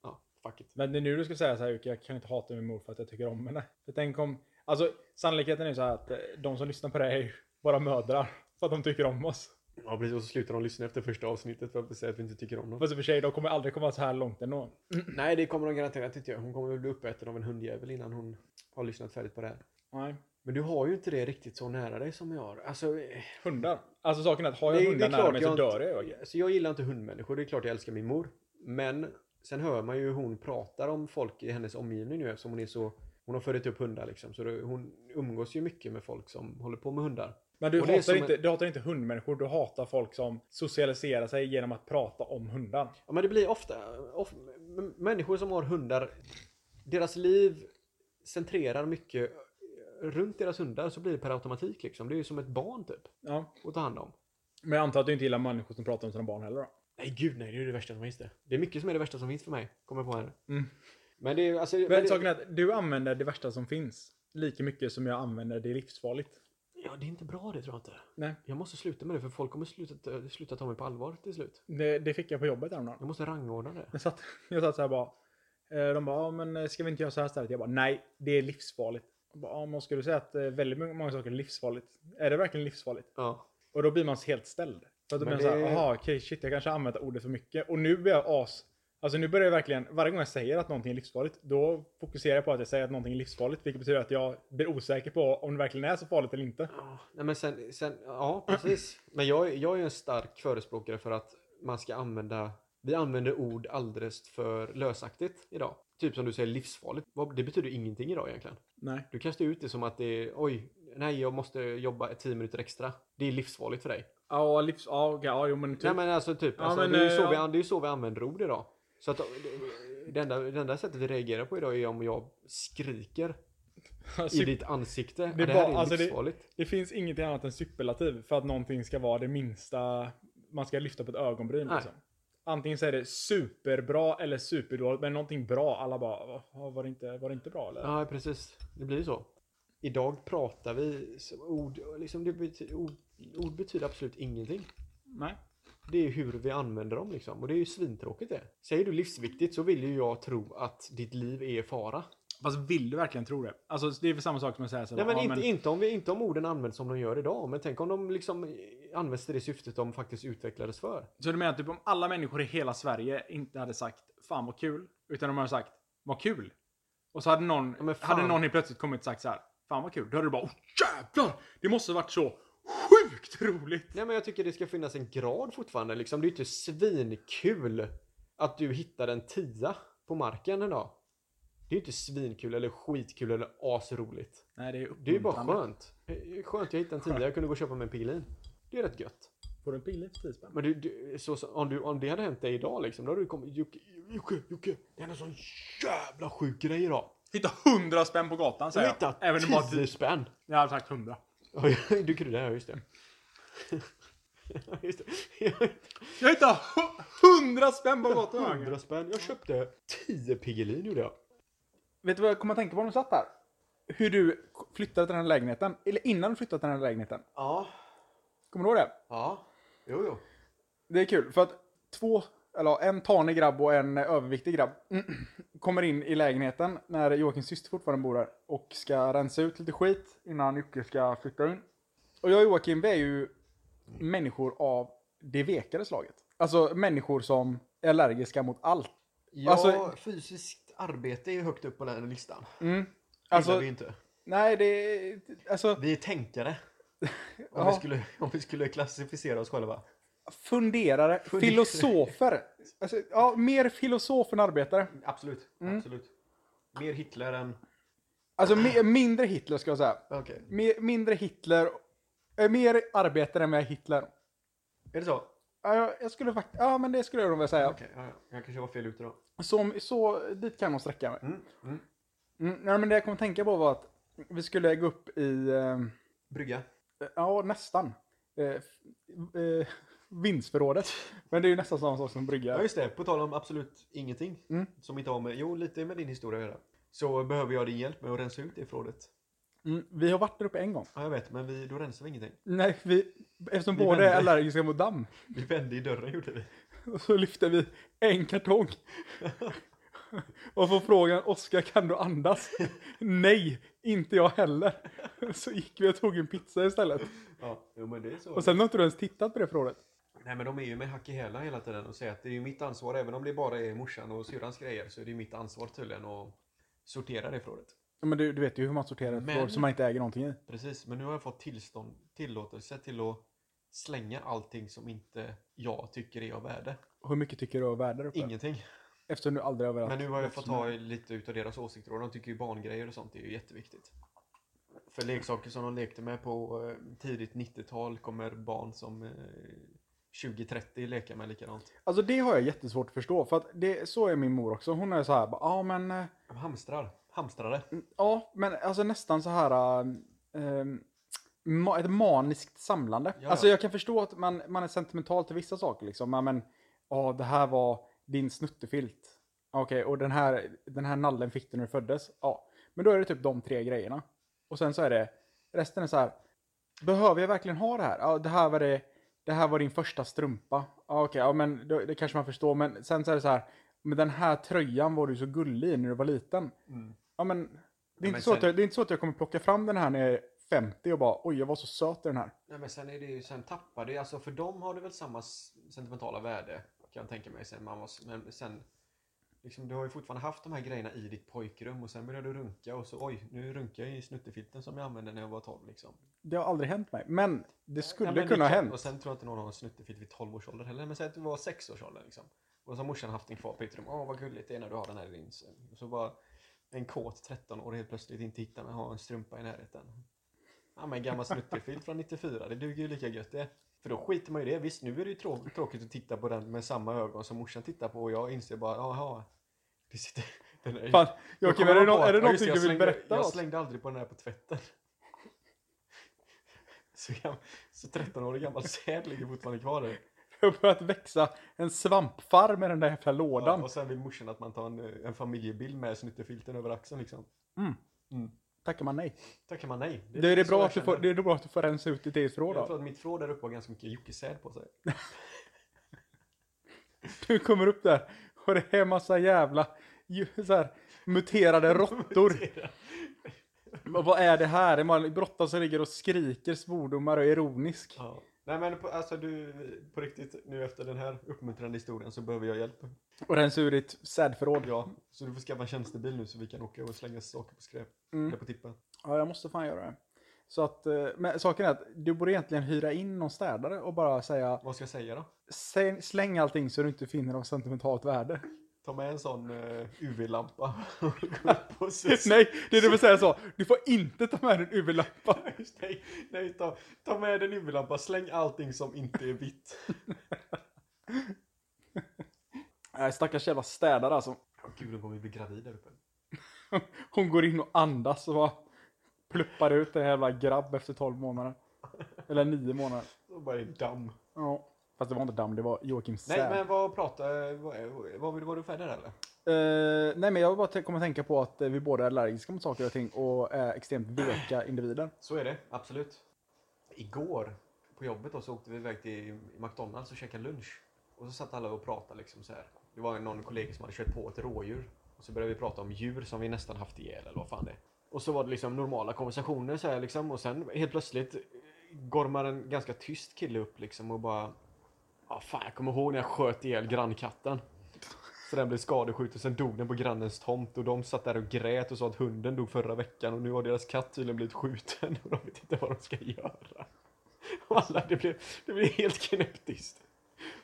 Speaker 1: Ja, fuck it.
Speaker 2: Men det är nu du ska säga så här, Jocke, jag kan inte hata min mor för att jag tycker om henne. För tänk om, alltså sannolikheten är ju så här att eh, de som lyssnar på det här är ju våra mödrar. Så att de tycker om oss.
Speaker 1: Ja, precis. Och så slutar de lyssna efter första avsnittet för att säga att vi inte tycker om dem.
Speaker 2: Fast i och för sig, de kommer aldrig komma så här långt ändå.
Speaker 1: Nej, det kommer de garanterat inte göra. Hon kommer väl bli uppäten av en hundjävel innan hon har lyssnat färdigt på det här.
Speaker 2: Nej.
Speaker 1: Men du har ju inte det riktigt så nära dig som jag har. Alltså, eh,
Speaker 2: Hundar. Alltså saken är att har jag
Speaker 1: Det- det är
Speaker 2: hundar nära
Speaker 1: klart
Speaker 2: mig så
Speaker 1: jag
Speaker 2: dör jag. ju.
Speaker 1: alltså jag gillar inte hundmänniskor. Det är klart jag älskar min mor. Men sen hör man ju hur hon pratar om folk i hennes omgivning nu eftersom hon är så... Hon har förit upp hundar liksom. Så det, hon umgås ju mycket med folk som håller på med hundar.
Speaker 2: Men du
Speaker 1: Och det är
Speaker 2: hatar,
Speaker 1: som
Speaker 2: inte, du hatar inte hundmänniskor, du hatar folk som socialiserar sig genom att prata om hundar.
Speaker 1: Ja, men det blir ofta... Of, m- människor som har hundar, deras liv centrerar mycket eh, runt deras hundar så blir det per automatik liksom. Det är ju som ett barn typ
Speaker 2: Ja.
Speaker 1: att ta hand om.
Speaker 2: Men jag antar att du inte gillar människor som pratar om sina barn heller då?
Speaker 1: Nej gud nej, det är ju det värsta som finns det. Det är mycket som är det värsta som finns för mig, kommer jag på här.
Speaker 2: Mm.
Speaker 1: Men det är alltså...
Speaker 2: Men
Speaker 1: det,
Speaker 2: saken är att du använder det värsta som finns. Lika mycket som jag använder det livsfarligt.
Speaker 1: Ja, det är inte bra det tror jag inte.
Speaker 2: Nej,
Speaker 1: Jag måste sluta med det för folk kommer sluta, sluta ta mig på allvar till slut.
Speaker 2: det, det fick jag på jobbet häromdagen.
Speaker 1: Jag måste rangordna det.
Speaker 2: Jag satt, jag satt så här bara. eh, De bara, ja, men eh, ska vi inte göra så här istället? Jag bara, nej, det är livsfarligt. Jag bara, ja, men ska du säga att eh, väldigt många många saker är livsfarligt? Är det verkligen livsfarligt?
Speaker 1: Ja.
Speaker 2: Och då blir man helt ställd. För att då blir
Speaker 1: Men
Speaker 2: man såhär,
Speaker 1: det-
Speaker 2: aha, okej, shit, jag kanske har använt ordet för mycket. Och nu blir jag as... Alltså nu börjar jag verkligen, varje gång jag säger att någonting är livsfarligt, då fokuserar jag på att jag säger att någonting är livsfarligt, vilket betyder att jag blir osäker på om det verkligen är så farligt eller inte.
Speaker 1: Ja, nej men sen, sen, ja precis. Men jag, jag är en stark förespråkare för att man ska använda, vi använder ord alldeles för lösaktigt idag. Typ som du säger livsfarligt. Vad- Det betyder ingenting idag egentligen.
Speaker 2: Nej.
Speaker 1: Du kastar ut det som att det är, oj, nej jag måste jobba 10 minuter extra. Det är livsfarligt för dig.
Speaker 2: Ja, livs... Ja, okej, ja, jo men typ.
Speaker 1: Nej men alltså typ,
Speaker 2: Ja,
Speaker 1: alltså,
Speaker 2: men,
Speaker 1: det, är ju så
Speaker 2: eh,
Speaker 1: vi,
Speaker 2: ja.
Speaker 1: det är ju så vi använder ord idag. Så att det- det enda, det enda sättet vi reagerar på idag är om jag skriker i
Speaker 2: Cyp-
Speaker 1: ditt ansikte.
Speaker 2: Alltså, det är
Speaker 1: Det, det här
Speaker 2: bara-
Speaker 1: är
Speaker 2: alltså, det-
Speaker 1: livsfarligt.
Speaker 2: Det finns ingenting annat än superlativ för att någonting ska vara det minsta man ska lyfta på ett ögonbryn.
Speaker 1: Nej.
Speaker 2: Liksom. Antingen så är det superbra eller superdåligt, men någonting bra, alla bara, "Va, var det inte, var det inte bra eller?
Speaker 1: Ja, precis. Det blir ju så. Idag pratar vi som ord, liksom det bety, ord, ord betyder absolut ingenting.
Speaker 2: Nej.
Speaker 1: Det är hur vi använder dem liksom och det är ju svintråkigt det. Säger du livsviktigt så vill ju jag tro att ditt liv är i fara.
Speaker 2: Fast vill du verkligen tro det? Alltså det är väl samma sak som att säga så
Speaker 1: Nej
Speaker 2: här,
Speaker 1: men,
Speaker 2: ja,
Speaker 1: inte, Inte, om vi, inte om orden används som de gör idag men tänk om de liksom används till det syftet de faktiskt utvecklades för.
Speaker 2: Så du menar typ om alla människor i hela Sverige inte hade sagt Fan vad kul, utan de hade sagt Vad kul! Och så hade någon,
Speaker 1: Ja, men fan.
Speaker 2: hade någon helt plötsligt kommit och sagt så här Fan vad kul! Då hade du bara oh, jävlar! Det måste ha varit så sjukt roligt!
Speaker 1: Nej men jag tycker det ska finnas en grad fortfarande liksom. Det är ju inte svinkul att du hittar en tia på marken en dag. Det är ju inte svinkul eller skitkul eller asroligt.
Speaker 2: Nej det är
Speaker 1: Det är ju bara
Speaker 2: uppmuntrande.
Speaker 1: skönt. Eh, Skönt jag hittade en tia, jag kunde gå och köpa mig en Piggelin. Det är rätt gött.
Speaker 2: Får du en pille för 10 spänn?
Speaker 1: Men du, du, så, så, om, du, om det hade hänt dig idag liksom, då hade du kommit Jocke, Jocke, Jocke, det är en sån jävla sjuk grej idag.
Speaker 2: Hitta 100 spänn på gatan
Speaker 1: Jag
Speaker 2: säger jag.
Speaker 1: hittade
Speaker 2: Även om bara
Speaker 1: 10 spänn.
Speaker 2: Jag hade sagt 100.
Speaker 1: Oj, Du kryddar, ja just det. Ja, just det.
Speaker 2: Jag hittade 100 spänn på gatan!
Speaker 1: Jag,
Speaker 2: Hagen.
Speaker 1: 100 spänn. Jag köpte 10 Piggelin gjorde jag.
Speaker 2: Vet du vad jag kommer att tänka på när du satt där? Hur du flyttade till den här lägenheten. Eller innan du flyttade till den här lägenheten.
Speaker 1: Ja.
Speaker 2: Kommer du ihåg det?
Speaker 1: Ja. Jo, jo.
Speaker 2: Det är kul för att två, eller en tanig grabb och en överviktig grabb kommer in i lägenheten när Joakims syster fortfarande bor där och ska rensa ut lite skit innan Jocke ska flytta in. Och jag och Joakim vi är ju människor av det vekare slaget. Alltså människor som är allergiska mot allt.
Speaker 1: Ja,
Speaker 2: Alltså-
Speaker 1: fysiskt arbete är ju högt upp på den här listan.
Speaker 2: Mm.
Speaker 1: Alltså,
Speaker 2: Alltså,
Speaker 1: vi inte.
Speaker 2: nej det är... Alltså,
Speaker 1: Vi är tänkare. Om,
Speaker 2: Ja.
Speaker 1: vi skulle, om vi skulle klassificera oss själva.
Speaker 2: funderare, filosofer. Alltså, ja, mer filosof än arbetare.
Speaker 1: Absolut.
Speaker 2: Mm.
Speaker 1: Absolut. Mer Hitler än...
Speaker 2: Alltså mi- mindre Hitler ska jag säga.
Speaker 1: Okej.
Speaker 2: Mer, mindre Hitler. eh, Mer arbetare än vad jag är Hitler.
Speaker 1: Är det så?
Speaker 2: Ja, jag- jag skulle faktiskt... Ja, men det skulle jag nog vilja säga.
Speaker 1: Okej, ja, ja. jag kanske var fel ute då.
Speaker 2: Så, så dit kan jag nog sträcka mig.
Speaker 1: Mm. Mm.
Speaker 2: Mm, nej, men det jag kom att tänka på var att vi skulle gå upp i... Eh,
Speaker 1: Brygga.
Speaker 2: ja, nästan. Eh, f- eh, vindsförrådet. Men det är ju nästan samma sak som
Speaker 1: Ja
Speaker 2: brygga.
Speaker 1: just det, på tal om absolut ingenting
Speaker 2: Mm.
Speaker 1: som inte har med, jo lite med din historia att göra. Så behöver jag din hjälp med att rensa ut det förrådet.
Speaker 2: Mm, vi har varit där uppe en gång.
Speaker 1: Ja jag vet, men vi, då rensar vi ingenting.
Speaker 2: Nej, vi, eftersom
Speaker 1: Vi
Speaker 2: båda är
Speaker 1: vände.
Speaker 2: allergiska mot damm.
Speaker 1: Vi vände i dörren gjorde vi.
Speaker 2: Och så lyfter vi en kartong. Och får frågan, Oskar kan du andas? Nej, inte jag heller. Så gick vi och tog en pizza istället.
Speaker 1: Ja, jo, men det är så.
Speaker 2: Och sen har inte du ens tittat på det förrådet.
Speaker 1: Nej men de är ju med hack i hälen hela tiden och säger att det är ju mitt ansvar. Även om det bara är morsan och syrrans grejer så är det ju mitt ansvar tydligen att sortera det förrådet.
Speaker 2: Ja, Men du, du vet ju hur man sorterar ett
Speaker 1: Men-
Speaker 2: förråd som man inte äger någonting i.
Speaker 1: Precis, men nu har jag fått tillstånd, tillåtelse till att slänga allting som inte jag tycker är av värde.
Speaker 2: Och Hur mycket tycker du är värde där uppe?
Speaker 1: Ingenting.
Speaker 2: Eftersom du aldrig har velat...
Speaker 1: Men nu har jag
Speaker 2: något
Speaker 1: fått
Speaker 2: som
Speaker 1: ta
Speaker 2: är-
Speaker 1: i lite utav deras åsikter och de tycker ju barngrejer och sånt är ju jätteviktigt. För leksaker som de lekte med på eh, tidigt 90-tal kommer barn som eh, 20-30 leka med likadant.
Speaker 2: Alltså det har jag jättesvårt att förstå. För att det, så är min mor också. Hon är så här, bara, ja men... eh,
Speaker 1: Hamstrar. Hamstrare.
Speaker 2: Ja, men alltså nästan så här... eh, eh, ma- ett maniskt samlande.
Speaker 1: Ja,
Speaker 2: Alltså
Speaker 1: ja.
Speaker 2: jag kan förstå att man, man är sentimental till vissa saker liksom. Ja, Men, ja det här var din snuttefilt. Okej, och den här, den här nallen fick du när du föddes. Ja, men då är det typ de tre grejerna. Och sen så är det, resten är så här. Behöver jag verkligen ha det här? Ja, det här var det. Det här var din första strumpa. Ja, okej, ja, men det, det kanske man förstår. Men sen så är det så här. Men den här tröjan var du så gullig i när du var liten.
Speaker 1: Mm.
Speaker 2: Ja, men det är,
Speaker 1: men
Speaker 2: inte, så att
Speaker 1: sen-
Speaker 2: jag, det är inte så att jag kommer plocka fram den här när jag är 50 och bara oj, jag var så söt i den här.
Speaker 1: Nej men sen är det ju, sen tappar det alltså för dem har det väl samma s- sentimentala värde kan jag tänka mig sen man var, s- men sen liksom du har ju fortfarande haft de här grejerna i ditt pojkrum och sen började du runka och så oj, nu runkar jag i snuttefilten som jag använde när jag var 12 liksom.
Speaker 2: Det har aldrig hänt mig. Men det skulle
Speaker 1: Ja, men
Speaker 2: kunna
Speaker 1: det
Speaker 2: ha
Speaker 1: kan-
Speaker 2: hänt.
Speaker 1: Och sen tror jag inte någon har en snuttefilt vid 12 års ålder heller. Men säg att du var 6 års ålder liksom. Och så har morsan haft den kvar på ditt rum. Åh vad gulligt det är när du har den här i linsen. Och så bara en kåt 13-åring helt plötsligt inte hittar men har en strumpa i närheten. Ja men en gammal snuttefilt från 94, det duger ju lika gött det. För då skiter man ju i det. Visst nu är det ju trå- tråkigt att titta på den med samma ögon som morsan tittar på och jag inser bara jaha. Det sitter... Den är...
Speaker 2: Fan,
Speaker 1: Då
Speaker 2: Joakim,
Speaker 1: kommer
Speaker 2: är det,
Speaker 1: jag
Speaker 2: nå-
Speaker 1: på
Speaker 2: är det
Speaker 1: att- ja, just
Speaker 2: någonting
Speaker 1: jag
Speaker 2: du vill
Speaker 1: slängde-
Speaker 2: berätta?
Speaker 1: Jag
Speaker 2: oss?
Speaker 1: slängde aldrig på den här på tvätten. Så, gam- så 13-årig gammal säd ligger fortfarande kvar där.
Speaker 2: Det har börjat växa en svampfarm i den där jävla lådan.
Speaker 1: Och sen vill morsan att man tar en, eh, en familjebild med snyttefilten över axeln liksom.
Speaker 2: Mm.
Speaker 1: Mm.
Speaker 2: Tackar man nej.
Speaker 1: Tackar man nej.
Speaker 2: Det är, det,
Speaker 1: så
Speaker 2: bra
Speaker 1: jag
Speaker 2: att du får,
Speaker 1: känner.
Speaker 2: det är bra att du får rensa ut ditt eget förråd
Speaker 1: Jag tror
Speaker 2: då.
Speaker 1: att mitt förråd där uppe har ganska mycket jockesäd på sig.
Speaker 2: Du kommer upp där och det är massa jävla ju- så här, muterade råttor. Och vad är det här? Det är bara en brottare som ligger och skriker svordomar och är ironisk.
Speaker 1: Ja. Nej men på, alltså du, på riktigt nu efter den här uppmuntrande historien så behöver jag hjälp.
Speaker 2: Och rensa ur ditt sädförråd.
Speaker 1: Ja, så du får skaffa en tjänstebil nu så vi kan åka och slänga saker på skräp.
Speaker 2: Mm.
Speaker 1: Eller på tippen.
Speaker 2: Ja, jag måste fan göra det. Så att, eh, men saken är att du borde egentligen hyra in någon städare och bara säga
Speaker 1: Vad ska jag säga då?
Speaker 2: "Säg- släng allting så du inte finner något sentimentalt värde.
Speaker 1: Ta med en sån eh, UV-lampa och gå upp på sus.
Speaker 2: Nej, det är det vill säga så. Du får inte ta med en UV-lampa.
Speaker 1: Just det. nej, ta, ta med en UV-lampa, släng allting som inte är vitt.
Speaker 2: Nej, stackars jävla städare alltså.
Speaker 1: Oh, gud, hon kommer bli gravid där uppe.
Speaker 2: Hon går in och andas och bara pluppar ut en jävla grabb efter 12 månader. Eller 9 månader.
Speaker 1: Det bara är damm.
Speaker 2: Ja. Fast det var inte damm, det var Joakim
Speaker 1: Nej,
Speaker 2: Säd.
Speaker 1: men vad pratar, vad, är- vad vill, var du färdig där eller?
Speaker 2: Eh, nej, men jag bara t- kommer att tänka på att eh, vi båda är allergiska mot saker och ting och är extremt veka individer.
Speaker 1: Så är det, absolut. Igår på jobbet då, så åkte vi iväg till McDonalds och käkade lunch. Och så satt alla och pratade liksom så här. Det var någon kollega som hade kört på ett rådjur. Och så började vi prata om djur som vi nästan haft ihjäl eller vad fan det är. Och så var det liksom normala konversationer så här liksom. Och sen helt plötsligt gormar en ganska tyst kille upp liksom och bara Ja fan jag kommer ihåg när jag sköt ihjäl grannkatten. Så den blev skadeskjuten, sen dog den på grannens tomt och de satt där och grät och sa att hunden dog förra veckan och nu har deras katt tydligen blivit skjuten och de vet inte vad de ska göra. Och alla, det blev, det blev helt knäpptyst.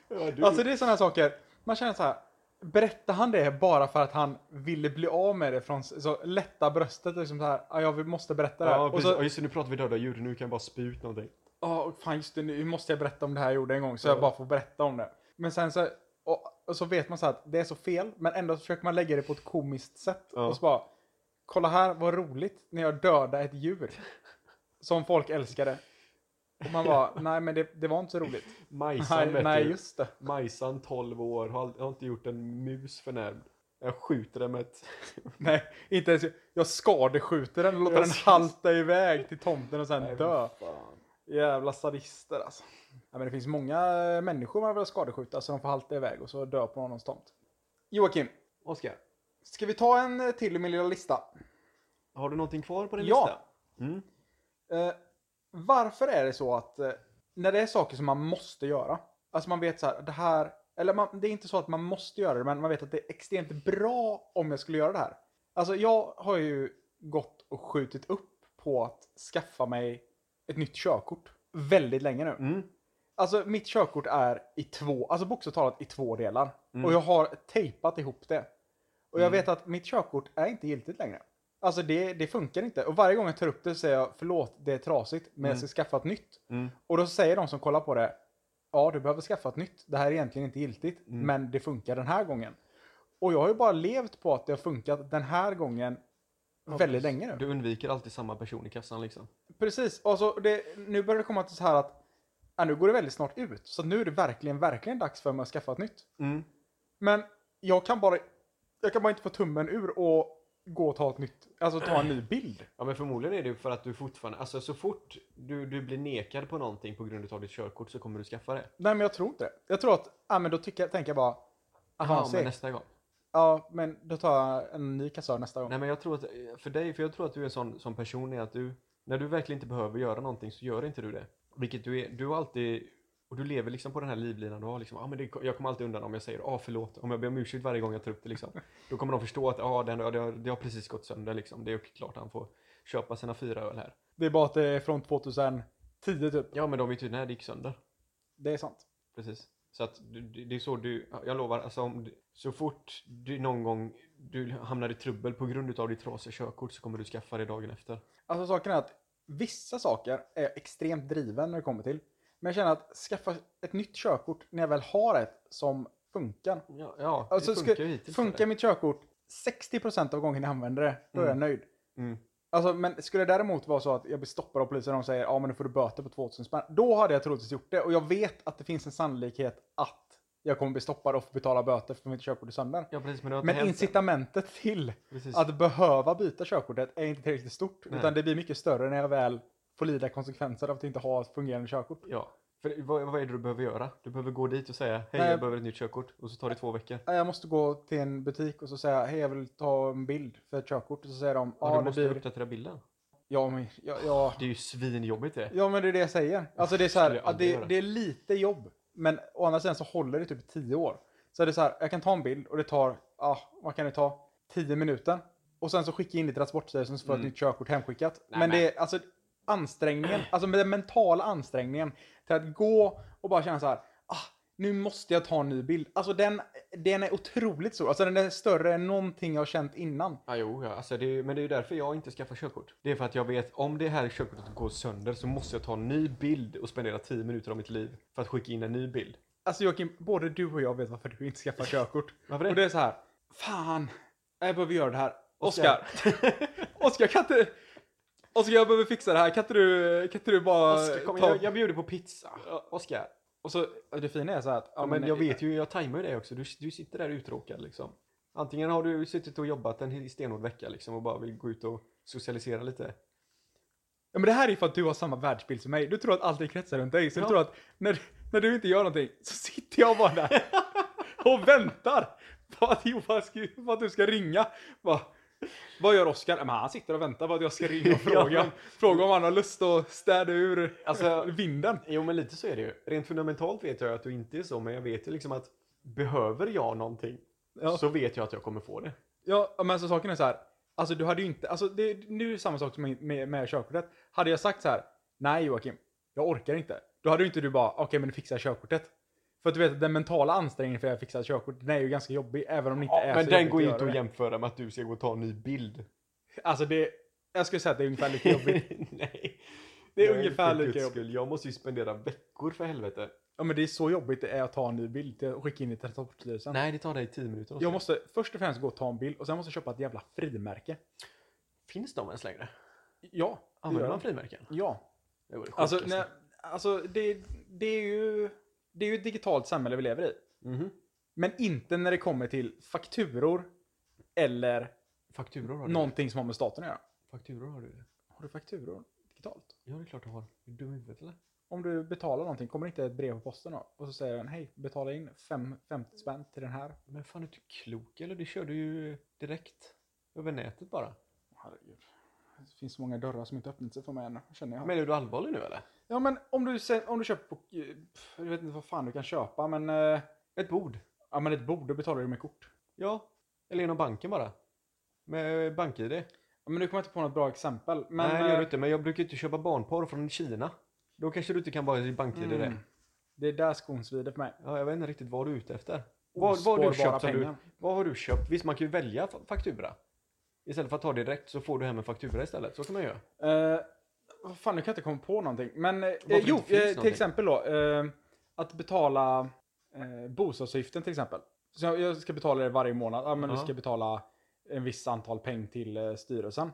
Speaker 1: Ja, du,
Speaker 2: Alltså det är sådana saker, man känner så här. Berättar han det bara för att han ville bli av med det från s- så lätta bröstet liksom så här, "Ja, jag måste berätta det här.
Speaker 1: ja,
Speaker 2: och
Speaker 1: precis.
Speaker 2: så,
Speaker 1: ja just det, nu pratar vi döda djur, nu kan jag bara spy ut någonting.
Speaker 2: ja och fan just det, nu måste jag berätta om det här jag gjorde en gång så
Speaker 1: Ja.
Speaker 2: jag bara får berätta om det. Men sen så, och, och så vet man så här att det är så fel, men ändå så försöker man lägga det på ett komiskt sätt.
Speaker 1: Ja.
Speaker 2: Och så bara, kolla här vad roligt när jag dödade ett djur. Som folk älskade. Och man bara, nej men det, det var inte så roligt.
Speaker 1: Majsan
Speaker 2: Nej,
Speaker 1: vet
Speaker 2: nej
Speaker 1: du.
Speaker 2: just det.
Speaker 1: Majsan 12 år, har, ald- har inte gjort en mus förnärmd. Jag skjuter den med ett...
Speaker 2: Nej, inte ens. Jag skadeskjuter den och låter
Speaker 1: Jag
Speaker 2: den
Speaker 1: ska-
Speaker 2: halta iväg till tomten och sen
Speaker 1: Nej,
Speaker 2: dö.
Speaker 1: fan.
Speaker 2: Jävla sadister alltså. Ja, men det finns många människor man vill skadeskjuta så de får halta iväg och så dö på någons tomt. Joakim,
Speaker 1: Oskar,
Speaker 2: ska vi ta en eh, till i min lilla lista?
Speaker 1: har du någonting kvar på din
Speaker 2: Ja.
Speaker 1: lista? Mm.
Speaker 2: Eh, varför är det så att eh, när det är saker som man måste göra, alltså man vet så här, det här, eller man, det är inte så att man måste göra det, men man vet att det är extremt bra om jag skulle göra det här. Alltså jag har ju gått och skjutit upp på att skaffa mig ett nytt körkort väldigt länge nu.
Speaker 1: Mm.
Speaker 2: Alltså mitt körkort är i två, alltså bokstavligt talat i två delar.
Speaker 1: Mm.
Speaker 2: Och jag har tejpat ihop det. Och jag
Speaker 1: Mm.
Speaker 2: vet att mitt körkort är inte giltigt längre. Alltså det, det funkar inte. Och varje gång jag tar upp det så säger jag förlåt, det är trasigt, men jag
Speaker 1: Mm.
Speaker 2: ska skaffa ett nytt.
Speaker 1: Mm.
Speaker 2: Och då säger de som kollar på det, ja du behöver skaffa ett nytt. Det här är egentligen inte giltigt,
Speaker 1: Mm.
Speaker 2: men det funkar den här gången. Och jag har ju bara levt på att det har funkat den här gången väldigt länge nu.
Speaker 1: Du undviker alltid samma person i kassan liksom.
Speaker 2: Precis, och så det, nu börjar det komma till så här att ja, nu går det väldigt snart ut. Så nu är det verkligen, verkligen dags för mig att skaffa ett nytt.
Speaker 1: Mm.
Speaker 2: Men jag kan bara, jag kan bara inte få tummen ur och gå och ta ett nytt, alltså ta en ny bild.
Speaker 1: Ja men förmodligen är det ju för att du fortfarande, alltså så fort du, du blir nekad på någonting på grund av ditt körkort så kommer du skaffa det.
Speaker 2: Nej men jag tror inte det. Jag tror att, ja men då tycker, jag- tänker jag bara,
Speaker 1: Jaha,
Speaker 2: aha,
Speaker 1: men
Speaker 2: men
Speaker 1: nästa gång.
Speaker 2: ja men då tar jag en ny kassör nästa gång.
Speaker 1: Nej men jag tror att, eh, för dig, för jag tror att du är en sån, sån person är att du, när du verkligen inte behöver göra någonting så gör inte du det. Vilket du är, du har alltid, och du lever liksom på den här livlinan du har liksom, ah, men det, jag kommer alltid undan om jag säger ah förlåt, om jag ber om ursäkt varje gång jag tar upp det liksom. Då kommer de förstå att ah, den, det, har, det har precis gått sönder liksom, det är ju klart han får köpa sina fyra öl här.
Speaker 2: Det är bara att det är från 2010 typ.
Speaker 1: Ja men de vet ju när det gick sönder.
Speaker 2: Det är sant.
Speaker 1: Precis. Så att du- du- det är så du, jag lovar, alltså om, du- så fort du någon gång du hamnar i trubbel på grund av ditt trasiga körkort så kommer du skaffa det dagen efter.
Speaker 2: Alltså saken är att vissa saker är jag extremt driven när det kommer till. Men jag känner att skaffa ett nytt körkort när jag väl har ett som funkar.
Speaker 1: Ja, ja
Speaker 2: Alltså,
Speaker 1: det funkar
Speaker 2: ska-
Speaker 1: ju hittills.
Speaker 2: Funkar
Speaker 1: eller?
Speaker 2: mitt körkort 60% av gången jag använder det, då är jag
Speaker 1: Mm.
Speaker 2: nöjd.
Speaker 1: Mm.
Speaker 2: Alltså, men skulle det däremot vara så att jag blir stoppad av polisen och de säger ja men nu får du böter på 2000 spänn. Då hade jag troligtvis gjort det och jag vet att det finns en sannolikhet att jag kommer bli stoppad och få betala böter för mitt körkort är sönder.
Speaker 1: Ja, precis, men det har inte
Speaker 2: Men
Speaker 1: hänt än.
Speaker 2: incitamentet till
Speaker 1: Precis.
Speaker 2: att behöva byta körkortet är inte tillräckligt stort.
Speaker 1: Nej.
Speaker 2: Utan det blir mycket större när jag väl får lida konsekvenser av att inte ha ett fungerande körkort.
Speaker 1: Ja. För vad, vad är det du behöver göra? Du behöver gå dit och säga hej,
Speaker 2: Nej.
Speaker 1: jag behöver ett nytt körkort. Och så tar det två veckor.
Speaker 2: Nej, Jag måste gå till en butik och så säga hej jag vill ta en bild för ett körkort. Och så säger de
Speaker 1: Ja,
Speaker 2: ja
Speaker 1: du
Speaker 2: det
Speaker 1: måste
Speaker 2: blir...
Speaker 1: uppdatera bilden.
Speaker 2: Ja, men, ja, ja.
Speaker 1: Det är ju svinjobbigt det.
Speaker 2: ja men det är det jag säger. Alltså det är så här,
Speaker 1: Skulle jag
Speaker 2: ja,
Speaker 1: aldrig
Speaker 2: det,
Speaker 1: göra.
Speaker 2: det är lite jobb. Men å andra sidan så håller det typ 10 år. Så är det så här, jag kan ta en bild och det tar, ah, vad kan det ta? 10 minuter. Och sen så skickar jag in det till Transportstyrelsen så får jag ett
Speaker 1: Mm.
Speaker 2: nytt körkort hemskickat.
Speaker 1: Nej,
Speaker 2: men
Speaker 1: men-
Speaker 2: det är alltså ansträngningen, alltså med den mentala ansträngningen till att gå och bara känna så här, ah, nu måste jag ta en ny bild. Alltså den, den är otroligt stor. Alltså den är större än någonting jag har känt innan.
Speaker 1: Ja, jo, ja. Alltså, det är, ju- men det är ju därför jag inte skaffar körkort. Det är för att jag vet om det här körkortet går sönder så måste jag ta en ny bild och spendera 10 minuter av mitt liv för att skicka in en ny bild.
Speaker 2: Alltså Joakim, både du och jag vet varför du inte skaffar körkort.
Speaker 1: Varför det?
Speaker 2: Och det är så här, fan, jag behöver göra det här. Oskar, Oskar kan inte... Oskar jag behöver fixa det här, kan inte du, kan inte du bara...
Speaker 1: Oskar, kom,
Speaker 2: ta...
Speaker 1: jag, jag bjuder på pizza. Oskar.
Speaker 2: Och så, det fina är så här att...
Speaker 1: Ja, men jag vet ju, jag tajmar ju det också. Du, du sitter där uttråkad liksom. Antingen har du suttit och jobbat en hel- stenhård vecka liksom och bara vill gå ut och socialisera lite.
Speaker 2: Ja, men det här är ju för att du har samma världsbild som mig. Du tror att allting kretsar runt dig. Så du
Speaker 1: Ja.
Speaker 2: tror att när, när du inte gör någonting så sitter jag bara där och väntar på att Johan ska, på att du ska ringa. Bara, vad gör Oskar? Ja, men Han sitter och väntar på att jag ska ringa och fråga,
Speaker 1: Ja, men-
Speaker 2: fråga om han har lust att städa ur
Speaker 1: Alltså-
Speaker 2: vinden.
Speaker 1: Jo, men lite så är det ju. Rent fundamentalt vet jag att du inte är så, men jag vet ju liksom att behöver jag någonting
Speaker 2: Ja.
Speaker 1: så vet jag att jag kommer få det.
Speaker 2: Ja, men alltså saken är så här. Alltså du hade ju inte, alltså det, nu är det samma sak som med, med, med körkortet. Hade jag sagt så här, nej Joakim, jag orkar inte. Då hade ju inte du bara, okej men du fixar körkortet. För att du vet att den mentala ansträngningen för att fixa ett körkort, den är ju ganska jobbig. Även om det inte
Speaker 1: Ja,
Speaker 2: är
Speaker 1: men
Speaker 2: så
Speaker 1: den
Speaker 2: jobbigt
Speaker 1: går ju
Speaker 2: göra
Speaker 1: inte att
Speaker 2: det.
Speaker 1: jämföra med att du ska gå och ta en ny bild.
Speaker 2: Alltså det, jag skulle säga att det är ungefär lika jobbigt.
Speaker 1: Nej.
Speaker 2: Det är
Speaker 1: Nej,
Speaker 2: ungefär
Speaker 1: för
Speaker 2: lika
Speaker 1: guds
Speaker 2: jobbigt.
Speaker 1: skull. Jag måste ju spendera veckor för helvete.
Speaker 2: Ja men det är så jobbigt det är att ta en ny bild till att skicka in i Transportstyrelsen.
Speaker 1: Nej, det tar dig tio minuter.
Speaker 2: Jag måste först och främst gå och ta en bild och sen måste jag köpa ett jävla frimärke.
Speaker 1: Finns de ens längre?
Speaker 2: Ja, det gör
Speaker 1: Använder man
Speaker 2: jag.
Speaker 1: frimärken?
Speaker 2: Ja,
Speaker 1: Det vore sjukt,
Speaker 2: Alltså, nej, alltså det, det, är ju, det är ju ett digitalt samhälle vi lever i.
Speaker 1: Mhm.
Speaker 2: Men inte när det kommer till fakturor eller
Speaker 1: Fakturor har du.
Speaker 2: någonting som har med staten att göra.
Speaker 1: Fakturor har du.
Speaker 2: Har du fakturor digitalt?
Speaker 1: Ja, det är klart du har. Är du dum i huvudet eller?
Speaker 2: Om du betalar någonting, kommer det inte ett brev på posten då? Och så säger den, hej, betala in fem- 50 spänn till den här.
Speaker 1: Men fan, är du klok eller? Det kör du ju direkt över nätet bara.
Speaker 2: Herregud. Det finns så många dörrar som inte öppnat sig för mig ännu, känner jag.
Speaker 1: Men är du allvarlig nu eller?
Speaker 2: ja, men om du, sä- om du köper på... pff, Jag vet inte vad fan du kan köpa, men... eh,
Speaker 1: Ett bord?
Speaker 2: Ja, men ett bord, då betalar du med kort.
Speaker 1: Ja. Eller genom banken bara. Med bank-id.
Speaker 2: Ja, men nu kommer jag inte på något bra exempel. Men,
Speaker 1: Nej, det gör
Speaker 2: eh,
Speaker 1: du inte. Men jag brukar ju inte köpa barnporr från Kina. Då kanske du inte kan vara i bank-id
Speaker 2: mm,
Speaker 1: det.
Speaker 2: det är där skon svider för mig.
Speaker 1: Ja, jag vet inte riktigt vad du är ute efter. Vad, vad, har du
Speaker 2: Ospårbara
Speaker 1: köpt som du,
Speaker 2: pengar.
Speaker 1: vad har du köpt? Visst, man kan ju välja fa- faktura. Istället för att ta det direkt så får du hem en faktura istället. Så kan man göra.
Speaker 2: Eh, vad fan, nu kan jag inte komma på någonting. Men eh,
Speaker 1: det
Speaker 2: jo,
Speaker 1: inte finns
Speaker 2: eh, till
Speaker 1: någonting.
Speaker 2: exempel då. Eh, att betala eh, bostadsavgiften till exempel. Så jag, jag ska betala det varje månad. Ja, men du
Speaker 1: Ja.
Speaker 2: ska betala en viss antal peng till eh, styrelsen.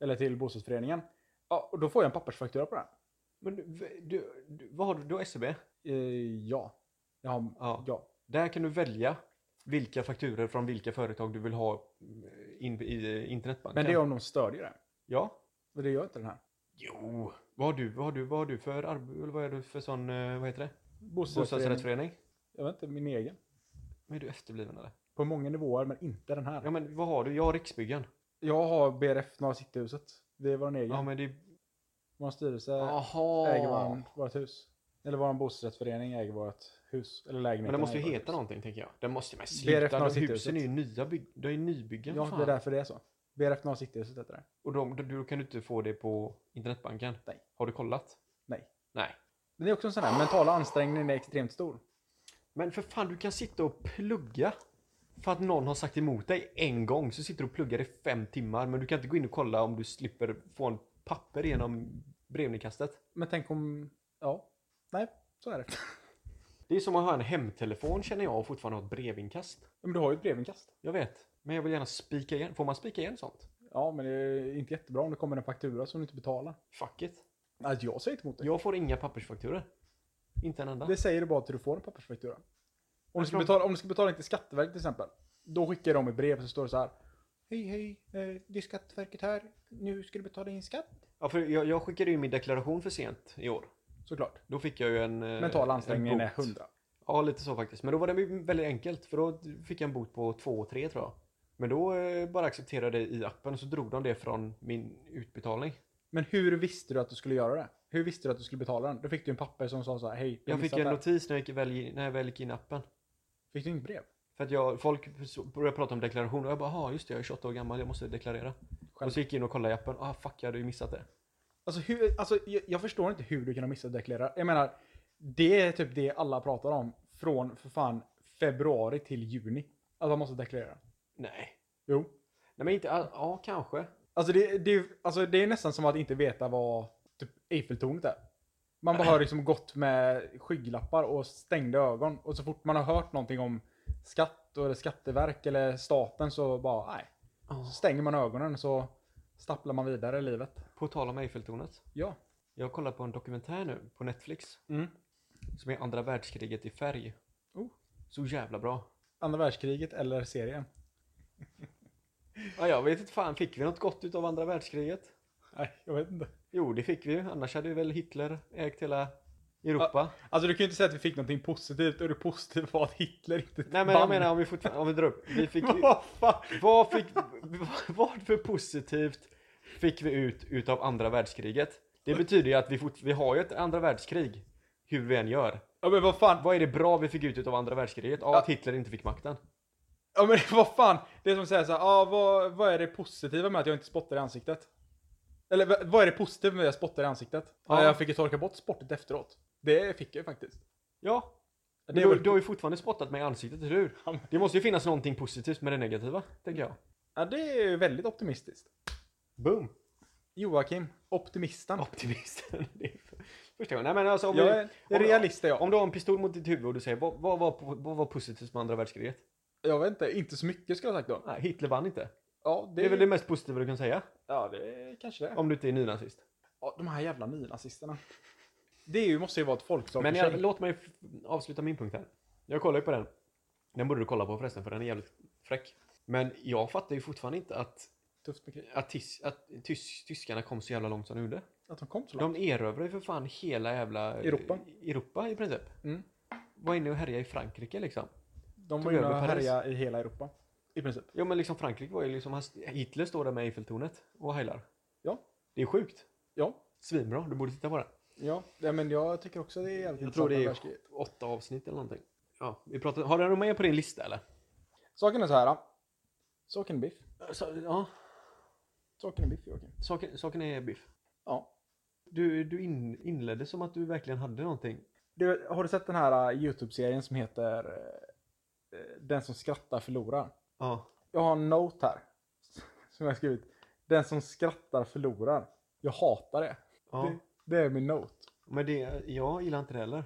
Speaker 2: Eller till bostadsföreningen. Ja, och då får jag en pappersfaktura på den.
Speaker 1: Men du, v- du, du, vad har du? Du har SEB?
Speaker 2: Eh, ja. Jag har,
Speaker 1: Ja.
Speaker 2: ja.
Speaker 1: Där kan du välja vilka fakturer från vilka företag du vill ha eh, in, i internetbanken.
Speaker 2: Men det är om de stödjer det.
Speaker 1: Ja.
Speaker 2: Och det gör inte den här.
Speaker 1: Jo. Vad har du, vad har du, vad har du för arb- eller vad är du för sån, eh, vad heter det?
Speaker 2: Bostadsrättsförening.
Speaker 1: Bostadsrättsförening?
Speaker 2: Jag vet inte, min egen.
Speaker 1: Men är du efterbliven eller?
Speaker 2: På många nivåer, men inte den här.
Speaker 1: Ja men vad har du? Jag har Riksbyggen.
Speaker 2: Jag har BRF Norra Cityhuset. Det är vår egen.
Speaker 1: Ja men det är...
Speaker 2: Vår styrelse äger
Speaker 1: Jaha.
Speaker 2: vår, vårt hus. Eller vår bostadsrättsförening äger vårt hus. Eller lägenheten.
Speaker 1: Men den måste ju
Speaker 2: äger vårt
Speaker 1: heta
Speaker 2: hus.
Speaker 1: någonting tänker jag. Den måste ju med
Speaker 2: BRF
Speaker 1: sluta.
Speaker 2: Norra
Speaker 1: De husen
Speaker 2: Cityhuset.
Speaker 1: är ju nya bygg... De är ju nybyggen
Speaker 2: Ja,
Speaker 1: fan.
Speaker 2: det är därför det är så. BRF Norra Cityhuset heter det.
Speaker 1: Och de, då, då kan du inte få det på internetbanken.
Speaker 2: Nej.
Speaker 1: Har du kollat?
Speaker 2: Nej.
Speaker 1: Nej.
Speaker 2: Men det är också en sån här, mentala ansträngningen är extremt stor.
Speaker 1: Men för fan, du kan sitta och plugga. För att någon har sagt emot dig en gång så sitter du och pluggar i fem timmar men du kan inte gå in och kolla om du slipper få en papper genom brevinkastet.
Speaker 2: Men tänk om, ja. Nej, så är det.
Speaker 1: Det är som att ha en hemtelefon känner jag och fortfarande ha ett brevinkast.
Speaker 2: Men du har ju ett brevinkast.
Speaker 1: Jag vet, men jag vill gärna spika igen. Får man spika igen sånt?
Speaker 2: Ja, men det är inte jättebra om det kommer en faktura som du inte betalar.
Speaker 1: Fuck it.
Speaker 2: Alltså, jag säger inte emot det.
Speaker 1: Jag får inga pappersfakturor. Inte en enda.
Speaker 2: Det säger du bara till du får en pappersfaktura. Om du, ska
Speaker 1: de-
Speaker 2: betala, om du ska betala in till Skatteverket till exempel. Då skickar de ett brev så står det så här. Hej hej, eh, det är Skatteverket här. Nu ska du betala in skatt.
Speaker 1: Ja, för jag, jag skickade ju min deklaration för sent i år.
Speaker 2: Såklart.
Speaker 1: Då fick jag ju en... eh,
Speaker 2: Mental
Speaker 1: en
Speaker 2: ansträngning är
Speaker 1: bot.
Speaker 2: 100.
Speaker 1: Ja, lite så faktiskt. Men då var det ju väldigt enkelt för då fick jag en bot på 2 och 3 tror jag. Men då eh, bara accepterade jag det i appen och så drog de det från min utbetalning.
Speaker 2: Men hur visste du att du skulle göra det? Hur visste du att du skulle betala den? Då fick du en papper som sa så här. Hej, du har
Speaker 1: Jag fick
Speaker 2: missat
Speaker 1: en
Speaker 2: det här."
Speaker 1: notis när jag, gick väl, när jag väl gick in i appen.
Speaker 2: Fick du inget brev?
Speaker 1: För att jag, folk så- började prata om deklaration och jag bara, ja just det, jag är 28 år gammal, jag måste deklarera.
Speaker 2: Själv.
Speaker 1: Och så gick jag in och kollade i appen, ah fuck, jag hade ju missat det.
Speaker 2: Alltså, hur, alltså jag, jag förstår inte hur du kan ha missat att deklarera. Jag menar, det är typ det alla pratar om. Från för fan februari till juni. Att man måste deklarera.
Speaker 1: Nej.
Speaker 2: Jo.
Speaker 1: Nej men inte, all- ja kanske.
Speaker 2: Alltså det, det, alltså det är nästan som att inte veta vad typ Eiffeltornet är. Man bara har liksom gått med skygglappar och stängda ögon. Och så fort man har hört någonting om skatt eller skatteverk eller staten så bara nej. Så stänger man ögonen så stapplar man vidare i livet.
Speaker 1: På tal om Eiffeltornet.
Speaker 2: Ja.
Speaker 1: Jag kollar på en dokumentär nu på Netflix
Speaker 2: Mm.
Speaker 1: som är andra världskriget i färg.
Speaker 2: Oh.
Speaker 1: Så jävla bra.
Speaker 2: Andra världskriget eller serien?
Speaker 1: Ja, jag vet inte fan, fick vi något gott utav andra världskriget?
Speaker 2: Nej, jag vet inte.
Speaker 1: Jo, det fick vi ju. Annars hade ju väl Hitler ägt hela Europa.
Speaker 2: Alltså du kan ju inte säga att vi fick någonting positivt och det positiva var att Hitler inte
Speaker 1: Nej, men jag
Speaker 2: vann.
Speaker 1: menar om vi fortfarande, om vi drar upp. Vi fick ju,
Speaker 2: Vad fan?
Speaker 1: vad fick, vad för positivt fick vi ut utav andra världskriget? Det betyder ju att vi, fort, vi har ju ett andra världskrig, hur vi än gör.
Speaker 2: Ja men vad fan?
Speaker 1: Vad är det bra vi fick ut utav andra världskriget? Ja, att Hitler inte fick makten.
Speaker 2: Ja men vad fan, det är som att säga såhär, ah, vad, vad är det positiva med att jag inte spottar i ansiktet? Eller "Va- vad är det positiva med att jag spottar i ansiktet? Ja.
Speaker 1: Ja.
Speaker 2: jag fick ju torka bort spottet efteråt. Det fick jag ju faktiskt.
Speaker 1: Ja,
Speaker 2: Det
Speaker 1: Men
Speaker 2: är
Speaker 1: du,
Speaker 2: väl-
Speaker 1: du har ju fortfarande spottat mig i ansiktet, eller hur?
Speaker 2: Ja, men-
Speaker 1: Det måste ju finnas någonting positivt med det negativa, tänker jag.
Speaker 2: Ja, det är ju väldigt optimistiskt.
Speaker 1: Boom!
Speaker 2: Joakim, optimisten.
Speaker 1: Optimisten. Det är för- första gången. Nej, men alltså, om,
Speaker 2: jag
Speaker 1: du,
Speaker 2: är, är realist är jag.
Speaker 1: om du har en pistol mot ditt huvud och du säger vad, vad, var- vad var positivt med andra världskriget?
Speaker 2: Jag vet inte, inte så mycket skulle jag ha sagt då.
Speaker 1: Nej, Hitler vann inte.
Speaker 2: Ja,
Speaker 1: Det är väl det mest positiva du kan säga?
Speaker 2: Ja, det är kanske det.
Speaker 1: Om du inte är nynazist.
Speaker 2: Ja, de här jävla nynazisterna. Det är ju, måste ju vara ett folkslag
Speaker 1: Men
Speaker 2: för
Speaker 1: jag,
Speaker 2: sig.
Speaker 1: låt mig f- avsluta min punkt här. Jag kollar ju på den. Den borde du kolla på förresten, för den är jävligt fräck. Men jag fattar ju fortfarande inte att,
Speaker 2: Tufft med krig.
Speaker 1: att, tis, att tys, tyskarna kom så jävla långt som de gjorde.
Speaker 2: Att de kom så långt.
Speaker 1: De erövrade ju för fan hela jävla
Speaker 2: Europa.
Speaker 1: Europa i princip.
Speaker 2: Mm.
Speaker 1: Var inne och härjade i Frankrike liksom.
Speaker 2: De var
Speaker 1: tog
Speaker 2: ju
Speaker 1: över
Speaker 2: och
Speaker 1: Paris.
Speaker 2: härjade i hela Europa. I princip.
Speaker 1: Jo men liksom Frankrike var ju liksom, Hitler står där med Eiffeltornet och heilar.
Speaker 2: Ja.
Speaker 1: Det är sjukt.
Speaker 2: Ja.
Speaker 1: Svinbra, du borde titta på den.
Speaker 2: Ja, ja, men jag tycker också det är jävligt
Speaker 1: Jag tror det är
Speaker 2: intressant med världskriget.
Speaker 1: åtta avsnitt eller någonting. Ja, vi pratar, har den med på din lista eller?
Speaker 2: Saken är så här. Saken är biff.
Speaker 1: Så, ja,
Speaker 2: Saken är biff, Joakim.
Speaker 1: saken, saken är biff.
Speaker 2: Ja.
Speaker 1: Du, du in, inledde som att du verkligen hade någonting.
Speaker 2: Du, har du sett den här eh, YouTube-serien som heter eh, eh, Den som skrattar förlorar?
Speaker 1: Ja.
Speaker 2: Jag har en note här. Som jag har skrivit. Den som skrattar förlorar. Jag hatar det.
Speaker 1: ja.
Speaker 2: Det, det är min note.
Speaker 1: Men det, jag gillar inte det heller.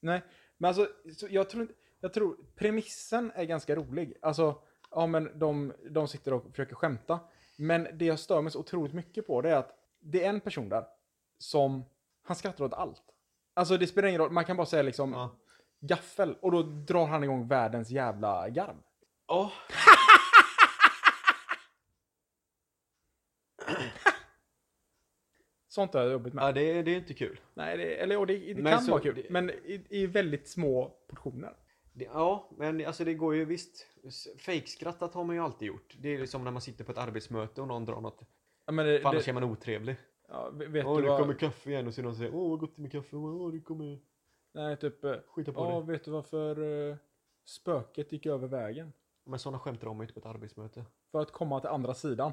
Speaker 2: Nej, men alltså så jag tror inte, jag tror premissen är ganska rolig. Alltså, ja men de, de sitter och försöker skämta. Men det jag stör mig så otroligt mycket på det är att det är en person där som, han skrattar åt allt. Alltså det spelar ingen roll, man kan bara säga liksom
Speaker 1: Ja.
Speaker 2: gaffel och då drar han igång världens jävla garv.
Speaker 1: Ja.
Speaker 2: Sånt har jag jobbat med.
Speaker 1: Ja, det, det är inte kul.
Speaker 2: Nej, det, eller jo, det, det
Speaker 1: Men
Speaker 2: kan
Speaker 1: så-
Speaker 2: vara kul.
Speaker 1: det-
Speaker 2: Men i, i väldigt små portioner.
Speaker 1: Det, ja, men alltså det går ju visst. S- Fejkskrattat har man ju alltid gjort. Det är ju som när man sitter på ett arbetsmöte och någon drar något.
Speaker 2: Ja, men det,
Speaker 1: För annars
Speaker 2: det,
Speaker 1: är man otrevlig.
Speaker 2: ja, vet
Speaker 1: Åh,
Speaker 2: du
Speaker 1: nu
Speaker 2: vad?
Speaker 1: kommer kaffe igen och så någon säger Åh, vad gott det är med kaffe. Åh, du kommer
Speaker 2: Nej, typ... eh,
Speaker 1: skita på
Speaker 2: Ja,
Speaker 1: det.
Speaker 2: vet du varför eh, spöket gick över vägen?
Speaker 1: Men sådana skämtar de inte på ett arbetsmöte.
Speaker 2: För att komma till andra sidan.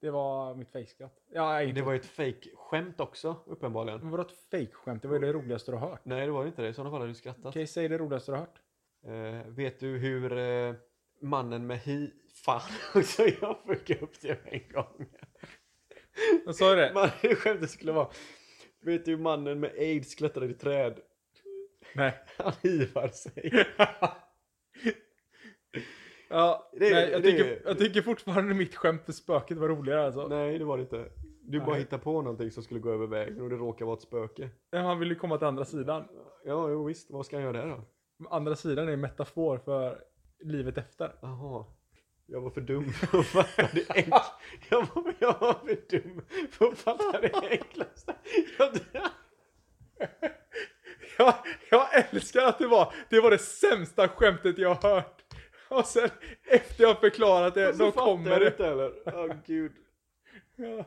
Speaker 2: Det var mitt fejkskratt. Ja, inte.
Speaker 1: Det var ju ett fejkskämt också, uppenbarligen.
Speaker 2: Men vadå ett fejkskämt? Det var ju det roligaste du har hört.
Speaker 1: Nej, det var ju inte det. I sådana fall hade du skrattat.
Speaker 2: Okej, säg det roligaste du har hört.
Speaker 1: Eh, vet du hur eh, mannen med hi... Fan också, jag fick upp det en gång.
Speaker 2: Jag sa ju det.
Speaker 1: Man, hur skämtet skulle vara. Vet du hur mannen med aids klättrade i träd?
Speaker 2: Nej.
Speaker 1: Han hivar sig.
Speaker 2: Ja,
Speaker 1: Det-
Speaker 2: nej, jag,
Speaker 1: det-
Speaker 2: tycker, jag tycker fortfarande mitt skämt för spöket var roligare alltså.
Speaker 1: Nej, det var det inte. Du bara
Speaker 2: Nej.
Speaker 1: hittar på någonting som skulle gå över vägen och det råkar vara ett spöke.
Speaker 2: Nej. Han ville ju komma till andra sidan.
Speaker 1: Ja, jo, visst. Vad ska han göra där då?
Speaker 2: Andra sidan är en metafor för livet efter.
Speaker 1: Jaha. Jag var för dum för att fatta det enklaste. Jag var, jag var för dum för att fatta det enklaste. Jag,
Speaker 2: Jag, jag älskar att det var, det var det sämsta skämtet jag har hört. Och sen efter jag förklarat det,
Speaker 1: så
Speaker 2: då
Speaker 1: fattar
Speaker 2: kommer
Speaker 1: jag
Speaker 2: det.
Speaker 1: inte heller. Åh gud.
Speaker 2: Ja.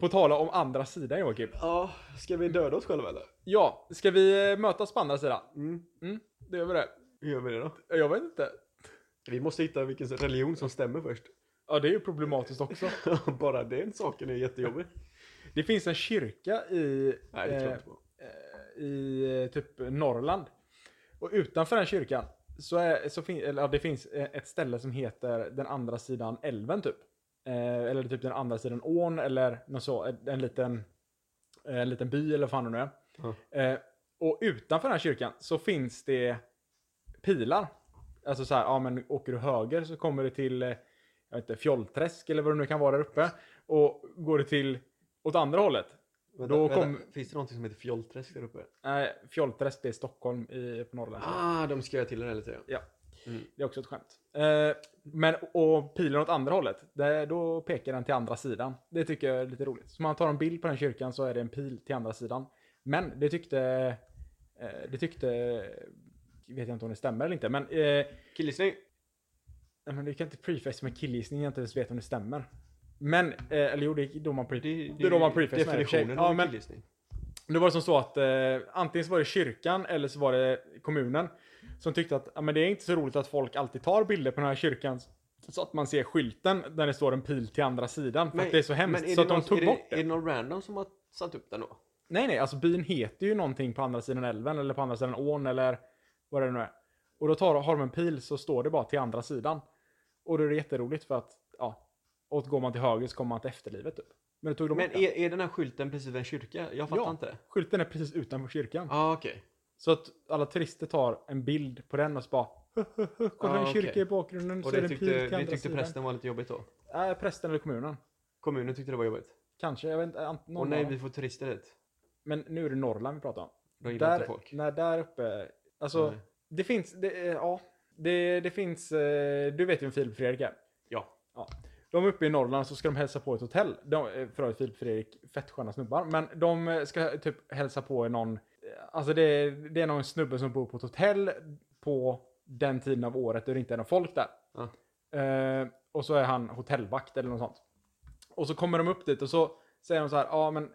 Speaker 2: På tala om andra sidan Joakim.
Speaker 1: Ja, ska vi döda oss själva eller?
Speaker 2: Ja, ska vi eh, mötas på andra sidan?
Speaker 1: Mm.
Speaker 2: Mm, det gör vi det.
Speaker 1: Hur gör vi det då?
Speaker 2: Jag vet inte.
Speaker 1: Vi måste hitta vilken religion som stämmer först.
Speaker 2: Ja, det är ju problematiskt också.
Speaker 1: Bara den saken är jättejobbig.
Speaker 2: Det finns en kyrka i,
Speaker 1: Nej, det
Speaker 2: eh,
Speaker 1: tror jag inte på.
Speaker 2: eh, i eh, typ Norrland. Och utanför den kyrkan så, är, så fin, eller, ja, det finns eh, ett ställe som heter den andra sidan älven typ. Eh, eller typ den andra sidan ån eller något så, en, en, liten, eh, en liten by eller vad fan det nu är.
Speaker 1: Ja.
Speaker 2: Eh, och utanför den här kyrkan så finns det pilar. Alltså så här, ja men åker du höger så kommer du till, eh, jag vet inte, Fjollträsk eller vad det nu kan vara där uppe. Och går du till, åt andra hållet,
Speaker 1: Vänta,
Speaker 2: då
Speaker 1: vänta.
Speaker 2: kom-
Speaker 1: Finns det någonting som heter fjollträsk där uppe?
Speaker 2: Nej, Fjollträsk det är Stockholm i, på Norrland.
Speaker 1: Ah, de ska jag till det här lite.
Speaker 2: Ja.
Speaker 1: Mm.
Speaker 2: Det är också ett skämt. Eh, men, och pilen åt andra hållet, det, då pekar den till andra sidan. Det tycker jag är lite roligt. Så man tar en bild på den kyrkan så är det en pil till andra sidan. Men det tyckte, eh, det tyckte, vet jag inte om det stämmer eller inte, men, eh,
Speaker 1: Killgissning.
Speaker 2: nej, men du kan inte preface med killgissning, jag inte ens vet om det stämmer. Men, eh, eller jo, det är då man pre-
Speaker 1: Det,
Speaker 2: Det är då man preface med det,
Speaker 1: definitionen
Speaker 2: tjej.
Speaker 1: av
Speaker 2: Ja, men-
Speaker 1: killgissning.
Speaker 2: det var som så att eh, antingen så var det kyrkan eller så var det kommunen som tyckte att ja, men det är inte så roligt att folk alltid tar bilder på den här kyrkan så att man ser skylten där det står en pil till andra sidan för att det är så hemskt
Speaker 1: men är
Speaker 2: så att
Speaker 1: det
Speaker 2: de
Speaker 1: någon-
Speaker 2: tog
Speaker 1: är
Speaker 2: bort det.
Speaker 1: Är det någon random som har satt upp den då?
Speaker 2: Nej, nej, alltså byn heter ju någonting på andra sidan älven eller på andra sidan ån eller vad det nu är. Och då tar, har de en pil så står det bara till andra sidan. Och då är det jätteroligt för att, ja, och går man till höger så kommer man till efterlivet typ. Men då tog de
Speaker 1: Men
Speaker 2: bort den.
Speaker 1: är, är den här skylten precis vid en kyrka? Jag fattar
Speaker 2: Ja.
Speaker 1: inte det.
Speaker 2: Skylten är precis utanför kyrkan.
Speaker 1: Ja, ah, okej.
Speaker 2: Så att alla turister tar en bild på den och så bara "Hö, hö, hö, Kolla
Speaker 1: Ja,
Speaker 2: en
Speaker 1: okej.
Speaker 2: kyrka i bakgrunden
Speaker 1: Och
Speaker 2: Mm, så är
Speaker 1: det
Speaker 2: det en pil
Speaker 1: tyckte,
Speaker 2: till
Speaker 1: det
Speaker 2: andra
Speaker 1: tyckte
Speaker 2: sidan. Prästen.
Speaker 1: prästen var lite jobbigt då?
Speaker 2: Äh, prästen eller kommunen.
Speaker 1: Kommunen tyckte det var jobbigt?
Speaker 2: Kanske, jag vet inte. ant-
Speaker 1: Och
Speaker 2: Någon
Speaker 1: nej,
Speaker 2: av
Speaker 1: vi
Speaker 2: dem.
Speaker 1: får turister dit.
Speaker 2: Men nu är det Norrland vi pratar om.
Speaker 1: De gillar inte
Speaker 2: Där,
Speaker 1: folk. Mm.
Speaker 2: nej, där uppe. Alltså,
Speaker 1: Nej.
Speaker 2: det finns, det, eh, ja. Det, det finns, eh, du vet ju vem Filip Fredrik är.
Speaker 1: Ja.
Speaker 2: De är uppe i Norrland så ska de hälsa på ett hotell. De, eh, för övrigt Filip Fredrik, fett sköna snubbar. Men de eh, ska typ hälsa på någon, eh, alltså det, är- det är någon snubbe som bor på ett hotell på den tiden av året då det inte är någon folk där.
Speaker 1: Ja.
Speaker 2: Eh, Och så är han hotellvakt eller något sånt. Och så kommer de upp dit och så säger de så här, ja men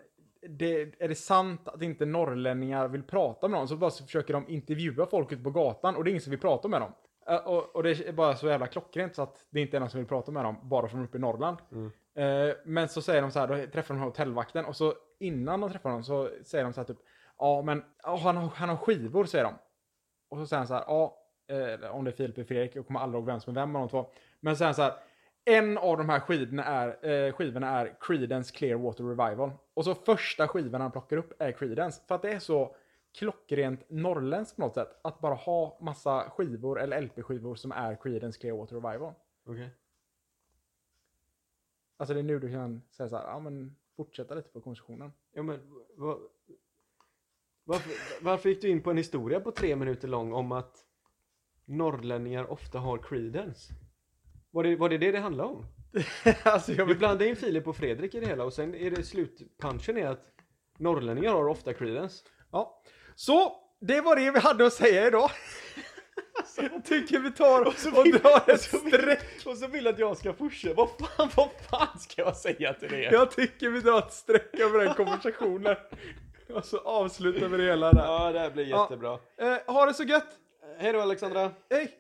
Speaker 2: det, är det sant att inte norrlänningar vill prata med någon? Så bara så försöker de intervjua folk ute på gatan och det är ingen som vill prata med dem. Eh, Och, och det är bara så jävla klockrent så att det inte är någon som vill prata med dem, bara från uppe i Norrland.
Speaker 1: Mm.
Speaker 2: Eh, men så säger de så här, då träffar de hotellvakten och så innan de träffar honom så säger de så här typ, ja men ja, han, har, han har skivor säger de. Och så säger han så här, ja, eh, om det är Filip eller Fredrik, jag kommer aldrig ihåg vem som är vem av de två. Men så säger han så här, en av de här skivorna är, eh, skivorna är Creedence Clearwater Revival. Och så första skivan han plockar upp är Creedence. För att det är så klockrent norrländskt på något sätt. Att bara ha massa skivor eller LP-skivor som är Creedence Clearwater Revival.
Speaker 1: Okej.
Speaker 2: Alltså det är nu du kan säga så här, ja men fortsätta lite på konversationen.
Speaker 1: Ja, men vad, varför, varför gick du in på en historia på tre minuter lång om att norrlänningar ofta har credence? Var det var det, det det handlade om?
Speaker 2: alltså jag
Speaker 1: Vi
Speaker 2: vill...
Speaker 1: blandade in Filip och Fredrik i det hela och sen är det slutpunchen är att norrlänningar har ofta credence.
Speaker 2: Ja. Så, det var det vi hade att säga idag. Jag tycker vi tar och, drar ett streck.
Speaker 1: Och så vill att jag ska pusha. Vad fan, vad fan ska jag säga till det?
Speaker 2: Jag tycker vi drar ett streck över den konversationen. Och så avslutar vi det hela där.
Speaker 1: Ja, det här blir
Speaker 2: Ja.
Speaker 1: jättebra.
Speaker 2: Eh, ha det så gött!
Speaker 1: Hej då Alexandra!
Speaker 2: Hej!